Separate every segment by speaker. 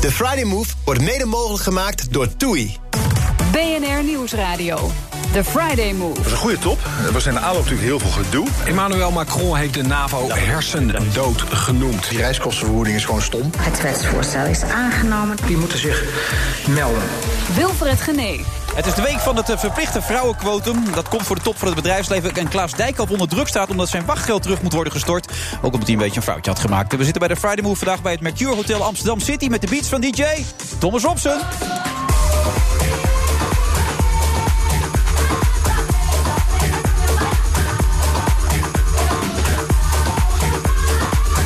Speaker 1: De Friday Move wordt mede mogelijk gemaakt door TUI.
Speaker 2: BNR Nieuwsradio. The Friday Move.
Speaker 3: Dat is een goede top. Er was in de aanloop natuurlijk heel veel gedoe.
Speaker 4: Emmanuel Macron heeft de NAVO hersendood genoemd.
Speaker 3: Die reiskostenvergoeding is gewoon stom.
Speaker 5: Het wetsvoorstel is aangenomen.
Speaker 4: Die moeten zich melden.
Speaker 2: Wilfred Genee.
Speaker 6: Het is de week van het eh, verplichte vrouwenquotum. Dat komt voor de top van het bedrijfsleven. En Klaas Dijkhoff onder druk staat omdat zijn wachtgeld terug moet worden gestort. Ook omdat hij een beetje een foutje had gemaakt. We zitten bij de Friday Move vandaag bij het Mercure Hotel Amsterdam City... met de beats van DJ Thomas Robson.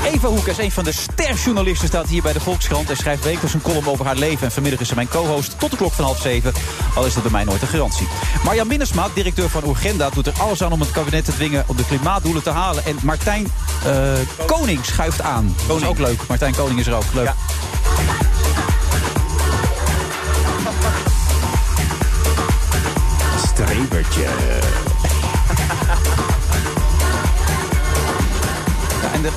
Speaker 6: Eva Hoekers, een van de sterjournalisten, staat hier bij de Volkskrant... en schrijft wekelijks een column over haar leven. En vanmiddag is ze mijn co-host tot de klok van half zeven. Al is dat bij mij nooit een garantie. Marjan Minnesma, directeur van Urgenda, doet er alles aan... om het kabinet te dwingen om de klimaatdoelen te halen. En Martijn eh, Koning schuift aan. Dat is ook leuk. Martijn Koning is er ook. Leuk.
Speaker 4: Strebertje.
Speaker 6: Ja, en de...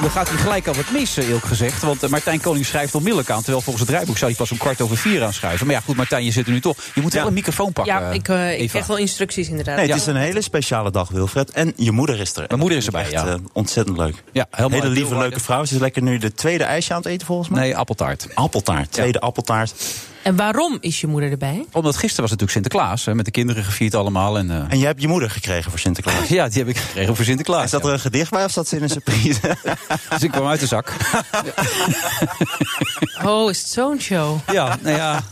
Speaker 6: Dan gaat hij gelijk al wat mis, eh, eerlijk gezegd. Want eh, Martijn Koning schrijft onmiddellijk aan. Terwijl volgens het draaiboek zou hij pas om kwart over vier aanschuiven. Maar ja, goed, Martijn, je zit er nu toch. Je moet wel een microfoon pakken.
Speaker 7: Ja, ik, eh, ik
Speaker 6: Eva.
Speaker 7: krijg wel instructies inderdaad.
Speaker 8: Nee, het
Speaker 6: Ja.
Speaker 8: is een hele speciale dag, Wilfred. En je moeder is er.
Speaker 6: Mijn moeder is erbij,
Speaker 8: Echt
Speaker 6: ja.
Speaker 8: eh, ontzettend leuk.
Speaker 6: Ja,
Speaker 8: hele
Speaker 6: helemaal uit
Speaker 8: lieve,
Speaker 6: Leeuwarden.
Speaker 8: leuke vrouw. Ze is lekker nu de tweede ijsje aan het eten, volgens mij.
Speaker 6: Nee, appeltaart.
Speaker 8: Appeltaart, tweede appeltaart.
Speaker 6: eh,
Speaker 7: En waarom is je moeder erbij?
Speaker 6: Omdat gisteren was natuurlijk Sinterklaas. Hè, met de kinderen gevierd allemaal. En, eh,
Speaker 8: En jij hebt je moeder gekregen voor Sinterklaas.
Speaker 6: ja, die heb ik gekregen voor Sinterklaas.
Speaker 8: Is dat er een gedicht bij of zat ze in een surprise?
Speaker 6: ja. Dus ik kwam uit de zak.
Speaker 7: Oh, is het zo'n show?
Speaker 6: ja, nou ja,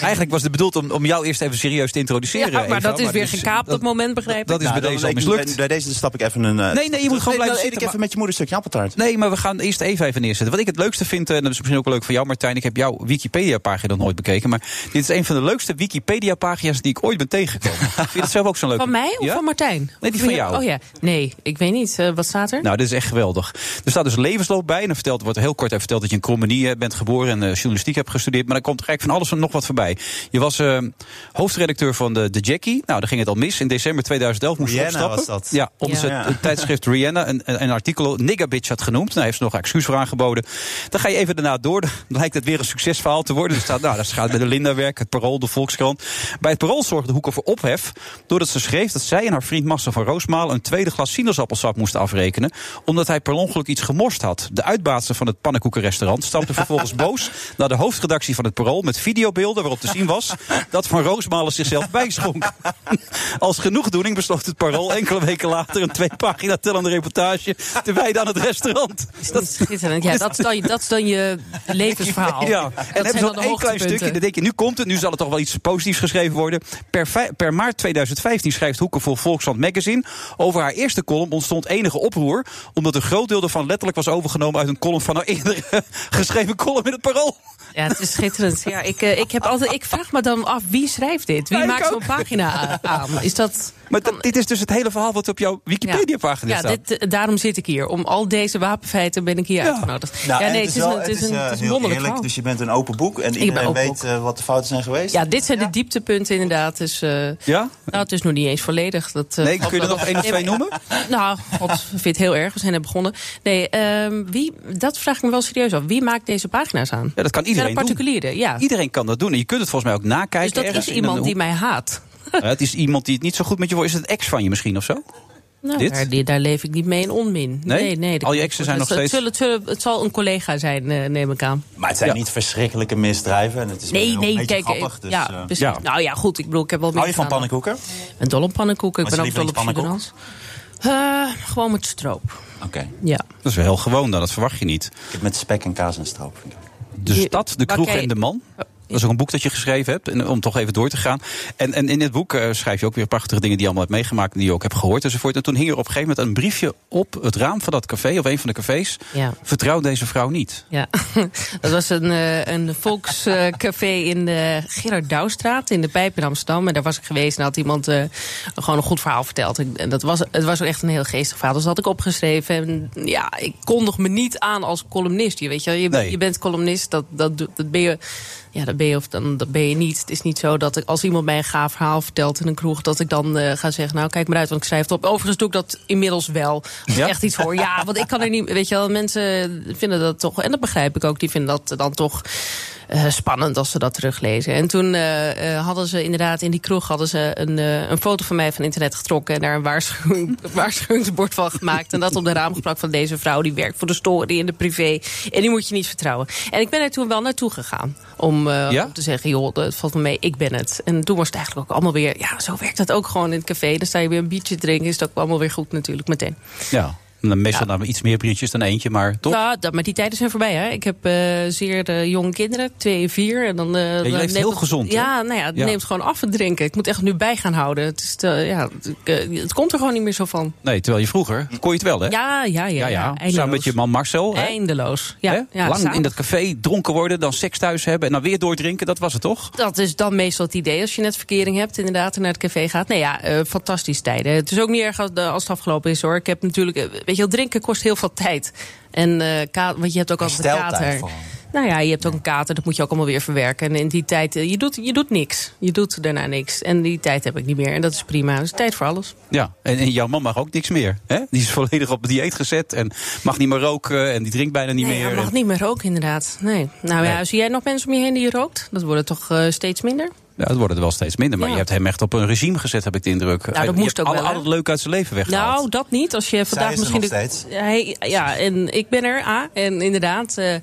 Speaker 6: eigenlijk was het bedoeld om, om jou eerst even serieus te introduceren.
Speaker 7: Ja, maar
Speaker 6: Eva, dus
Speaker 7: dat is weer
Speaker 6: dat
Speaker 7: gekaapt op het moment, begrijp ik.
Speaker 6: Dat is
Speaker 8: Nou,
Speaker 6: bij
Speaker 8: dan-
Speaker 6: deze al
Speaker 8: ik-
Speaker 6: mislukt.
Speaker 8: Bij, bij deze stap ik even een... eh,
Speaker 6: Nee, nee, je moet gewoon
Speaker 8: dan
Speaker 6: blijven
Speaker 8: eet ik
Speaker 6: zitten,
Speaker 8: even
Speaker 6: maar-
Speaker 8: met je moeder een stukje appeltaart.
Speaker 6: Nee, maar we gaan eerst even even neerzetten. Wat ik het leukste vind, eh, en dat is misschien ook wel leuk voor jou, Martijn. Ik heb jouw Wikipedia-pagina nog nooit bekeken. Maar dit is een van de leukste Wikipedia-pagina's die ik ooit ben tegengekomen. vind je dat zelf ook zo'n leuke?
Speaker 7: Van mij of
Speaker 6: Ja?
Speaker 7: van Martijn?
Speaker 6: Nee, die van jou.
Speaker 7: Oh ja, nee, ik weet niet. Eh, wat staat er?
Speaker 6: Nou, dit is echt geweldig. Er staat dus een levensloop bij. En dan vertelt, wordt heel kort even verteld dat je in Krommenie eh, bent geboren en eh, journalistiek hebt gestudeerd. Maar dan komt er eigenlijk van alles en nog wat voorbij. Je was eh, hoofdredacteur van de, de Jackie. Nou, daar ging het al mis. In december 2011 moest je
Speaker 8: Rihanna
Speaker 6: opstappen.
Speaker 8: was dat.
Speaker 6: Ja, omdat
Speaker 7: Ja.
Speaker 6: ze het-
Speaker 8: Ja.
Speaker 6: het tijdschrift Rihanna een, een, een artikel Nigga Bitch had genoemd. Nou, heeft ze nog een excuus voor aangeboden. Dan ga je even daarna door. Dan blijkt het weer een succesverhaal te worden. Er staat, nou, dat gaat bij de Linda werk, het Parool, de Volkskrant. Bij het Parool zorgde Hoeken voor ophef. Doordat ze schreef dat zij en haar vriend Marcel van Roosmalen... een tweede glas sinaasappelsap moesten afrekenen. Omdat hij per ongeluk iets gemorst had. De uitbaatster van het pannenkoekenrestaurant stampte vervolgens boos... naar de hoofdredactie van het Parool met videobeelden waarop te zien was... dat Van Roosmalen zichzelf bijschonk. Als genoegdoening besloot het Parool enkele weken later... een twee pagina tellende reportage te wijden aan het restaurant.
Speaker 7: Dat is schitterend. Ja, dat is dan, je- dat is dan je levensverhaal.
Speaker 6: Ja,
Speaker 7: Dat
Speaker 6: en
Speaker 7: zijn
Speaker 6: dan hebben ze nog
Speaker 7: dan de
Speaker 6: één klein
Speaker 7: hoogtepunten.
Speaker 6: stukje. Dan denk je, nu komt het, nu zal het toch wel iets positiefs geschreven worden. Per, vij- per maart 2015 schrijft Hoeken voor Volkskrant Magazine. Over haar eerste column ontstond enige oproer. Omdat een groot deel ervan letterlijk was overgenomen uit een column van haar eerdere geschreven column in het parool.
Speaker 7: Ja, het is schitterend. Ja, ik, eh, ik, heb altijd, ik vraag me dan af, wie schrijft dit? Wie
Speaker 6: Ja, ik
Speaker 7: maakt zo'n
Speaker 6: ook.
Speaker 7: pagina a- aan? Is dat...
Speaker 6: Maar dat- dit is dus het hele verhaal wat op jouw Wikipedia-pagina
Speaker 7: ja,
Speaker 6: staat.
Speaker 7: dit, eh, daarom zit ik hier. Om al deze wapenfeiten ben ik hier
Speaker 6: Ja.
Speaker 7: uitgenodigd.
Speaker 8: Nou,
Speaker 7: Oh, ja,
Speaker 8: en
Speaker 7: nee, het is,
Speaker 8: wel-
Speaker 7: een, het is een,
Speaker 8: eh,
Speaker 7: het is een
Speaker 8: heel
Speaker 7: wonderlijk
Speaker 8: eerlijk,
Speaker 7: verhaal.
Speaker 8: Dus je bent een open boek en iedereen
Speaker 7: open
Speaker 8: weet
Speaker 7: boek.
Speaker 8: eh, wat de fouten zijn geweest.
Speaker 7: Ja, dit zijn
Speaker 8: Ja.
Speaker 7: de dieptepunten inderdaad. Dus, eh,
Speaker 6: Ja?
Speaker 7: Nou, het is nog niet eens volledig. Dat, eh,
Speaker 6: Nee,
Speaker 7: valt
Speaker 6: kun je er
Speaker 7: wel
Speaker 6: nog
Speaker 7: op.
Speaker 6: één of
Speaker 7: Nee, maar-
Speaker 6: twee noemen?
Speaker 7: Nou, god, vind het heel erg. We zijn er begonnen. Nee, ehm, wie, dat vraag ik me wel serieus af. Wie maakt deze pagina's aan?
Speaker 6: Ja, dat kan
Speaker 7: zijn
Speaker 6: iedereen
Speaker 7: er
Speaker 6: doen.
Speaker 7: particulieren, ja.
Speaker 6: Iedereen kan dat doen. En je kunt het volgens mij ook nakijken.
Speaker 7: dus dat
Speaker 6: ergens
Speaker 7: is
Speaker 6: in een
Speaker 7: iemand die
Speaker 6: hoek.
Speaker 7: mij haat.
Speaker 6: Ja, het is iemand die het niet zo goed met je wil. Is het een ex van je misschien of zo?
Speaker 7: Nou,
Speaker 6: Dit?
Speaker 7: Daar, die- daar leef ik niet mee in onmin.
Speaker 6: Nee?
Speaker 7: nee, dat
Speaker 6: Al je exen
Speaker 7: kan niet.
Speaker 6: zijn
Speaker 7: Het
Speaker 6: nog
Speaker 7: zal-
Speaker 6: steeds-
Speaker 7: Het, zullen, het zal een collega zijn, eh, neem ik aan.
Speaker 8: Maar het zijn
Speaker 6: Ja.
Speaker 8: niet verschrikkelijke misdrijven. En het is
Speaker 7: Nee,
Speaker 8: een
Speaker 7: nee,
Speaker 8: beetje
Speaker 7: kijk.
Speaker 8: grappig.
Speaker 7: ik-
Speaker 8: Dus,
Speaker 7: ja,
Speaker 8: eh,
Speaker 7: precies.
Speaker 6: Ja.
Speaker 7: Nou ja, goed, ik bedoel, ik heb wel meer.
Speaker 8: hou je van
Speaker 7: gedaan.
Speaker 8: pannenkoeken?
Speaker 7: Ik ben dol op pannenkoeken. Ik
Speaker 8: Wat
Speaker 7: ben
Speaker 8: is
Speaker 7: ook
Speaker 8: je
Speaker 7: dol op
Speaker 8: lievelingspannenkoek?
Speaker 7: Surinamers. Eh Gewoon met stroop.
Speaker 8: Oké.
Speaker 7: Ja.
Speaker 6: Dat is wel heel gewoon dan, dat verwacht je niet.
Speaker 8: Ik heb met spek en kaas en stroop. vind ik.
Speaker 6: De
Speaker 7: Je- Oh,
Speaker 6: stad, de
Speaker 7: waar
Speaker 6: kroeg
Speaker 7: kijk-
Speaker 6: en de man. Dat is ook een boek dat je geschreven hebt, en eh, om toch even door te gaan. En, en in dit boek eh, schrijf je ook weer prachtige dingen die je allemaal hebt meegemaakt... en die je ook hebt gehoord enzovoort. En toen hing er op een gegeven moment een briefje op het raam van dat café... of een van de cafés.
Speaker 7: Ja.
Speaker 6: Vertrouw deze vrouw niet.
Speaker 7: Ja, dat was een, eh, een volkscafé in de Gerard Douwstraat in de Pijp in Amsterdam. En daar was ik geweest en had iemand eh, gewoon een goed verhaal verteld. Ik- En dat was, het was ook echt een heel geestig verhaal. Dus dat had ik opgeschreven. En ja, ik kondig me niet aan als columnist. Je, weet je, wel. je,
Speaker 6: Nee.
Speaker 7: je bent columnist, dat, dat, doe- dat ben je... Ja, dat ben je of dan dat ben je niet. Het is niet zo dat ik, als iemand mij een gaaf verhaal vertelt in een kroeg, dat ik dan eh, ga zeggen: Nou, kijk maar uit, want ik schrijf het op. Overigens doe ik dat inmiddels wel. Als
Speaker 6: Ja?
Speaker 7: ik echt iets hoor. Ja, want ik kan er niet. Weet je wel, mensen vinden dat toch. En dat begrijp ik ook. Die vinden dat dan toch. eh, spannend als ze dat teruglezen. En toen eh, eh, hadden ze inderdaad in die kroeg hadden ze een, eh, een foto van mij van internet getrokken en daar een waarschuwing, waarschuwingsbord van gemaakt. En dat op de raam geplakt van deze vrouw die werkt voor de story in de privé. En die moet je niet vertrouwen. En ik ben er toen wel naartoe gegaan om, eh,
Speaker 6: Ja?
Speaker 7: om te zeggen: joh, dat valt me mee, ik ben het. En toen was het eigenlijk ook allemaal weer. Ja, zo werkt dat ook gewoon in het café. Dan sta je weer een biertje te drinken. Is het ook allemaal weer goed natuurlijk meteen.
Speaker 6: Ja, en meestal namen iets meer biertjes dan eentje, maar toch...
Speaker 7: Nou, dat, maar die tijden zijn voorbij. Hè? Ik heb eh, zeer eh, jonge kinderen, twee en vier. En dan, eh, dan
Speaker 6: leeft
Speaker 7: neemt
Speaker 6: heel
Speaker 7: het-
Speaker 6: gezond, hè?
Speaker 7: Ja, nou ja, het
Speaker 6: Ja.
Speaker 7: neemt gewoon af het drinken. Ik moet echt nu bij gaan houden. Het, is te- ja, het, eh, het komt er gewoon niet meer zo van.
Speaker 6: Nee, terwijl je vroeger kon je het wel, hè?
Speaker 7: Ja, ja, ja.
Speaker 6: ja, ja.
Speaker 7: eindeloos.
Speaker 6: Samen met je man Marcel. Hè?
Speaker 7: Eindeloos. Ja,
Speaker 6: Hè?
Speaker 7: ja,
Speaker 6: Lang
Speaker 7: samen.
Speaker 6: in dat café dronken worden, dan seks thuis hebben en dan weer doordrinken. Dat was het toch?
Speaker 7: Dat is dan meestal het idee als je net verkering hebt, inderdaad, en naar het café gaat. Nee ja, eh fantastisch tijden. Het is ook niet erg als, eh, als het afgelopen is hoor. Ik heb natuurlijk, eh, weet je wel, drinken kost heel veel tijd. En eh ka- want je hebt ook altijd een
Speaker 8: Hersteltijd
Speaker 7: kater.
Speaker 8: vooral.
Speaker 7: Nou ja, je hebt ook een kater, dat moet je ook allemaal weer verwerken. En in die tijd, eh, je doet, je doet niks. Je doet daarna niks. En die tijd heb ik niet meer. En dat is prima. Dus tijd voor alles.
Speaker 6: Ja, en, en jouw man mag ook niks meer. Hè? Die is volledig op het dieet gezet en mag niet meer roken en die drinkt bijna niet
Speaker 7: nee,
Speaker 6: meer.
Speaker 7: hij mag
Speaker 6: En-
Speaker 7: niet meer roken, inderdaad. Nee. Nou ja,
Speaker 6: Nee.
Speaker 7: zie jij nog mensen om je heen die rookt? Dat worden toch eh, steeds minder?
Speaker 6: Ja, het worden er wel steeds minder, maar
Speaker 7: Ja. Nou,
Speaker 6: je hebt hem echt op een regime gezet, heb ik de indruk.
Speaker 7: dat
Speaker 6: Je
Speaker 7: moest
Speaker 6: hebt
Speaker 7: ook
Speaker 6: al,
Speaker 7: wel, hè?
Speaker 6: al het leuke uit zijn leven weggehaald.
Speaker 7: Nou, dat niet. Als je vandaag
Speaker 8: is er
Speaker 7: misschien.
Speaker 8: nog
Speaker 7: de-
Speaker 8: steeds.
Speaker 7: Hij- ja, en ik ben er. Ah, en inderdaad. eh, ik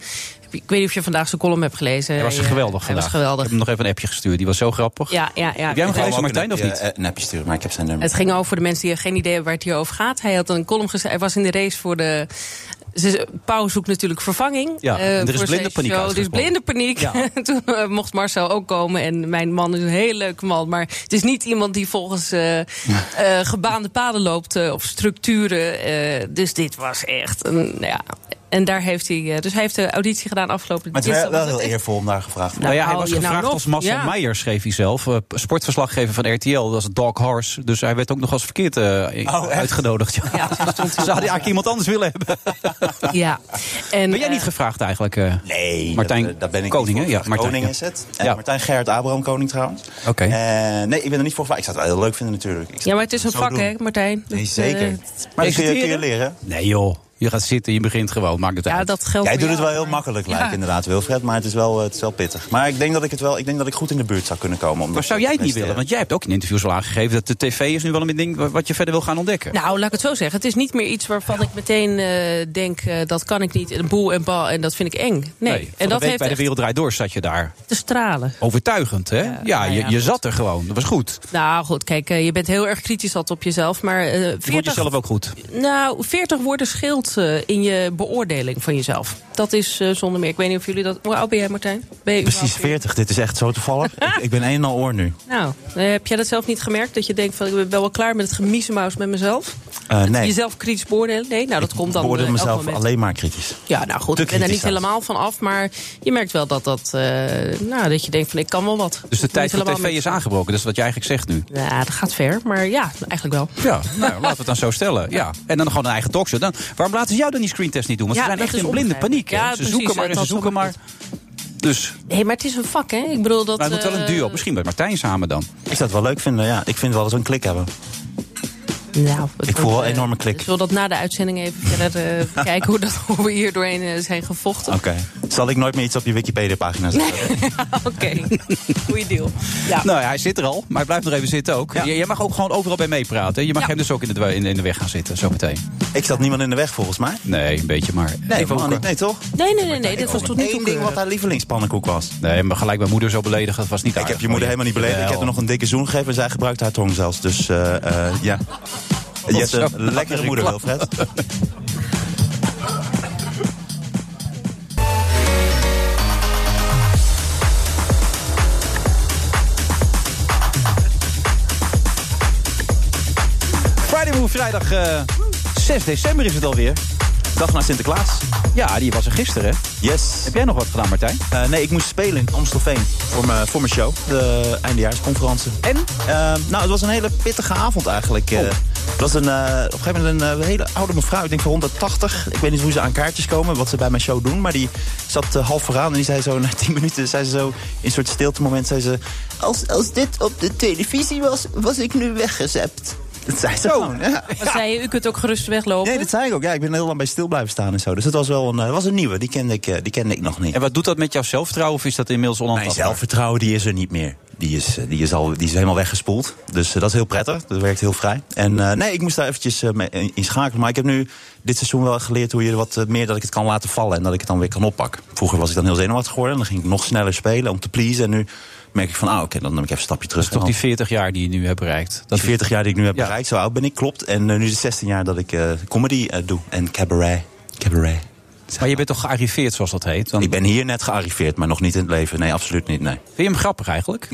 Speaker 7: weet niet of je vandaag zijn column hebt gelezen.
Speaker 6: hij was
Speaker 7: Hij, eh,
Speaker 6: geweldig
Speaker 7: Hij
Speaker 6: vandaag.
Speaker 7: was
Speaker 6: Ik
Speaker 7: geweldig.
Speaker 6: heb hem nog even een appje gestuurd, die was zo grappig.
Speaker 7: Ja, ja, Nou, ja.
Speaker 6: Heb jij hem
Speaker 7: Het-
Speaker 6: gelezen,
Speaker 8: Ook
Speaker 6: Martijn,
Speaker 8: een
Speaker 6: of
Speaker 8: appje-
Speaker 6: niet?
Speaker 8: eh, Een appje sturen, maar ik heb zijn nummer.
Speaker 7: Het ging over de mensen die geen idee hebben waar het hier over gaat. Hij had een column geschreven. Hij was in de race voor de. ze- Pauw zoekt natuurlijk vervanging.
Speaker 6: Ja,
Speaker 7: eh,
Speaker 6: en er is
Speaker 7: voor
Speaker 6: blinde
Speaker 7: zijn
Speaker 6: paniek
Speaker 7: show. Er is
Speaker 6: uitgesproken.
Speaker 7: blinde paniek. Toen eh, mocht Marcel ook komen. En mijn man is een heel leuke man. Maar het is niet iemand die volgens eh, eh, gebaande paden loopt. eh, of structuren. eh, dus dit was echt. Een, nou ja. En daar heeft hij. eh, dus hij heeft de auditie gedaan afgelopen
Speaker 8: Maar het is wel-
Speaker 7: dinsdag
Speaker 8: wel
Speaker 7: was
Speaker 8: heel
Speaker 7: het echt-
Speaker 8: eervol om daar gevraagd te worden.
Speaker 6: Nou ja, hij
Speaker 7: hou
Speaker 6: was
Speaker 7: je nou
Speaker 6: gevraagd
Speaker 7: nog?
Speaker 6: als Marcel
Speaker 7: Ja.
Speaker 6: Meijer, schreef hij zelf. eh, Sportverslaggever van RTL, dat was Dog Horse. Dus hij werd ook nog als verkeerd eh,
Speaker 8: Oh, echt?
Speaker 6: uitgenodigd. Ja. Zou hij eigenlijk iemand anders willen hebben?
Speaker 7: Ja. En,
Speaker 6: Ben jij niet
Speaker 7: eh,
Speaker 6: gevraagd eigenlijk? eh?
Speaker 8: Nee,
Speaker 6: Martijn
Speaker 8: dat, eh, dat ben ik niet
Speaker 6: Koning, hè?
Speaker 8: voor
Speaker 6: Ja,
Speaker 8: gevraagd.
Speaker 6: Martijn,
Speaker 8: Koning
Speaker 6: ja.
Speaker 8: is het. En
Speaker 6: Ja.
Speaker 8: Martijn Gerrit Abraham Koning trouwens.
Speaker 6: Oké.
Speaker 8: Eh, nee, ik ben er niet voor gevraagd. Ik zou het wel heel leuk vinden natuurlijk. Ik zou
Speaker 7: Ja, maar het is een
Speaker 8: zo
Speaker 7: vak,
Speaker 8: doen.
Speaker 7: hè, Martijn? Dat,
Speaker 8: Nee,
Speaker 7: eh,
Speaker 8: zeker. maar dat kun je, kun je
Speaker 6: Presenteren?
Speaker 8: leren.
Speaker 6: Nee joh, je gaat zitten, je begint gewoon, maakt het
Speaker 7: ja,
Speaker 6: uit.
Speaker 7: dat geldt.
Speaker 8: Jij
Speaker 7: voor
Speaker 8: doet het
Speaker 7: jou,
Speaker 8: wel heel
Speaker 7: maar-
Speaker 8: makkelijk, lijkt inderdaad, Wilfred. Maar het is, wel, eh, het is wel pittig. Maar ik denk dat ik het wel, ik denk dat ik goed in de buurt zou kunnen komen. Om
Speaker 6: Maar
Speaker 8: dat
Speaker 6: zou
Speaker 8: te
Speaker 6: jij
Speaker 7: eh,
Speaker 6: het niet
Speaker 8: presteren.
Speaker 6: willen? Want jij hebt ook in interviews al aangegeven dat de tv is nu wel een ding wa- wat je verder wil gaan ontdekken.
Speaker 7: Nou, laat ik het zo zeggen. Het is niet meer iets waarvan ik meteen eh, denk... eh, dat kan ik niet, een boel en bal, en dat vind ik eng. Nee,
Speaker 6: Nee, van
Speaker 7: en
Speaker 6: de
Speaker 7: dat
Speaker 6: week
Speaker 7: heeft
Speaker 6: bij de
Speaker 7: echt
Speaker 6: Wereld Draait Door zat je daar.
Speaker 7: te stralen.
Speaker 6: Overtuigend, hè? Ja,
Speaker 7: nou
Speaker 6: je,
Speaker 7: ja,
Speaker 6: je
Speaker 7: goed.
Speaker 6: zat er gewoon. Dat was goed.
Speaker 7: Nou goed, kijk, eh, je bent heel erg kritisch altijd op jezelf. Maar eh,
Speaker 6: Je vond
Speaker 7: 40,
Speaker 6: jezelf ook goed. Dus
Speaker 7: nou, 40 woorden scheelt eh, in je beoordeling van jezelf. Dat is eh, zonder meer. Ik weet niet of jullie dat... Hoe oud ben jij, Martijn? Ben je
Speaker 8: Precies
Speaker 7: überhaupt-
Speaker 8: 40, dit is echt zo toevallig. ik, ik ben een en al oor nu.
Speaker 7: Nou, eh, heb jij dat zelf niet gemerkt? Dat je denkt van, ik ben wel klaar met het gemiezenmaus met mezelf?
Speaker 8: Eh, nee,
Speaker 7: Jezelf kritisch beoordelen? Nee, nou, dat komt dan...
Speaker 8: ik beoordeel
Speaker 7: eh, elk
Speaker 8: mezelf
Speaker 7: moment.
Speaker 8: alleen maar kritisch.
Speaker 7: Ja, nou goed,
Speaker 8: Te
Speaker 7: ik ben er niet
Speaker 8: kritisch zelfs.
Speaker 7: helemaal van af. Maar je merkt wel dat, dat, eh, nou, dat je denkt van ik kan wel wat.
Speaker 6: Dus de
Speaker 7: Niet
Speaker 6: tijd van
Speaker 7: helemaal
Speaker 6: tv
Speaker 7: met-
Speaker 6: is aangebroken. Dat is wat je eigenlijk zegt nu.
Speaker 7: Ja, dat gaat ver, maar ja, eigenlijk wel.
Speaker 6: Ja, nou, laten we het dan zo stellen. Ja. En dan gewoon een eigen talkshow. Dan, waarom laten ze jou dan die screentest niet doen? Want
Speaker 7: Ja,
Speaker 6: ze zijn
Speaker 7: dat
Speaker 6: echt
Speaker 7: is
Speaker 6: in blinde paniek.
Speaker 7: onbegrijpelijk.
Speaker 6: hè?
Speaker 7: Ja,
Speaker 6: ze
Speaker 7: precies,
Speaker 6: zoeken maar
Speaker 7: hè,
Speaker 6: en ze
Speaker 7: dat
Speaker 6: zoeken maar.
Speaker 7: snap
Speaker 6: Dus
Speaker 7: Nee, maar het is een vak, hè? Ik bedoel dat.
Speaker 6: maar het moet wel een duo.
Speaker 7: eh,
Speaker 6: Misschien met Martijn samen dan.
Speaker 8: Ik zou het wel leuk vinden, ja. Ik vind wel dat we een klik hebben.
Speaker 7: Nou, het
Speaker 8: Ik voel
Speaker 7: wordt,
Speaker 8: wel
Speaker 7: eh,
Speaker 8: enorme klik.
Speaker 7: Ik wil dat na de uitzending even verder eh, kijken hoe, dat, hoe we hier doorheen eh, zijn gevochten.
Speaker 8: Oké. Zal ik nooit meer iets op je Wikipedia-pagina zetten?
Speaker 7: Oké, goeie deal. Ja.
Speaker 6: Nou ja, hij zit er al, maar hij blijft nog even zitten ook. J- Jij mag ook gewoon overal bij meepraten. hè? Je mag
Speaker 7: Ja.
Speaker 6: hem dus ook in de, dwa- in, in de weg gaan zitten, zometeen.
Speaker 8: Ik zat niemand in de weg, volgens mij.
Speaker 6: Nee, een beetje maar.
Speaker 8: Nee,
Speaker 6: Even eh,
Speaker 8: helemaal
Speaker 6: hoeken.
Speaker 8: niet. Nee, toch?
Speaker 7: Nee, nee, nee, nee, dit was tot nu toe.
Speaker 8: Eén ding
Speaker 7: keurig.
Speaker 8: wat haar lievelingspannenkoek was.
Speaker 6: Nee, maar gelijk mijn moeder zo beledigen, dat was niet Oh,
Speaker 8: Ik heb je moeder helemaal niet beledigd. Ik heb er nog een dikke zoen gegeven en zij gebruikte haar tong zelfs. Dus eh, eh, ja. Je hebt
Speaker 6: zo.
Speaker 8: een lekkere moeder, Wilfred.
Speaker 6: vrijdag eh, 6 december is het alweer.
Speaker 8: Dag naar Sinterklaas.
Speaker 6: Ja, die was er gisteren. hè?
Speaker 8: Yes.
Speaker 6: Heb jij nog wat gedaan, Martijn?
Speaker 8: Eh, nee, ik moest spelen in Amstelveen voor mijn, voor mijn show. De eindejaarsconferentie. En? nou, het was een hele pittige avond eigenlijk.
Speaker 6: Oh.
Speaker 8: Eh, het was een, eh, op een gegeven moment een eh, hele oude mevrouw, ik denk van 180. Ik weet niet hoe ze aan kaartjes komen, wat ze bij mijn show doen. Maar die zat eh, half vooraan en die zei zo na 10 minuten... zei ze zo in een soort stilte moment, zei ze... Als, als dit op de televisie was, was ik nu weggezept. Dat zei ze gewoon, ja.
Speaker 7: Wat zei je? U kunt ook gerust weglopen.
Speaker 8: Nee, dat zei ik ook. Ja, ik ben heel lang bij stil blijven staan en zo. Dus dat was wel een, eh, was een nieuwe. Die kende, ik, eh, die kende ik nog niet.
Speaker 6: En wat doet dat met jouw zelfvertrouwen of is dat inmiddels
Speaker 8: Mijn
Speaker 6: onaantastbaar?
Speaker 8: zelfvertrouwen die is er niet meer. Die is, eh, die is, al, die is helemaal weggespoeld. Dus eh, dat is heel prettig. Dat werkt heel vrij. En eh, nee, ik moest daar eventjes eh, mee in in schakelen. Maar ik heb nu dit seizoen wel geleerd hoe je er wat eh, meer dat ik het kan laten vallen. En dat ik het dan weer kan oppakken. Vroeger was ik dan heel zenuwachtig geworden. En dan ging ik nog sneller spelen om te pleasen. En nu merk ik van, ah oké, dan neem ik even een stapje terug.
Speaker 6: Dat is toch
Speaker 8: En
Speaker 6: die
Speaker 8: dan-
Speaker 6: 40 jaar die je nu hebt bereikt? Dat
Speaker 8: die 40 jaar die ik nu heb
Speaker 6: Ja.
Speaker 8: bereikt, zo oud ben ik, klopt. En eh, nu is het 16 jaar dat ik eh, comedy eh, doe. En cabaret. Cabaret.
Speaker 6: Maar je bent toch gearriveerd, zoals dat heet? Dan...
Speaker 8: Ik ben hier net gearriveerd, maar nog niet in het leven. Nee, absoluut niet, nee.
Speaker 6: Vind je hem grappig eigenlijk?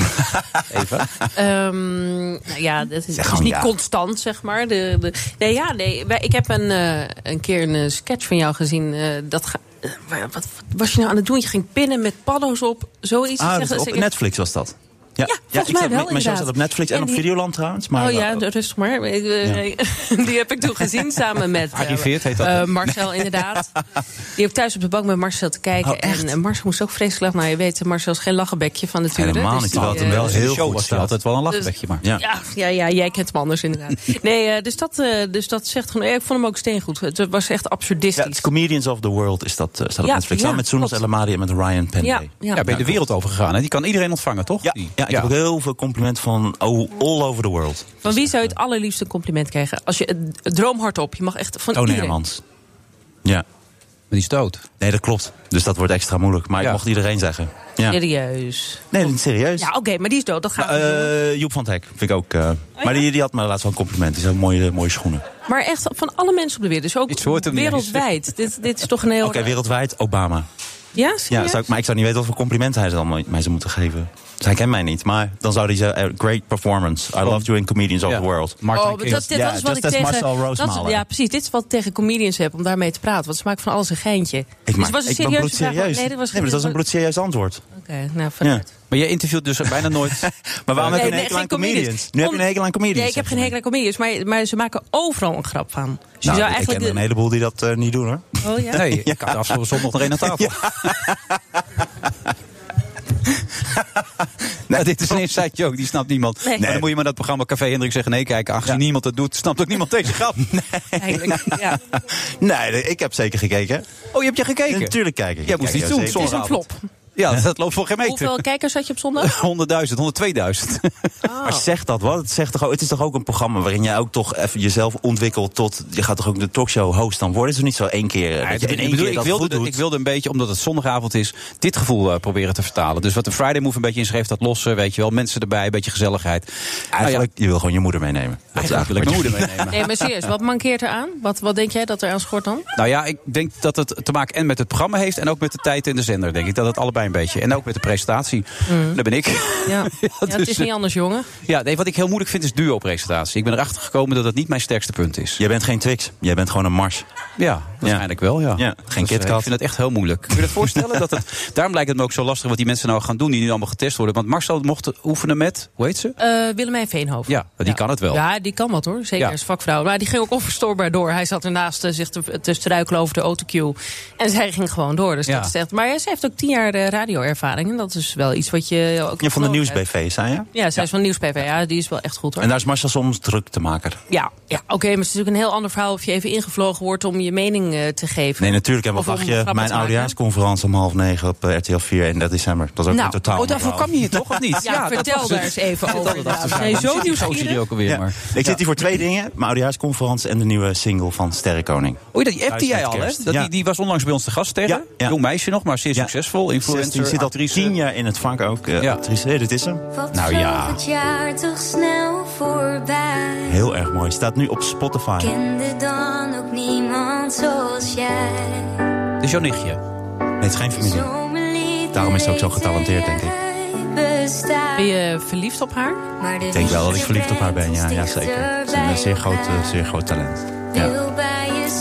Speaker 6: Even.
Speaker 7: Ehm, nou ja, dat is,
Speaker 8: Zeg
Speaker 7: het is
Speaker 8: gewoon
Speaker 7: niet
Speaker 8: ja.
Speaker 7: constant, zeg maar. De, de, nee, ja, nee. wij- Ik heb een, eh, een keer een eh, sketch van jou gezien. eh, dat ga- eh, wa- wat, wat was je nou aan het doen? Je ging pinnen met paddo's op, zoiets. Dus
Speaker 8: Ah,
Speaker 7: Zeg-
Speaker 8: dat is
Speaker 7: zeg-
Speaker 8: op Netflix was dat. Ja,
Speaker 7: volgens
Speaker 8: ik
Speaker 7: mij
Speaker 8: zat-
Speaker 7: wel,
Speaker 8: Mijn show
Speaker 7: inderdaad.
Speaker 8: staat op Netflix en,
Speaker 7: En
Speaker 8: op
Speaker 7: die-
Speaker 8: Videoland trouwens. Maar,
Speaker 7: oh ja,
Speaker 8: eh,
Speaker 7: rustig maar. Ik, eh, Die heb ik toen gezien samen met eh,
Speaker 6: Gearriveerd heet dat,
Speaker 7: eh,
Speaker 6: hè?
Speaker 7: Marcel, inderdaad. Die heb thuis op de bank met Marcel te kijken.
Speaker 8: Oh, echt?
Speaker 7: en eh, Marcel moest ook vreselijk lachen. Nou, je weet, Marcel is geen lachenbekje van nature.
Speaker 8: Helemaal niet.
Speaker 7: dus die,
Speaker 8: Terwijl het
Speaker 7: eh, Dus-
Speaker 8: hem wel
Speaker 6: Dus in de
Speaker 8: heel
Speaker 6: show
Speaker 8: goed
Speaker 6: was er
Speaker 8: staat.
Speaker 6: altijd wel een lachbekje, maar...
Speaker 8: Ja.
Speaker 7: Ja, ja, ja, jij kent hem anders inderdaad. Nee, eh, dus, dat, eh, dus dat zegt gewoon... ja, Ik vond hem ook steengoed. Het was echt
Speaker 8: ja,
Speaker 7: absurdistisch.
Speaker 8: het is Comedians of the World is dat, eh, staat op
Speaker 7: Ja,
Speaker 8: Netflix.
Speaker 7: ja,
Speaker 8: Samen met Soenos El
Speaker 7: klopt.
Speaker 8: Amadi en met Ryan Penday.
Speaker 7: ja, ja.
Speaker 6: Ja, ben je de wereld overgegaan. Hè? Die kan iedereen ontvangen, toch?
Speaker 8: Ja,
Speaker 6: Die-
Speaker 8: ja, ik heb ook heel veel complimenten van oh, all over the world.
Speaker 7: Van wie zou je het allerliefste compliment krijgen? Als je het- het droom hardop. Je mag echt van
Speaker 8: Toon
Speaker 7: iedereen.
Speaker 8: Hermans. Ja,
Speaker 6: Maar die is dood.
Speaker 8: nee, dat klopt. Dus dat wordt extra moeilijk. Maar
Speaker 6: Ja.
Speaker 8: ik mocht iedereen zeggen. Ja.
Speaker 7: Serieus.
Speaker 8: Nee, dat is serieus.
Speaker 7: Ja, oké, maar die is dood. Dat gaat
Speaker 8: Maar, eh, Joep van het Hek vind ik ook.
Speaker 7: Oh,
Speaker 8: eh, Maar die, die had me laatst wel een compliment. Die zijn mooie, mooie schoenen. Oké,
Speaker 7: Maar echt van alle mensen op de wereld. Dus ook
Speaker 6: Iets hoort hem niet eens.
Speaker 7: wereldwijd. dit, dit is toch een heel...
Speaker 8: wereldwijd Obama.
Speaker 7: Ja,
Speaker 8: Ja,
Speaker 7: serieus?
Speaker 8: zou ik, maar ik zou niet weten wat voor complimenten hij ze allemaal mij zou moeten geven. Zij kent mij niet, maar dan zou hij zeggen: eh, Great performance. I loved you in Comedians of
Speaker 6: Oh. Ja.
Speaker 8: the World.
Speaker 6: Martin
Speaker 7: Oh, maar
Speaker 6: King.
Speaker 7: dat, dit-
Speaker 8: Ja,
Speaker 7: dat is wat
Speaker 8: just
Speaker 7: ik
Speaker 8: as
Speaker 7: tegen.
Speaker 8: Marcel Roos
Speaker 7: dat is-
Speaker 8: malen.
Speaker 7: ja, precies. Dit is wat ik tegen comedians heb om daarmee te praten. Want ze maken van alles een geintje. dus het
Speaker 8: maak-
Speaker 7: was een
Speaker 8: ben
Speaker 7: serieuze
Speaker 8: bloedserieus.
Speaker 7: vraag. Nee, dat was
Speaker 8: maar dat was een bloedserieus antwoord.
Speaker 7: Oké, nou, vanuit.
Speaker 6: Maar jij interviewt dus bijna nooit.
Speaker 8: Maar waarom heb je
Speaker 7: Nee,
Speaker 8: een
Speaker 7: nee,
Speaker 8: hekel
Speaker 7: geen
Speaker 8: aan comedians? Nu
Speaker 7: Om-
Speaker 8: heb je een hekel aan comedians.
Speaker 7: Nee, ik heb geen hekel aan comedians, maar, maar ze maken overal een grap van. Dus je
Speaker 8: Nou,
Speaker 7: zou
Speaker 8: ik ken
Speaker 7: eigenlijk...
Speaker 8: er een heleboel die dat eh, niet doen hoor.
Speaker 7: Oh ja?
Speaker 6: Nee, ik had afgelopen zondag nog één aan tafel. Nou, dit is een inside joke, die snapt niemand.
Speaker 7: Nee.
Speaker 6: Maar dan moet je maar dat programma Café Hendrik zeggen nee kijken. Aangezien niemand dat doet, snapt ook niemand deze grap.
Speaker 7: Eigenlijk, ja.
Speaker 8: Nee, nee, ik heb zeker gekeken.
Speaker 6: Oh, je hebt je gekeken?
Speaker 8: Natuurlijk kijk ik.
Speaker 6: Jij
Speaker 8: Ik
Speaker 6: moest
Speaker 8: kijk
Speaker 6: iets
Speaker 8: heel
Speaker 6: doen,
Speaker 8: zeker.
Speaker 7: Het is een flop.
Speaker 6: Ja, dat loopt voor geen meter.
Speaker 7: Hoeveel kijkers had je op zondag?
Speaker 6: 100.000, 102.000.
Speaker 8: Maar zegt dat wat? Het, zegt toch, ook- het is toch ook een programma waarin jij ook toch even jezelf ontwikkelt tot... Je gaat toch ook de talkshow host dan worden? Het is toch niet zo één keer eh,
Speaker 6: Ja,
Speaker 8: dat je in
Speaker 6: ik,
Speaker 8: één
Speaker 6: bedoel,
Speaker 8: keer
Speaker 6: ik,
Speaker 8: dat goed
Speaker 6: wilde,
Speaker 8: doet?
Speaker 6: ik wilde een beetje, omdat het zondagavond is, dit gevoel eh, proberen te vertalen. Dus wat de Friday Move een beetje inschreef, dat lossen, weet je wel. Mensen erbij, een beetje gezelligheid.
Speaker 8: Eigenlijk, je wil gewoon je moeder meenemen. Dat
Speaker 6: nou
Speaker 8: is
Speaker 6: ja, eigenlijk wil ik mijn
Speaker 8: wat je-
Speaker 6: moeder meenemen.
Speaker 7: Nee, maar serieus, wat mankeert eraan? Wat, wat denk jij dat er aan schort dan?
Speaker 6: Nou ja, ik denk dat het te maken en met het programma heeft... en ook met de tijd in de zender, denk ik. Dat het allebei een beetje. En ook met de presentatie. Daar ben ik.
Speaker 7: Ja, ja, het
Speaker 6: dus,
Speaker 7: is
Speaker 6: eh,
Speaker 7: niet anders, jongen.
Speaker 6: Ja, nee, wat ik heel moeilijk vind is duo-presentatie. Ik ben erachter gekomen dat dat niet mijn sterkste punt is.
Speaker 8: Jij bent geen Twix, jij bent gewoon een Mars.
Speaker 6: Ja, waarschijnlijk wel, ja.
Speaker 8: Ja, geen
Speaker 6: eh,
Speaker 8: KitKat.
Speaker 6: Ik vind het echt heel moeilijk. Kun je je dat voorstellen? dat het, daarom lijkt het me ook zo lastig wat die mensen nou gaan doen... die nu allemaal getest worden. Want Marcel mocht oefenen met, hoe heet ze?
Speaker 7: Eh Willemijn Veenhoven.
Speaker 6: Ja, die kan het wel.
Speaker 7: Ja, die kan wat hoor. Zeker
Speaker 6: Ja.
Speaker 7: als vakvrouw. Maar die ging ook onverstoorbaar door. Hij zat ernaast eh, zich te, te struikelen over de autocue. En zij ging gewoon door. Dus
Speaker 6: Ja.
Speaker 7: dat is echt... Maar ja, ze heeft ook tien jaar eh, radioervaring. En dat is wel iets wat je ook...
Speaker 8: Ja, van de
Speaker 7: nodig hebt.
Speaker 8: nieuwsbv, zei je?
Speaker 7: Ja, zij is van Nieuws PV. Ja, die is wel echt goed hoor.
Speaker 8: En daar is Marcel soms druk te maken.
Speaker 7: Ja, ja oké, maar het is natuurlijk een heel ander verhaal of je even ingevlogen wordt om je mening eh, te geven.
Speaker 8: Nee, natuurlijk. En wat
Speaker 7: Of om
Speaker 8: wacht je?
Speaker 7: grappen
Speaker 8: Mijn
Speaker 7: te maken.
Speaker 8: oudejaarsconferentie om half negen op eh, RTL 4 in dat december. Dat is ook
Speaker 7: Nou,
Speaker 8: een totaal...
Speaker 6: Oh, daarvoor
Speaker 8: normaal.
Speaker 6: kwam je hier toch, of niet?
Speaker 7: Ja, vertel
Speaker 6: dat was
Speaker 7: daar
Speaker 6: het.
Speaker 7: eens even
Speaker 6: Ik zit
Speaker 7: over,
Speaker 6: altijd
Speaker 7: ja.
Speaker 6: achter
Speaker 7: We
Speaker 6: elkaar.
Speaker 7: zijn
Speaker 6: Ik
Speaker 7: zo
Speaker 6: zit die gozer
Speaker 7: nieuwsgierig.
Speaker 6: hier Oh, ook alweer,
Speaker 8: Ja.
Speaker 6: maar...
Speaker 8: Ik zit hier voor twee dingen. Mijn oudejaarsconferentie en de nieuwe single van Sterrenkoning.
Speaker 6: Oei, dat- Oh, die appte jij al, hè?
Speaker 8: Kerst.
Speaker 6: Dat
Speaker 8: Ja.
Speaker 6: die, die was onlangs bij ons te gast tegen.
Speaker 8: Ja, ja.
Speaker 6: Jong meisje nog, maar zeer
Speaker 8: Ja.
Speaker 6: succesvol. Influencer,
Speaker 8: Die zit al
Speaker 6: actrice.
Speaker 8: tien jaar in het vak ook. eh,
Speaker 6: Ja.
Speaker 8: Actrice, Hé, dit is hem.
Speaker 6: Nou ja,
Speaker 9: Het jaar toch snel voorbij.
Speaker 8: Heel erg mooi. Staat nu op Spotify.
Speaker 9: Kende dan ook niemand zoals jij.
Speaker 6: dit is jouw nichtje.
Speaker 8: Nee, het is geen familie.
Speaker 9: Zomerlied
Speaker 8: Daarom is ze ook zo getalenteerd, denk ik.
Speaker 9: uit. bestaan.
Speaker 7: Ben je verliefd op haar?
Speaker 8: Ik denk wel dat ik verliefd op haar ben, ja, ja zeker. Het is een eh, zeer groot, eh, zeer groot talent. Ja.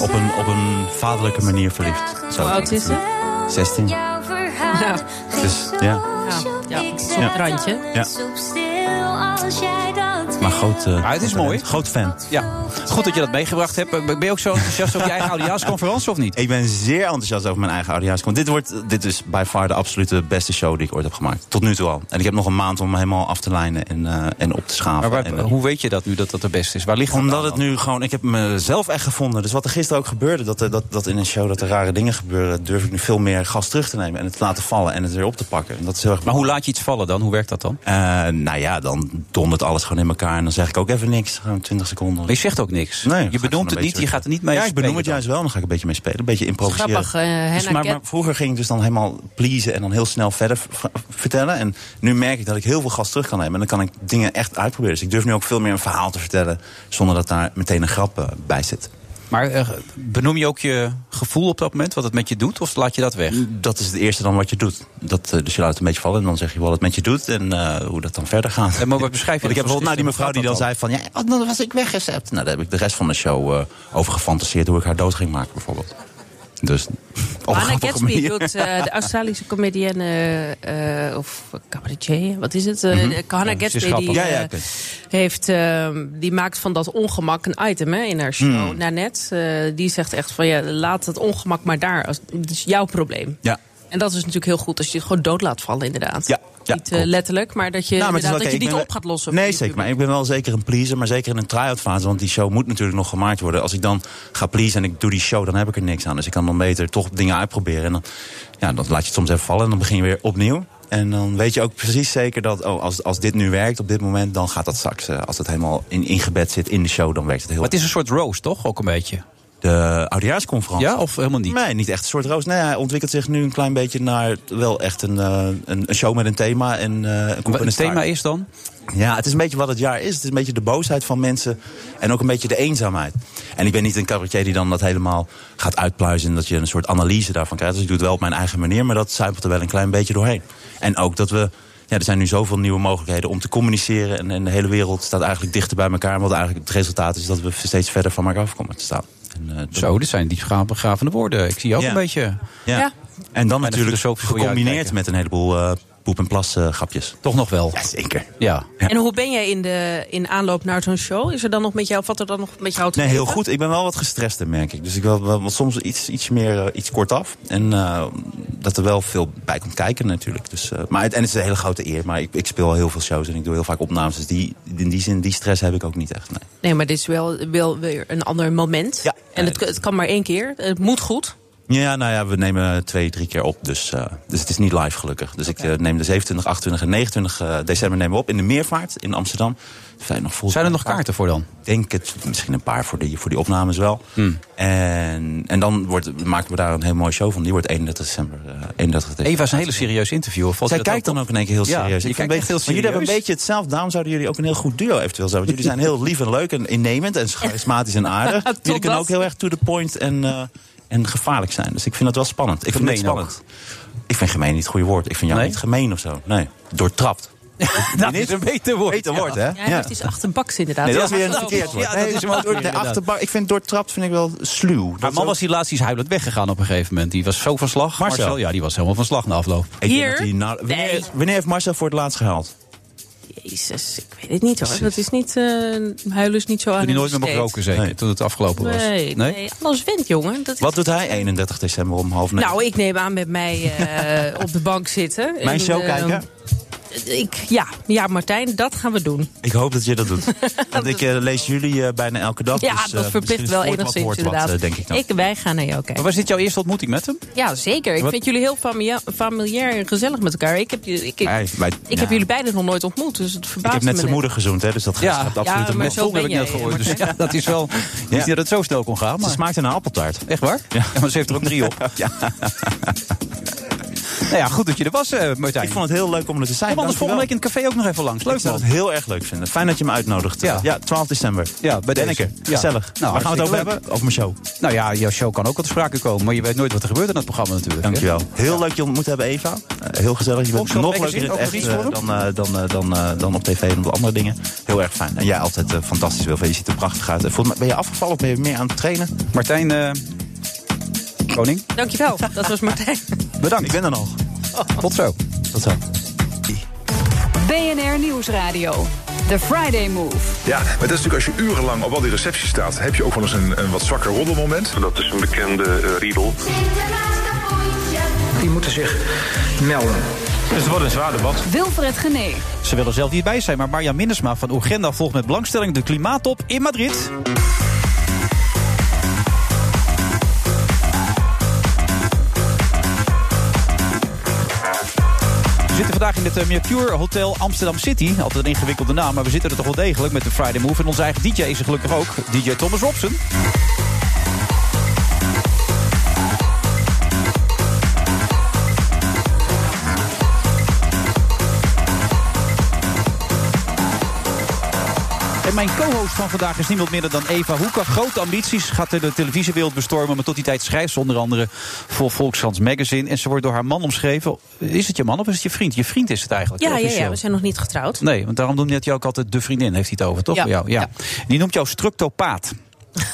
Speaker 8: Op, een, op een vaderlijke manier verliefd. Zo.
Speaker 7: Hoe oud is ze?
Speaker 8: 16.
Speaker 7: Ja.
Speaker 8: Dus ja.
Speaker 7: Ah, Ja, ja.
Speaker 8: Ja.
Speaker 7: Zo'n randje.
Speaker 8: ja. Maar groot. eh,
Speaker 6: Ah, het is mooi.
Speaker 8: Groot fan.
Speaker 6: Ja. Goed dat je dat meegebracht hebt. Ben je ook zo enthousiast over je eigen oudejaarsconferentie of niet?
Speaker 8: Ik ben zeer enthousiast over mijn eigen Audia's. Want dit, wordt, dit is by far de absolute beste show die ik ooit heb gemaakt. Tot nu toe al. En ik heb nog een maand om hem helemaal af te lijnen en, eh, en op te schaven.
Speaker 6: Maar waar-
Speaker 8: En, eh,
Speaker 6: hoe weet je dat nu dat dat de beste is? Waar ligt dat
Speaker 8: Omdat
Speaker 6: aan
Speaker 8: het
Speaker 6: dan?
Speaker 8: nu gewoon, ik heb mezelf echt gevonden. Dus wat er gisteren ook gebeurde, dat, er- dat, dat in een show dat er rare dingen gebeuren, durf ik nu veel meer gas terug te nemen en het te laten vallen en het weer op te pakken. En dat is heel erg
Speaker 6: Maar hoe laat je iets vallen dan? Hoe werkt dat dan?
Speaker 8: Eh, nou ja, dan dondert alles gewoon in elkaar en dan zeg ik ook even niks. Gewoon 20 seconden.
Speaker 6: Maar je zegt ook niks.
Speaker 8: Nee,
Speaker 6: je benoemt het niet, je gaat er niet mee
Speaker 8: Ja, ik
Speaker 6: spelen
Speaker 8: benoem het
Speaker 6: dan.
Speaker 8: juist wel, dan ga ik een beetje mee spelen. Een beetje improviseren.
Speaker 7: Grappig, eh, Henna
Speaker 8: Dus maar,
Speaker 7: Ket-
Speaker 8: maar vroeger ging ik dus dan helemaal pleasen en dan heel snel verder v- v- vertellen. En nu merk ik dat ik heel veel gas terug kan nemen. En dan kan ik dingen echt uitproberen. Dus ik durf nu ook veel meer een verhaal te vertellen zonder dat daar meteen een grap eh, bij zit.
Speaker 6: Maar eh, benoem je ook je gevoel op dat moment, wat het met je doet, of laat je dat weg?
Speaker 8: Mm, Dat is het eerste dan wat je doet. Dat, eh, dus je laat het een beetje vallen en dan zeg je wat het met je doet en eh, hoe dat dan verder gaat.
Speaker 6: En maar wat beschrijf je
Speaker 8: Want ik heb
Speaker 6: dat
Speaker 8: bijvoorbeeld naar die
Speaker 6: verschil?
Speaker 8: mevrouw die dan
Speaker 6: Hoe
Speaker 8: zei
Speaker 6: gaat
Speaker 8: van... ja, oh, dan was ik weggezept. Nou, daar heb ik de rest van de show eh, over gefantaseerd... hoe ik haar dood ging maken, bijvoorbeeld. Dus op een
Speaker 7: Anna
Speaker 8: grappige
Speaker 7: Gatsby
Speaker 8: manier. Nou,
Speaker 7: doet eh, de Australische comedienne eh, eh, of cabaretier, wat is het? Eh,
Speaker 8: Mhm.
Speaker 7: de-
Speaker 8: Ja,
Speaker 7: Hannah
Speaker 8: ze is
Speaker 7: Gatsby
Speaker 8: grappig.
Speaker 7: die,
Speaker 8: Ja, ja,
Speaker 7: eh,
Speaker 8: oké.
Speaker 7: heeft, eh, die maakt van dat ongemak een item hè, in haar show.
Speaker 8: Hmm.
Speaker 7: Nanette, eh, die zegt echt van ja, laat het ongemak maar daar. Als, het is jouw probleem.
Speaker 8: Ja.
Speaker 7: En dat is natuurlijk heel goed als je het gewoon dood laat vallen inderdaad.
Speaker 8: Ja, ja,
Speaker 7: niet eh,
Speaker 8: klopt.
Speaker 7: letterlijk, maar dat je,
Speaker 8: Nou, maar het is
Speaker 7: inderdaad,
Speaker 8: oké,
Speaker 7: dat je
Speaker 8: ik
Speaker 7: niet
Speaker 8: ben-
Speaker 7: op gaat lossen.
Speaker 8: Nee,
Speaker 7: voor je
Speaker 8: zeker. Maar ik ben wel zeker een pleaser. Maar zeker in een try-out fase. Want die show moet natuurlijk nog gemaakt worden. Als ik dan ga pleasen en ik doe die show, dan heb ik er niks aan. Dus ik kan dan beter toch dingen uitproberen. En dan, ja, dan laat je het soms even vallen. En dan begin je weer opnieuw. En dan weet je ook precies zeker dat oh, als, als dit nu werkt op dit moment, dan gaat dat straks. eh, als het helemaal in, ingebed zit in de show, dan werkt het heel
Speaker 6: Maar het is een soort roast, toch? Ook een beetje.
Speaker 8: De oudejaarsconferentie.
Speaker 6: Ja, of helemaal niet?
Speaker 8: Nee, niet echt een soort roos. Nee, hij ontwikkelt zich nu een klein beetje naar wel echt een, eh, een, een show met een thema. En, eh, een kop
Speaker 6: Wat
Speaker 8: en
Speaker 6: het
Speaker 8: een
Speaker 6: thema
Speaker 8: staart.
Speaker 6: is dan?
Speaker 8: Ja, het is een beetje wat het jaar is. Het is een beetje de boosheid van mensen. En ook een beetje de eenzaamheid. En ik ben niet een cabaretier die dan dat helemaal gaat uitpluizen. En dat je een soort analyse daarvan krijgt. Dus ik doe het wel op mijn eigen manier. Maar dat zuipelt er wel een klein beetje doorheen. En ook dat we. Ja, er zijn nu zoveel nieuwe mogelijkheden om te communiceren. En, en de hele wereld staat eigenlijk dichter bij elkaar. Wat eigenlijk het resultaat is dat we steeds verder van elkaar af komen te staan. En, eh, dat-
Speaker 6: Zo, dit zijn diepgaande woorden. Ik zie ook
Speaker 8: Ja.
Speaker 6: een beetje.
Speaker 8: Ja.
Speaker 7: Ja.
Speaker 8: En dan natuurlijk
Speaker 6: filosofische wil je
Speaker 8: gecombineerd
Speaker 6: uitkijken.
Speaker 8: met een heleboel eh, poep- en plas eh, grapjes.
Speaker 6: Toch nog wel.
Speaker 8: Jazeker.
Speaker 6: Ja.
Speaker 7: publiek. En hoe ben jij in, de, in aanloop naar zo'n show? Is er dan nog met jou, valt er dan nog met jou te
Speaker 8: Nee, heel
Speaker 7: leven?
Speaker 8: goed. Ik ben wel wat gestrest, merk ik. Dus ik wil wel, want soms iets, iets meer eh, iets kortaf. En eh, dat er wel veel bij komt kijken natuurlijk. Dus, eh, maar het, en het is een hele grote eer. Maar ik, ik speel al heel veel shows en ik doe heel vaak opnames. Dus die, in die zin, die stress heb ik ook niet echt. Nee.
Speaker 7: Nee, maar dit is wel, wel weer een ander moment.
Speaker 8: Ja.
Speaker 7: En het, het kan maar één keer. Het moet goed.
Speaker 8: Ja, nou ja, we nemen twee, drie keer op. Dus, eh, dus het is niet live gelukkig. Dus ik eh, neem de 27, 28 en 29 eh, december nemen we op in de Meervaart in Amsterdam. Zijn, nog vol
Speaker 6: Zijn er nog kaarten voor dan?
Speaker 8: Ik denk het, misschien een paar voor die, voor die opnames wel.
Speaker 6: Hmm.
Speaker 8: En, en dan wordt, maken we daar een heel mooi show van. Die wordt 31 december. eh 31 december.
Speaker 6: Eva is een hele serieus interview. of valt
Speaker 8: Zij
Speaker 6: je dat
Speaker 8: kijkt dan
Speaker 6: op?
Speaker 8: ook in één keer heel
Speaker 6: Ja,
Speaker 8: serieus.
Speaker 6: je
Speaker 8: Ik vind
Speaker 6: kijkt
Speaker 8: een
Speaker 6: echt
Speaker 8: beetje-
Speaker 6: heel
Speaker 8: Maar jullie hebben een
Speaker 6: serieus.
Speaker 8: beetje hetzelfde. Daarom zouden jullie ook een heel goed duo eventueel zijn. Want jullie zijn heel lief en leuk en innemend en charismatisch en aardig.
Speaker 7: Tot
Speaker 8: jullie kunnen ook
Speaker 7: dat.
Speaker 8: heel erg to the point en, eh, en gevaarlijk zijn. Dus ik vind dat wel spannend. Ik vind het
Speaker 6: Gemeen
Speaker 8: spannend. Ik vind gemeen niet het goede woord. Ik vind jou
Speaker 6: Nee?
Speaker 8: niet gemeen of zo. Nee, doortrapt.
Speaker 6: Dat is een beter woord.
Speaker 8: Beter woord, hè?
Speaker 7: Ja, het is achterbaks inderdaad.
Speaker 8: Nee, dat is
Speaker 7: Ja.
Speaker 8: weer een verkeerd woord.
Speaker 6: Ja, dat is hem ook weer,
Speaker 8: Nee,
Speaker 6: inderdaad.
Speaker 8: achterba- ik vind doortrapt vind ik wel sluw.
Speaker 6: Haar
Speaker 8: Dat
Speaker 6: man
Speaker 8: is
Speaker 6: was hier laatst, die is huilend weggegaan op een gegeven moment. Die was zo van slag.
Speaker 8: Marcel.
Speaker 6: ja, die was helemaal van slag na afloop.
Speaker 8: ook- Ik denk
Speaker 7: Hier?
Speaker 8: dat hij nou- wanneer,
Speaker 7: Nee.
Speaker 8: wanneer heeft Marcel voor het laatst gehaald?
Speaker 7: Jezus, ik weet het niet hoor. Dat is niet, eh huilen is niet zo aan
Speaker 6: Toen hij nooit
Speaker 7: hem
Speaker 6: meer mag
Speaker 7: besteed.
Speaker 6: roken, zeker.
Speaker 8: Nee.
Speaker 6: Toen het afgelopen was.
Speaker 7: Nee, nee, alles wint jongen. Dat is-
Speaker 8: Wat doet hij 31 december om half negen?
Speaker 7: Nou, ik neem aan met mij eh, op de bank zitten.
Speaker 8: Mijn
Speaker 7: En,
Speaker 8: show
Speaker 7: eh,
Speaker 8: kijken?
Speaker 7: Ik, ja, ja, Martijn, dat gaan we doen.
Speaker 8: Ik hoop dat je dat doet. Want ik eh, lees jullie eh, bijna elke dag.
Speaker 7: Ja,
Speaker 8: dus, eh,
Speaker 7: dat verplicht
Speaker 8: misschien
Speaker 7: wel
Speaker 8: hoort wat,
Speaker 7: enigszins
Speaker 8: hoort wat,
Speaker 7: inderdaad.
Speaker 8: eh, denk ik dan.
Speaker 7: wij gaan naar jou
Speaker 6: Maar
Speaker 7: kijken.
Speaker 6: was dit jouw eerste ontmoeting met hem?
Speaker 7: Ja, zeker. Ik
Speaker 6: Wat-
Speaker 7: vind jullie heel familia- familiair en gezellig met elkaar. Ik heb, jullie- ik, ik,
Speaker 8: Hey, wij-
Speaker 7: ik
Speaker 8: ja.
Speaker 7: heb jullie beiden nog nooit ontmoet, dus het
Speaker 8: Ik
Speaker 7: verbaast
Speaker 8: heb
Speaker 7: me
Speaker 8: net zijn moeder gezoend, hè, dus dat gaat absoluut
Speaker 7: ja,
Speaker 8: een
Speaker 7: maar
Speaker 8: mond.
Speaker 7: zo
Speaker 6: heb
Speaker 7: ben
Speaker 6: ik
Speaker 7: jij,
Speaker 6: net gehoord. Dus
Speaker 7: Martijn.
Speaker 6: ja, dat is wel. Niet dat het zo snel kon gaan.
Speaker 8: Ze
Speaker 6: Maar.
Speaker 8: smaakt een appeltaart.
Speaker 6: Echt waar? Ja. maar ze heeft er ook drie op.
Speaker 8: Ja.
Speaker 6: Nou ja, goed dat je er was, eh, Martijn.
Speaker 8: Ik vond het heel leuk om er te zijn.
Speaker 6: Kom
Speaker 8: Dankjewel.
Speaker 6: anders volgende week in het café ook nog even langs. Leuk
Speaker 8: ik zou
Speaker 6: man.
Speaker 8: het heel erg leuk vinden. Fijn dat je me uitnodigt.
Speaker 6: Ja.
Speaker 8: Ja, 12 december.
Speaker 6: Ja, bij
Speaker 8: Denneke.
Speaker 6: deze. Ja.
Speaker 8: Gezellig.
Speaker 6: Nou,
Speaker 8: Waar gaan we het over
Speaker 6: hartstikke
Speaker 8: hebben? Over mijn show.
Speaker 6: Nou ja, jouw show kan ook wat sprake komen. Maar je weet nooit wat er gebeurt in dat programma natuurlijk. hè?
Speaker 8: Dankjewel. Heel leuk je ontmoet te hebben, Eva. Eh, heel gezellig. Je bent
Speaker 6: Volkskrant
Speaker 8: nog leuker
Speaker 6: Magazine,
Speaker 8: in het
Speaker 6: ook
Speaker 8: echt
Speaker 6: een
Speaker 8: eh,
Speaker 6: vriend
Speaker 8: dan, eh, dan, eh, dan, eh, dan op tv en op andere dingen. Heel erg fijn. En jij altijd eh, fantastisch, Wilfred. Je ziet er prachtig uit. Eh, volgens mij ben je afgevallen of ben je meer aan het trainen?
Speaker 6: Martijn eh, Koning,
Speaker 7: Dankjewel, dat was Martijn.
Speaker 6: bedankt.
Speaker 8: Ik ben er nog.
Speaker 6: Tot zo.
Speaker 8: Tot zo.
Speaker 2: BNR Nieuwsradio. The Friday Move.
Speaker 3: Ja, maar dat is natuurlijk als je urenlang op al die recepties staat, heb je ook wel eens een, een wat zwakker roddelmoment. Dat is een bekende eh, riedel.
Speaker 10: Die moeten zich melden.
Speaker 6: Dus het wordt een zwaar debat.
Speaker 2: Wilfred Gené.
Speaker 6: Ze willen zelf niet bij zijn, maar Marja Minnesma van Urgenda volgt met belangstelling de klimaattop in Madrid. We zitten vandaag in het eh, Mercure Hotel Amsterdam City. Altijd een ingewikkelde naam, maar we zitten er toch wel degelijk met de Friday Move. En onze eigen DJ is er gelukkig ook, DJ Thomas Robson. En mijn co-host van vandaag is niemand minder dan Eva Hoeka. Grote ambities, gaat de televisiewereld bestormen. Maar tot die tijd schrijft ze onder andere voor Volkskrant Magazine. En ze wordt door haar man omschreven. Is het je man of is het je vriend? Je vriend is het eigenlijk.
Speaker 7: Ja, ja,
Speaker 6: officieel.
Speaker 7: ja, we zijn nog niet getrouwd.
Speaker 6: Nee, want daarom noemde je ook altijd de vriendin, heeft hij het over, toch?
Speaker 7: Ja.
Speaker 6: Bij jou? Ja. Die noemt jou structopaat.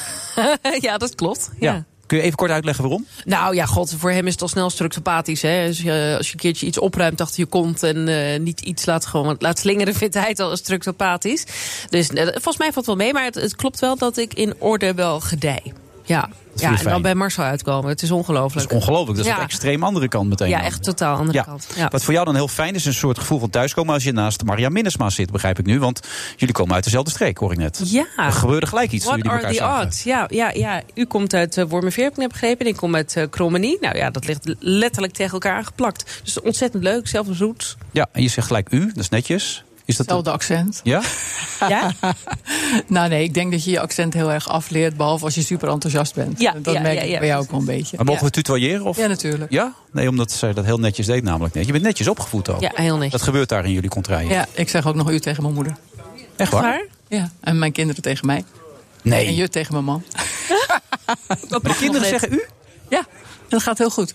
Speaker 7: ja, dat klopt.
Speaker 6: Ja.
Speaker 7: ja.
Speaker 6: Kun je even kort uitleggen waarom?
Speaker 7: Nou ja, god, voor hem is het al snel structopathisch. Hè? Als, je, als je een keertje iets opruimt achter je kont en eh, niet iets laat, gewoon, laat slingeren, vindt hij het al structopathisch. Dus eh, volgens mij valt wel mee, maar het, het klopt wel dat ik in orde wel gedij. Ja,
Speaker 6: is
Speaker 7: ja
Speaker 6: weer
Speaker 7: en dan
Speaker 6: fijn.
Speaker 7: bij Marcel uitkomen. Oh, Het is
Speaker 6: Dat
Speaker 7: ongelooflijk.
Speaker 6: is ongelooflijk. Dat is
Speaker 7: ja.
Speaker 6: de extreem andere kant meteen.
Speaker 7: Ja,
Speaker 6: dan.
Speaker 7: echt totaal andere kant. Ja.
Speaker 6: Wat voor jou dan heel fijn is, een soort gevoel van thuiskomen als je naast Maria Minnesma zit, begrijp ik nu. Want jullie komen uit dezelfde streek, hoor ik net.
Speaker 7: Ja.
Speaker 6: Er gebeurde gelijk iets. toen
Speaker 7: Ah. What
Speaker 6: jullie
Speaker 7: are
Speaker 6: elkaar
Speaker 7: the
Speaker 6: zagen.
Speaker 7: odds? Ja, ja, ja, u komt uit uh, Wormerveer, heb ik net begrepen. En ik kom uit eh Krommenie. Nou ja, dat ligt letterlijk tegen elkaar aangeplakt. Dus ontzettend leuk, zelfde roots.
Speaker 6: Ja, en je zegt gelijk u, dat is netjes. Is dat
Speaker 11: Hetzelfde accent.
Speaker 6: Ja?
Speaker 7: Ja?
Speaker 11: nou nee, ik denk dat je je accent heel erg afleert, behalve als je super enthousiast bent.
Speaker 7: Ja,
Speaker 11: dat
Speaker 7: ja,
Speaker 11: merk
Speaker 7: ja,
Speaker 11: ik
Speaker 7: ja,
Speaker 11: bij jou ook wel een beetje.
Speaker 6: Maar mogen we tutoyeren? Of?
Speaker 11: Ja, natuurlijk.
Speaker 6: Ja? Nee, omdat zij dat heel netjes deed namelijk net. Je bent netjes opgevoed ook.
Speaker 11: Ja, heel netjes.
Speaker 6: Dat gebeurt daar in jullie contraien.
Speaker 11: Ja, ik zeg ook nog u tegen mijn moeder.
Speaker 6: Echt waar? waar?
Speaker 11: Ja, en mijn kinderen tegen mij.
Speaker 6: Nee.
Speaker 11: En je tegen mijn man.
Speaker 6: maar de kinderen zeggen u?
Speaker 11: Ja, en dat gaat heel goed.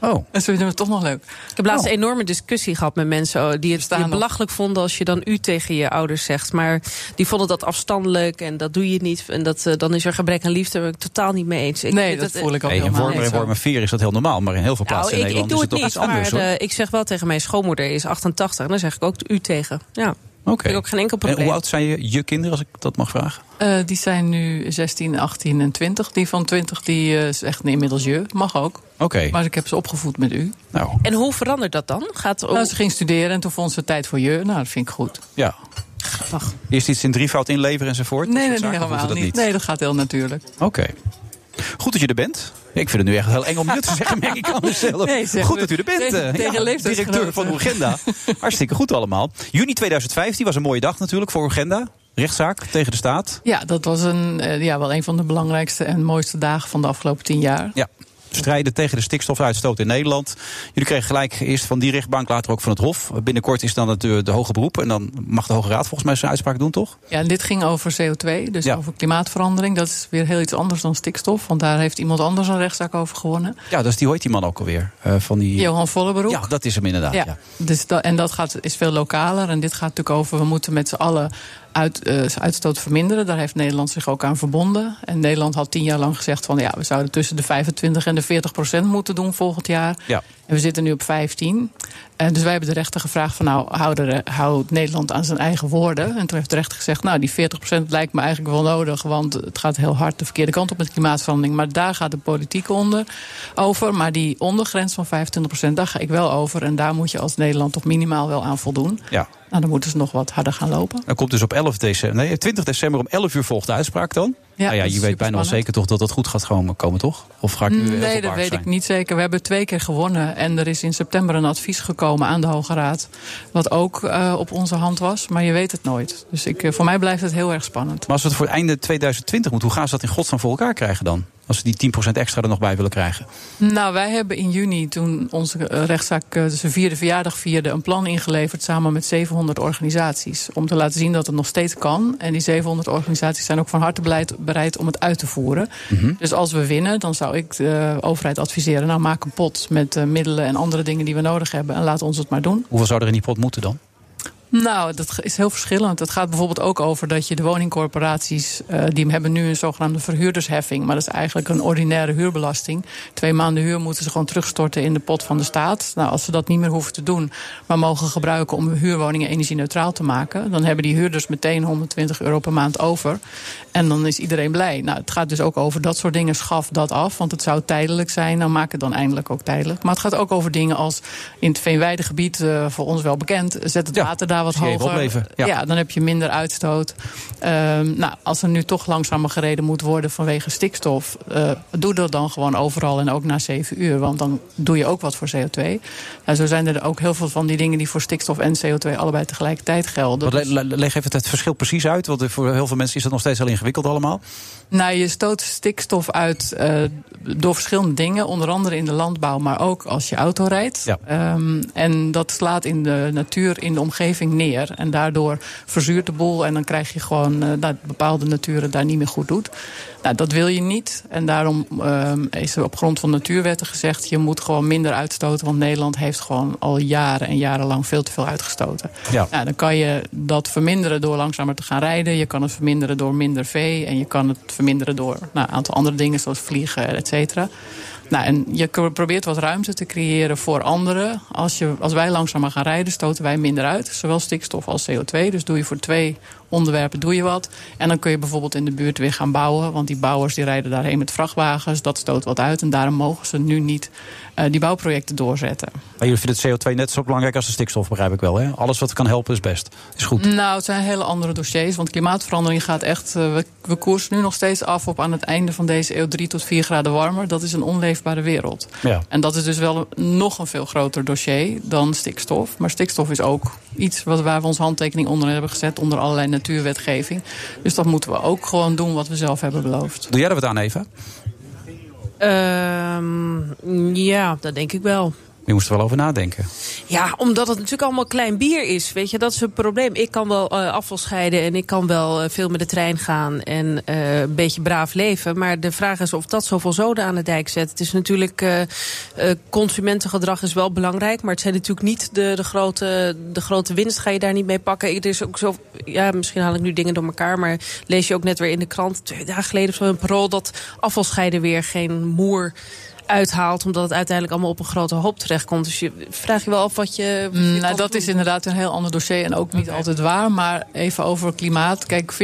Speaker 6: Oh.
Speaker 11: En ze vinden het toch nog leuk. Oh.
Speaker 7: Ik heb laatst een enorme discussie gehad met mensen oh, die het, die het belachelijk vonden als je dan u tegen je ouders zegt. Maar die vonden dat afstandelijk en dat doe je niet. En dat, eh, dan is er gebrek aan liefde. Daar ben ik totaal niet mee eens. Ik
Speaker 11: Nee,
Speaker 7: vind eh,
Speaker 11: dat voel ik
Speaker 6: Hey,
Speaker 11: ook
Speaker 6: in
Speaker 11: helemaal
Speaker 6: Wormer
Speaker 11: niet
Speaker 6: en
Speaker 11: zo.
Speaker 6: Wormerveer is dat heel normaal. Maar in heel veel plaatsen
Speaker 7: Nou, ik,
Speaker 6: in
Speaker 7: ik
Speaker 6: Nederland
Speaker 7: doe
Speaker 6: is
Speaker 7: het
Speaker 6: het toch
Speaker 7: niet,
Speaker 6: iets anders.
Speaker 7: maar
Speaker 6: hoor.
Speaker 7: eh, ik zeg wel tegen mijn schoonmoeder, die is 88. En dan zeg ik ook u tegen. Ja,
Speaker 6: Oké.
Speaker 7: vind ik ook geen enkel
Speaker 6: En
Speaker 7: probleem.
Speaker 6: hoe oud zijn je, je kinderen, als ik dat mag vragen?
Speaker 11: Eh, die zijn nu 16, 18 en 20. Die van 20 die eh, zegt nee, inmiddels je. Mag ook.
Speaker 6: Oké.
Speaker 11: Maar ik heb ze opgevoed met u.
Speaker 6: Nou.
Speaker 7: En hoe verandert dat dan? Gaat
Speaker 11: Nou, ze ging studeren en toen vond ze tijd voor je. Nou, dat vind ik goed.
Speaker 6: Ja. Eerst iets in drievoud inleveren enzovoort?
Speaker 11: Nee,
Speaker 6: Dat
Speaker 11: nee,
Speaker 6: soort
Speaker 11: nee,
Speaker 6: zaken, of
Speaker 11: helemaal
Speaker 6: hoeft
Speaker 11: niet.
Speaker 6: dat
Speaker 11: Nee, dat gaat heel natuurlijk.
Speaker 6: Oké. Goed dat je er bent. Ik vind het nu echt heel eng om dit te zeggen, merk ik aan mezelf.
Speaker 11: Nee, zeg
Speaker 6: goed
Speaker 11: maar.
Speaker 6: dat u er bent.
Speaker 11: Tegen-
Speaker 6: eh,
Speaker 11: tegen leeftijdsgenoten.
Speaker 6: directeur van Urgenda. Hartstikke goed allemaal. Juni 2015 was een mooie dag natuurlijk voor Urgenda. Rechtszaak tegen de staat.
Speaker 11: Ja, dat was een, eh, ja, wel een van de belangrijkste en mooiste dagen van de afgelopen tien jaar.
Speaker 6: Ja. Strijden tegen de stikstofuitstoot in Nederland. Jullie kregen gelijk eerst van die rechtbank, later ook van het Hof. Binnenkort is dan het, eh, de Hoge Beroep. En dan mag de Hoge Raad volgens mij zijn uitspraak doen, toch?
Speaker 11: Ja, en dit ging over CO2, dus
Speaker 6: Ja.
Speaker 11: over klimaatverandering. Dat is weer heel iets anders dan stikstof, want daar heeft iemand anders een rechtszaak over gewonnen.
Speaker 6: Ja, dat is die, hoe heet die man ook alweer? Eh, van die...
Speaker 11: Johan Vollenberoek.
Speaker 6: Ja, dat is hem inderdaad. ja.
Speaker 11: Dus dat, en dat gaat, is veel lokaler. En dit gaat natuurlijk over, we moeten met z'n allen uit, eh, uitstoot verminderen. Daar heeft Nederland zich ook aan verbonden. En Nederland had tien jaar lang gezegd van ja, we zouden tussen de 25 en de 40 procent moeten doen volgend jaar.
Speaker 6: Ja.
Speaker 11: En we zitten nu op 15. En dus wij hebben de rechter gevraagd van nou, hou, de- hou Nederland aan zijn eigen woorden. En toen heeft de rechter gezegd, nou die 40% lijkt me eigenlijk wel nodig. Want het gaat heel hard de verkeerde kant op met klimaatverandering. Maar daar gaat de politiek onder over. Maar die ondergrens van 25% daar ga ik wel over. En daar moet je als Nederland toch minimaal wel aan voldoen.
Speaker 6: Ja.
Speaker 11: Nou, dan moeten ze nog wat harder gaan lopen.
Speaker 6: Dan komt dus op 11 december, nee, 20 december om 11 uur volgt de uitspraak dan.
Speaker 11: Ja,
Speaker 6: nou ja,
Speaker 11: dat is
Speaker 6: je weet bijna wel
Speaker 11: superspannend.
Speaker 6: zeker toch dat dat goed gaat komen, komen toch? Of ga ik nu heel
Speaker 11: Nee, dat
Speaker 6: verbaasd
Speaker 11: weet
Speaker 6: zijn?
Speaker 11: ik niet zeker. We hebben twee keer gewonnen. En er is in september een advies gekomen aan de Hoge Raad. Wat ook eh, op onze hand was. Maar je weet het nooit. Dus ik, eh, voor mij blijft het heel erg spannend.
Speaker 6: Maar als we het voor einde 2020 moeten, hoe gaan ze dat in godsnaam voor elkaar krijgen dan? Want Als ze die 10% extra er nog bij willen krijgen.
Speaker 11: Nou, wij hebben in juni, toen onze eh, rechtszaak eh, zijn vierde verjaardag vierde, een plan ingeleverd samen met 700 organisaties. Om te laten zien dat het nog steeds kan. En die 700 organisaties zijn ook van harte beleid- bereid om het uit te voeren.
Speaker 12: Mhm.
Speaker 11: Dus als we winnen, dan zou ik de overheid adviseren: nou, maak een pot met eh, middelen en andere dingen die we nodig hebben. En laat ons het maar doen.
Speaker 6: Hoeveel zou er in die pot moeten dan?
Speaker 11: Nou, dat is heel verschillend. Het gaat bijvoorbeeld ook over dat je de woningcorporaties... eh, die hebben nu een zogenaamde verhuurdersheffing... maar dat is eigenlijk een ordinaire huurbelasting. Twee maanden huur moeten ze gewoon terugstorten in de pot van de staat. Nou, als ze dat niet meer hoeven te doen... maar mogen gebruiken om hun huurwoningen energie-neutraal te maken... dan hebben die huurders meteen 120 euro per maand over. En dan is iedereen blij. Nou, het gaat dus ook over dat soort dingen. Schaf dat af, want het zou tijdelijk zijn. Nou, maak het dan eindelijk ook tijdelijk. Maar het gaat ook over dingen als in het Veenweidegebied... eh, voor ons wel bekend, zet het water daar wat
Speaker 6: Zie je even
Speaker 11: hoger.
Speaker 6: opleven, ja.
Speaker 11: Ja. dan heb je minder uitstoot. Ehm, nou, als er nu toch langzamer gereden moet worden vanwege stikstof, eh, doe dat dan gewoon overal en ook na 7 uur. Want dan doe je ook wat voor CO2. Nou, zo zijn er ook heel veel van die dingen die voor stikstof en CO2 allebei tegelijkertijd gelden. Dus-
Speaker 6: Wat le- le- leg even het verschil precies uit. Want voor heel veel mensen is dat nog steeds heel ingewikkeld allemaal.
Speaker 11: Nou, je stoot stikstof uit eh, door verschillende dingen. Onder andere in de landbouw, maar ook als je auto rijdt.
Speaker 6: Ja.
Speaker 11: Ehm, en dat slaat in de natuur, in de omgeving neer. En daardoor verzuurt de boel. En dan krijg je gewoon eh, dat bepaalde natuur het daar niet meer goed doet. Nou, dat wil je niet. En daarom ehm, is er op grond van natuurwetten gezegd... je moet gewoon minder uitstoten. Want Nederland heeft gewoon al jaren en jarenlang veel te veel uitgestoten.
Speaker 6: Ja.
Speaker 11: Nou, dan kan je dat verminderen door langzamer te gaan rijden. Je kan het verminderen door minder vee. En je kan het verminderen door nou, een aantal andere dingen zoals vliegen, et cetera. Nou, en je k- probeert wat ruimte te creëren voor anderen. Als, je, als wij langzamer gaan rijden, stoten wij minder uit. Zowel stikstof als CO2. Dus doe je voor twee onderwerpen doe je wat. En dan kun je bijvoorbeeld in de buurt weer gaan bouwen. Want die bouwers die rijden daarheen met vrachtwagens. Dat stoot wat uit. En daarom mogen ze nu niet eh, die bouwprojecten doorzetten.
Speaker 6: Maar jullie vinden het CO2 net zo belangrijk als de stikstof, begrijp ik wel. Hè? Alles wat kan helpen is best. Is goed.
Speaker 11: Nou, het zijn hele andere dossiers. Want klimaatverandering gaat echt. eh, we, we koersen nu nog steeds af op aan het einde van deze eeuw 3 tot 4 graden warmer. Dat is een onleefbare wereld.
Speaker 6: Ja.
Speaker 11: En dat is dus wel een- nog een veel groter dossier dan stikstof. Maar stikstof is ook iets wat, waar we onze handtekening onder hebben gezet. onder allerlei natuurwetgeving. Dus dat moeten we ook gewoon doen wat we zelf hebben beloofd.
Speaker 6: Doe jij er wat aan, Eva?
Speaker 7: Ehm, ja, dat denk ik wel.
Speaker 6: Je moest er wel over nadenken.
Speaker 7: Ja, omdat het natuurlijk allemaal klein bier is. Weet je, dat is een probleem. Ik kan wel eh, afval scheiden en ik kan wel eh, veel met de trein gaan en eh, een beetje braaf leven. Maar de vraag is of dat zoveel zoden aan de dijk zet. Het is natuurlijk, eh, eh, consumentengedrag is wel belangrijk. Maar het zijn natuurlijk niet de, de, grote, de grote winst ga je daar niet mee pakken. Er is ook zo, ja, misschien haal ik nu dingen door elkaar. Maar lees je ook net weer in de krant twee dagen geleden of zo een parool dat afvalscheiden weer geen moer uithaalt, omdat het uiteindelijk allemaal op een grote hoop terechtkomt. Dus je vraag je wel af wat je. wat je
Speaker 11: Nou,
Speaker 7: kan
Speaker 11: dat
Speaker 7: doen.
Speaker 11: is inderdaad een heel ander dossier en ook niet altijd waar. Maar even over klimaat. Kijk, 40%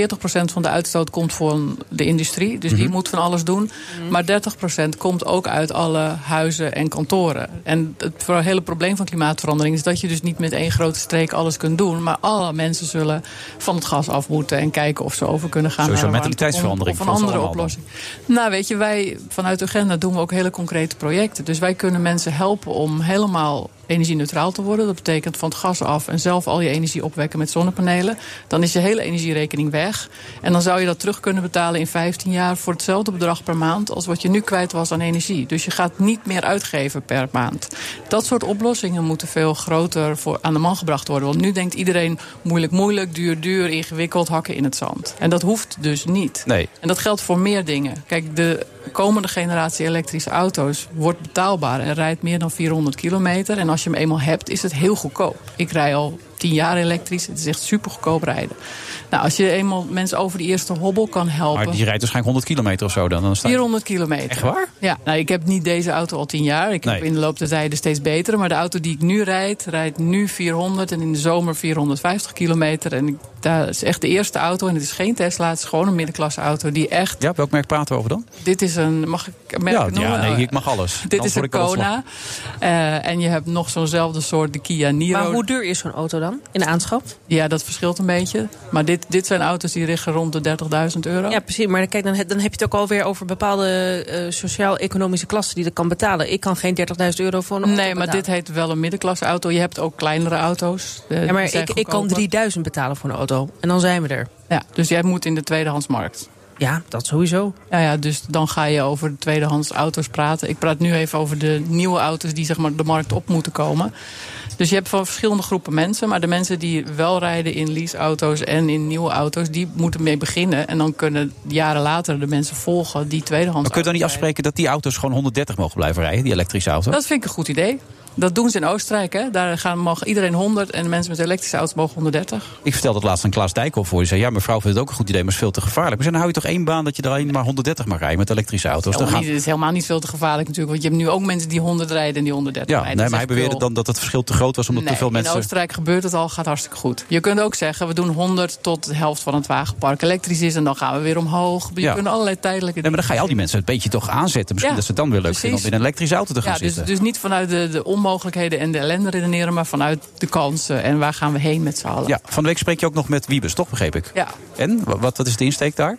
Speaker 11: van de uitstoot komt van de industrie. Dus die
Speaker 13: Mhm.
Speaker 11: moet van alles doen.
Speaker 7: Mhm.
Speaker 11: Maar 30% komt ook uit alle huizen en kantoren. En het voor- hele probleem van klimaatverandering is dat je dus niet met één grote streek alles kunt doen. Maar alle mensen zullen van het gas af moeten en kijken of ze over kunnen gaan.
Speaker 6: Sowieso
Speaker 11: naar een warmte-
Speaker 6: mentaliteitsverandering
Speaker 11: Of een
Speaker 6: voor ons
Speaker 11: andere
Speaker 6: allemaal dan.
Speaker 11: oplossing. Nou, weet je, wij vanuit Agenda doen we ook hele concrete projecten. Dus wij kunnen mensen helpen om helemaal energie-neutraal te worden. Dat betekent van het gas af en zelf al je energie opwekken met zonnepanelen. Dan is je hele energierekening weg. En dan zou je dat terug kunnen betalen in 15 jaar voor hetzelfde bedrag per maand als wat je nu kwijt was aan energie. Dus je gaat niet meer uitgeven per maand. Dat soort oplossingen moeten veel groter voor, aan de man gebracht worden. Want nu denkt iedereen moeilijk, moeilijk, duur, duur, ingewikkeld, hakken in het zand. En dat hoeft dus niet.
Speaker 6: Nee.
Speaker 11: En dat geldt voor meer dingen. Kijk, de komende generatie elektrische auto's wordt betaalbaar en rijdt meer dan 400 kilometer. En als je hem eenmaal hebt, is het heel goedkoop. Ik rij al 10 jaar elektrisch. Het is echt super goedkoop rijden. Nou, als je eenmaal mensen over die eerste hobbel kan helpen.
Speaker 6: Maar die rijdt waarschijnlijk 100 kilometer of zo dan. dan staat...
Speaker 11: 400 kilometer.
Speaker 6: Echt waar?
Speaker 11: Ja, nou, ik heb niet deze auto al 10 jaar. Ik heb
Speaker 6: Nee.
Speaker 11: in de loop der tijden steeds betere. Maar de auto die ik nu rijd, rijdt nu 400 en in de zomer 450 kilometer. En ik, dat is echt de eerste auto. En het is geen Tesla, het is gewoon een middenklasse auto die echt
Speaker 6: Ja, welk merk praten we over dan?
Speaker 11: dit is een, mag ik merken
Speaker 6: ja,
Speaker 11: noemen?
Speaker 6: ja, nee, ik mag alles.
Speaker 11: Dit
Speaker 6: Anders
Speaker 11: is
Speaker 6: word
Speaker 11: een
Speaker 6: ik wel
Speaker 11: Kona. Eh, en je hebt nog zo'nzelfde soort, de Kia Niro.
Speaker 7: Maar hoe duur is zo'n auto dan in de aanschaf?
Speaker 11: Ja, dat verschilt een beetje. Maar dit, dit zijn auto's die liggen rond de 30.000 euro.
Speaker 7: Ja, precies. Maar kijk, dan, he- dan heb je het ook alweer over bepaalde eh, sociaal-economische klassen die dat kan betalen. Ik kan geen 30.000 euro voor een auto
Speaker 11: Nee, maar dit heet wel een middenklasse auto. Je hebt ook kleinere auto's. eh,
Speaker 7: Ja, maar
Speaker 11: die zijn
Speaker 7: ik, ik kan
Speaker 11: goedkoper.
Speaker 7: 3000 betalen voor een auto. En dan zijn we er.
Speaker 11: Ja, dus jij moet in de tweedehandsmarkt.
Speaker 7: Ja, dat sowieso.
Speaker 11: Ja, ja, dus dan ga je over de tweedehands auto's praten. Ik praat nu even over de nieuwe auto's die zeg maar, de markt op moeten komen. Dus je hebt van verschillende groepen mensen. Maar de mensen die wel rijden in leaseauto's en in nieuwe auto's... die moeten mee beginnen. En dan kunnen jaren later de mensen volgen die tweedehands
Speaker 6: Maar kun je dan niet afspreken dat die auto's gewoon 130 mogen blijven rijden, die elektrische auto's?
Speaker 11: Oh, Dat vind ik een goed idee. Dat doen ze in Oostenrijk. Hè? Daar gaan, mag iedereen 100 en de mensen met elektrische auto's mogen 130.
Speaker 6: Ik vertelde dat laatst aan Klaas Dijkhoff voor. Die zei, ja, mevrouw vindt het ook een goed idee, maar het is veel te gevaarlijk. Maar zei, dan hou je toch één baan dat je er alleen maar 130 mag rijden met elektrische auto's. Dus Dan
Speaker 11: Helemaal
Speaker 6: gaan...
Speaker 11: niet- Het is helemaal niet veel te gevaarlijk natuurlijk. Want je hebt nu ook mensen die 100 rijden en die 130
Speaker 6: Ja,
Speaker 11: rijden.
Speaker 6: nee,
Speaker 11: Dat is
Speaker 6: maar hij
Speaker 11: echt
Speaker 6: beweerde
Speaker 11: kul.
Speaker 6: dan dat het verschil te groot was omdat
Speaker 11: Nee,
Speaker 6: te veel mensen...
Speaker 11: in Oostenrijk gebeurt het al, gaat hartstikke goed. Je kunt ook zeggen, we doen 100 tot de helft van het wagenpark elektrisch is... en dan gaan we weer omhoog. Je
Speaker 6: Ja.
Speaker 11: kunt allerlei tijdelijke
Speaker 6: Nee, maar dan ga je al die mensen een beetje toch aanzetten. Misschien
Speaker 11: Ja,
Speaker 6: dat ze het dan weer leuk vinden om
Speaker 11: precies.
Speaker 6: in een elektrische auto te gaan
Speaker 11: ja, dus,
Speaker 6: zitten.
Speaker 11: dus niet vanuit de, de onmogelijkheden en de ellende redeneren... maar vanuit de kansen en waar gaan we heen met z'n allen.
Speaker 6: Ja, van de week spreek je ook nog met Wiebes, toch begreep ik?
Speaker 11: dus- Ja.
Speaker 6: En, Wa- wat, wat is de insteek daar?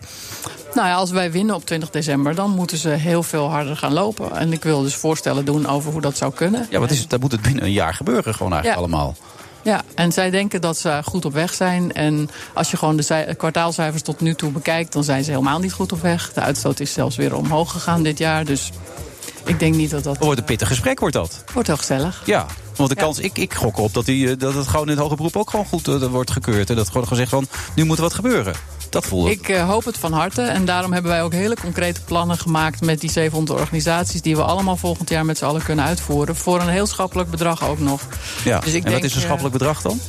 Speaker 11: Nou ja, als wij winnen op 20 december, dan moeten ze heel veel harder gaan lopen. En ik wil dus voorstellen doen over hoe dat zou kunnen.
Speaker 6: Ja, wat is het? Dat moet het binnen een jaar gebeuren gewoon eigenlijk
Speaker 11: Ja.
Speaker 6: allemaal.
Speaker 11: Ja, en zij denken dat ze goed op weg zijn. En als je gewoon de zij- kwartaalcijfers tot nu toe bekijkt, dan zijn ze helemaal niet goed op weg. De uitstoot is zelfs weer omhoog gegaan dit jaar. Dus ik denk niet dat dat.
Speaker 6: Het wordt een pittig gesprek, wordt dat.
Speaker 11: Wordt heel gezellig.
Speaker 6: Ja, want de
Speaker 11: Ja.
Speaker 6: kans, ik, ik gok op dat, die, eh, dat het gewoon in het hoger beroep ook gewoon goed eh, wordt gekeurd. En dat gewoon gezegd van, nu moet er wat gebeuren. Dat voelde
Speaker 11: Ik eh, hoop het van harte. En daarom hebben wij ook hele concrete plannen gemaakt met die 700 organisaties. die we allemaal volgend jaar met z'n allen kunnen uitvoeren. Voor een heel schappelijk bedrag ook nog.
Speaker 6: Ja.
Speaker 11: Dus ik
Speaker 6: en wat
Speaker 11: denk,
Speaker 6: is een
Speaker 11: eh,
Speaker 6: schappelijk bedrag dan?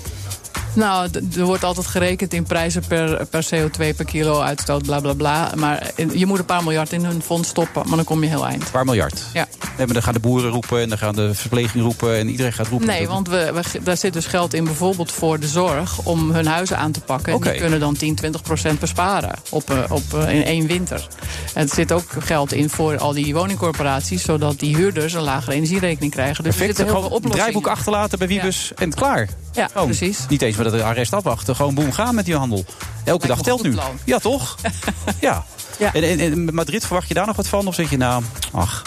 Speaker 11: Nou, d- er wordt altijd gerekend in prijzen per, per CO2 per kilo uitstoot, bla bla bla. Maar eh, je moet een paar miljard in hun fonds stoppen, maar dan kom je heel eind.
Speaker 6: Een paar miljard.
Speaker 11: Ja.
Speaker 6: Nee, maar dan gaan de boeren roepen en dan gaan de verpleging roepen en iedereen gaat roepen.
Speaker 11: Nee,
Speaker 6: Dat-
Speaker 11: want we, we ge- daar zit dus geld in bijvoorbeeld voor de zorg om hun huizen aan te pakken. En
Speaker 6: Oké.
Speaker 11: Die kunnen dan 10, 20 procent besparen op, eh, op, eh, in één winter. En er zit ook geld in voor al die woningcorporaties, zodat die huurders een lagere energierekening krijgen. Dus
Speaker 6: Perfect,
Speaker 11: er zitten heel
Speaker 6: gewoon
Speaker 11: veel oplossingen.
Speaker 6: draaiboek achterlaten bij Wiebes en klaar.
Speaker 11: Ja,
Speaker 6: Gewoon.
Speaker 11: precies.
Speaker 6: Niet eens met het arrest afwachten, gewoon boem gaan met die handel. Elke dag
Speaker 11: een
Speaker 6: telt
Speaker 11: goed
Speaker 6: nu.
Speaker 11: plan.
Speaker 6: Ja, toch? ja.
Speaker 11: Ja.
Speaker 6: En, en, en Madrid, verwacht je daar nog wat van? Of zeg je nou, ach,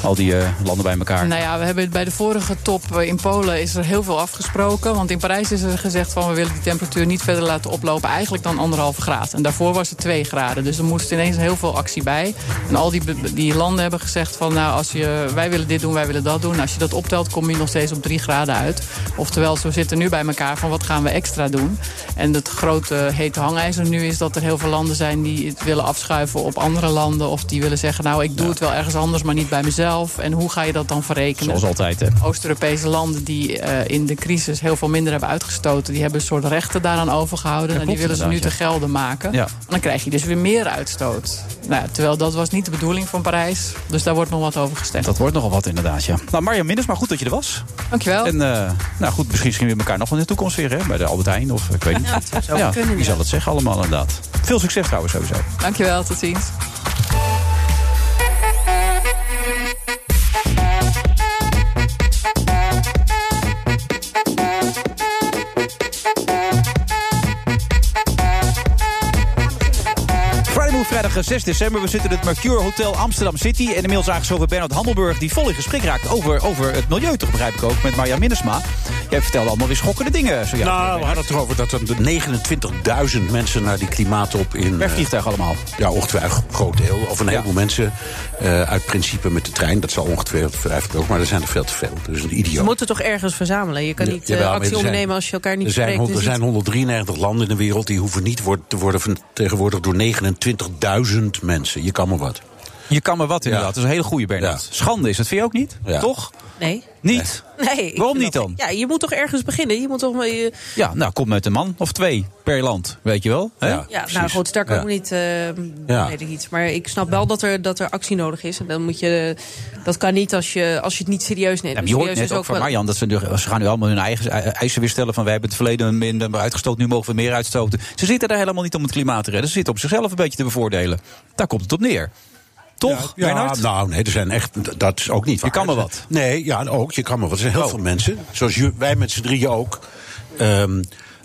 Speaker 6: al die eh, landen bij elkaar.
Speaker 11: Nou ja, we hebben bij de vorige top eh, in Polen is er heel veel afgesproken. Want in Parijs is er gezegd van we willen die temperatuur niet verder laten oplopen. Eigenlijk dan anderhalve graad. En daarvoor was het twee graden. Dus er moest ineens heel veel actie bij. En al die, be- die landen hebben gezegd van nou als je, wij willen dit doen, wij willen dat doen. Als je dat optelt kom je nog steeds op drie graden uit. Oftewel zo zitten nu bij elkaar van wat gaan we extra doen. En het grote hete hangijzer nu is dat er heel veel landen zijn die het willen afschuiven op andere landen. Of die willen zeggen nou ik doe het wel ergens anders maar niet bij mezelf. En hoe ga je dat dan verrekenen?
Speaker 6: Zoals altijd, hè.
Speaker 11: Oost-Europese landen die eh, in de crisis heel veel minder hebben uitgestoten, die hebben een soort rechten daaraan overgehouden.
Speaker 6: Ja,
Speaker 11: en die
Speaker 6: klopt
Speaker 11: willen ze nu te
Speaker 6: inderdaad,
Speaker 11: gelden maken.
Speaker 6: Ja.
Speaker 11: En dan krijg je dus weer meer uitstoot. Nou, ja, terwijl dat was niet de bedoeling van Parijs. Dus daar wordt nog wat over gestemd.
Speaker 6: Dat wordt nogal wat inderdaad, ja. Nou, Marjan Minnes, maar goed dat je er was.
Speaker 11: Dankjewel.
Speaker 6: En eh, nou goed, misschien zien we elkaar nog wel in de toekomst weer, hè? Bij de Albert Heijn of eh, ik weet niet.
Speaker 11: zou kunnen,
Speaker 6: wie
Speaker 11: ja.
Speaker 6: zal het zeggen allemaal inderdaad. Veel succes trouwens sowieso.
Speaker 11: Dankjewel, tot ziens.
Speaker 6: Friday Move vrijdag eh, 6 december. We zitten in het Mercure Hotel Amsterdam City. En inmiddels aangeschoven Bernard Handelburg, die vol in gesprek raakt over, over het milieu, toch begrijp ik ook, met Marja Minnesma. Jij vertelde allemaal weer schokkende dingen. Zo
Speaker 12: Nou, we hadden het erover dat er 29.000 mensen naar die klimaatop in... eh,
Speaker 6: Per vliegtuig allemaal?
Speaker 12: Ja, ongetwijfeld een groot deel. Of een heleboel mensen eh, uit principe met de trein. Dat zal ongetwijfeld ook, maar er zijn er veel te veel. Dus een
Speaker 7: Ze
Speaker 12: idioot.
Speaker 7: moeten toch ergens verzamelen. Je kan niet eh,
Speaker 12: Jawel, maar er
Speaker 7: actie
Speaker 12: zijn-
Speaker 7: ondernemen als je elkaar niet
Speaker 12: er zijn,
Speaker 7: spreekt.
Speaker 12: hond- Er
Speaker 7: Dus
Speaker 12: zijn 193 landen in de wereld die hoeven niet wor- te worden vertegenwoordigd door 29.000 mensen. Je kan maar wat.
Speaker 6: Je kan maar wat inderdaad. Dat is een hele goede Bernard. Schande is dat vind je ook niet?
Speaker 12: Ja.
Speaker 6: Toch?
Speaker 7: het- Nee.
Speaker 6: Niet?
Speaker 7: Nee, ik
Speaker 6: Waarom
Speaker 7: vind
Speaker 6: niet
Speaker 7: dat-
Speaker 6: dan?
Speaker 7: Ja, je moet toch ergens beginnen. Je moet toch eh, maar je-
Speaker 6: Ja, nou kom met een man of twee per land, weet je wel. hè?
Speaker 7: Ja, nou goed, daar kan ik niet, eh,
Speaker 6: Ja.
Speaker 7: weet ik niet. Maar ik snap wel dat er, dat er actie nodig is. En dan moet je, dat kan niet als je, als je het niet serieus neemt.
Speaker 6: Ja, maar
Speaker 7: En
Speaker 6: je hoort
Speaker 7: serieus
Speaker 6: net
Speaker 7: is
Speaker 6: ook van
Speaker 7: wel-
Speaker 6: Marjan dat ze, nu- ze gaan nu allemaal hun eigen e- eisen weer stellen. Van wij hebben het verleden minder uitgestoten, nu mogen we meer uitstoten. Ze zitten daar helemaal niet om het klimaat te redden. Ze zitten om zichzelf een beetje te bevoordelen. Daar komt het op neer. Toch,
Speaker 12: Ja,
Speaker 6: Bernard?
Speaker 12: nou nee, er zijn echt, d- dat is ook niet waar. Je kan maar wat. Nee, ja, en ook, je kan maar wat. Er zijn heel
Speaker 6: Oh.
Speaker 12: veel mensen, zoals ju- wij met z'n drieën ook... ehm,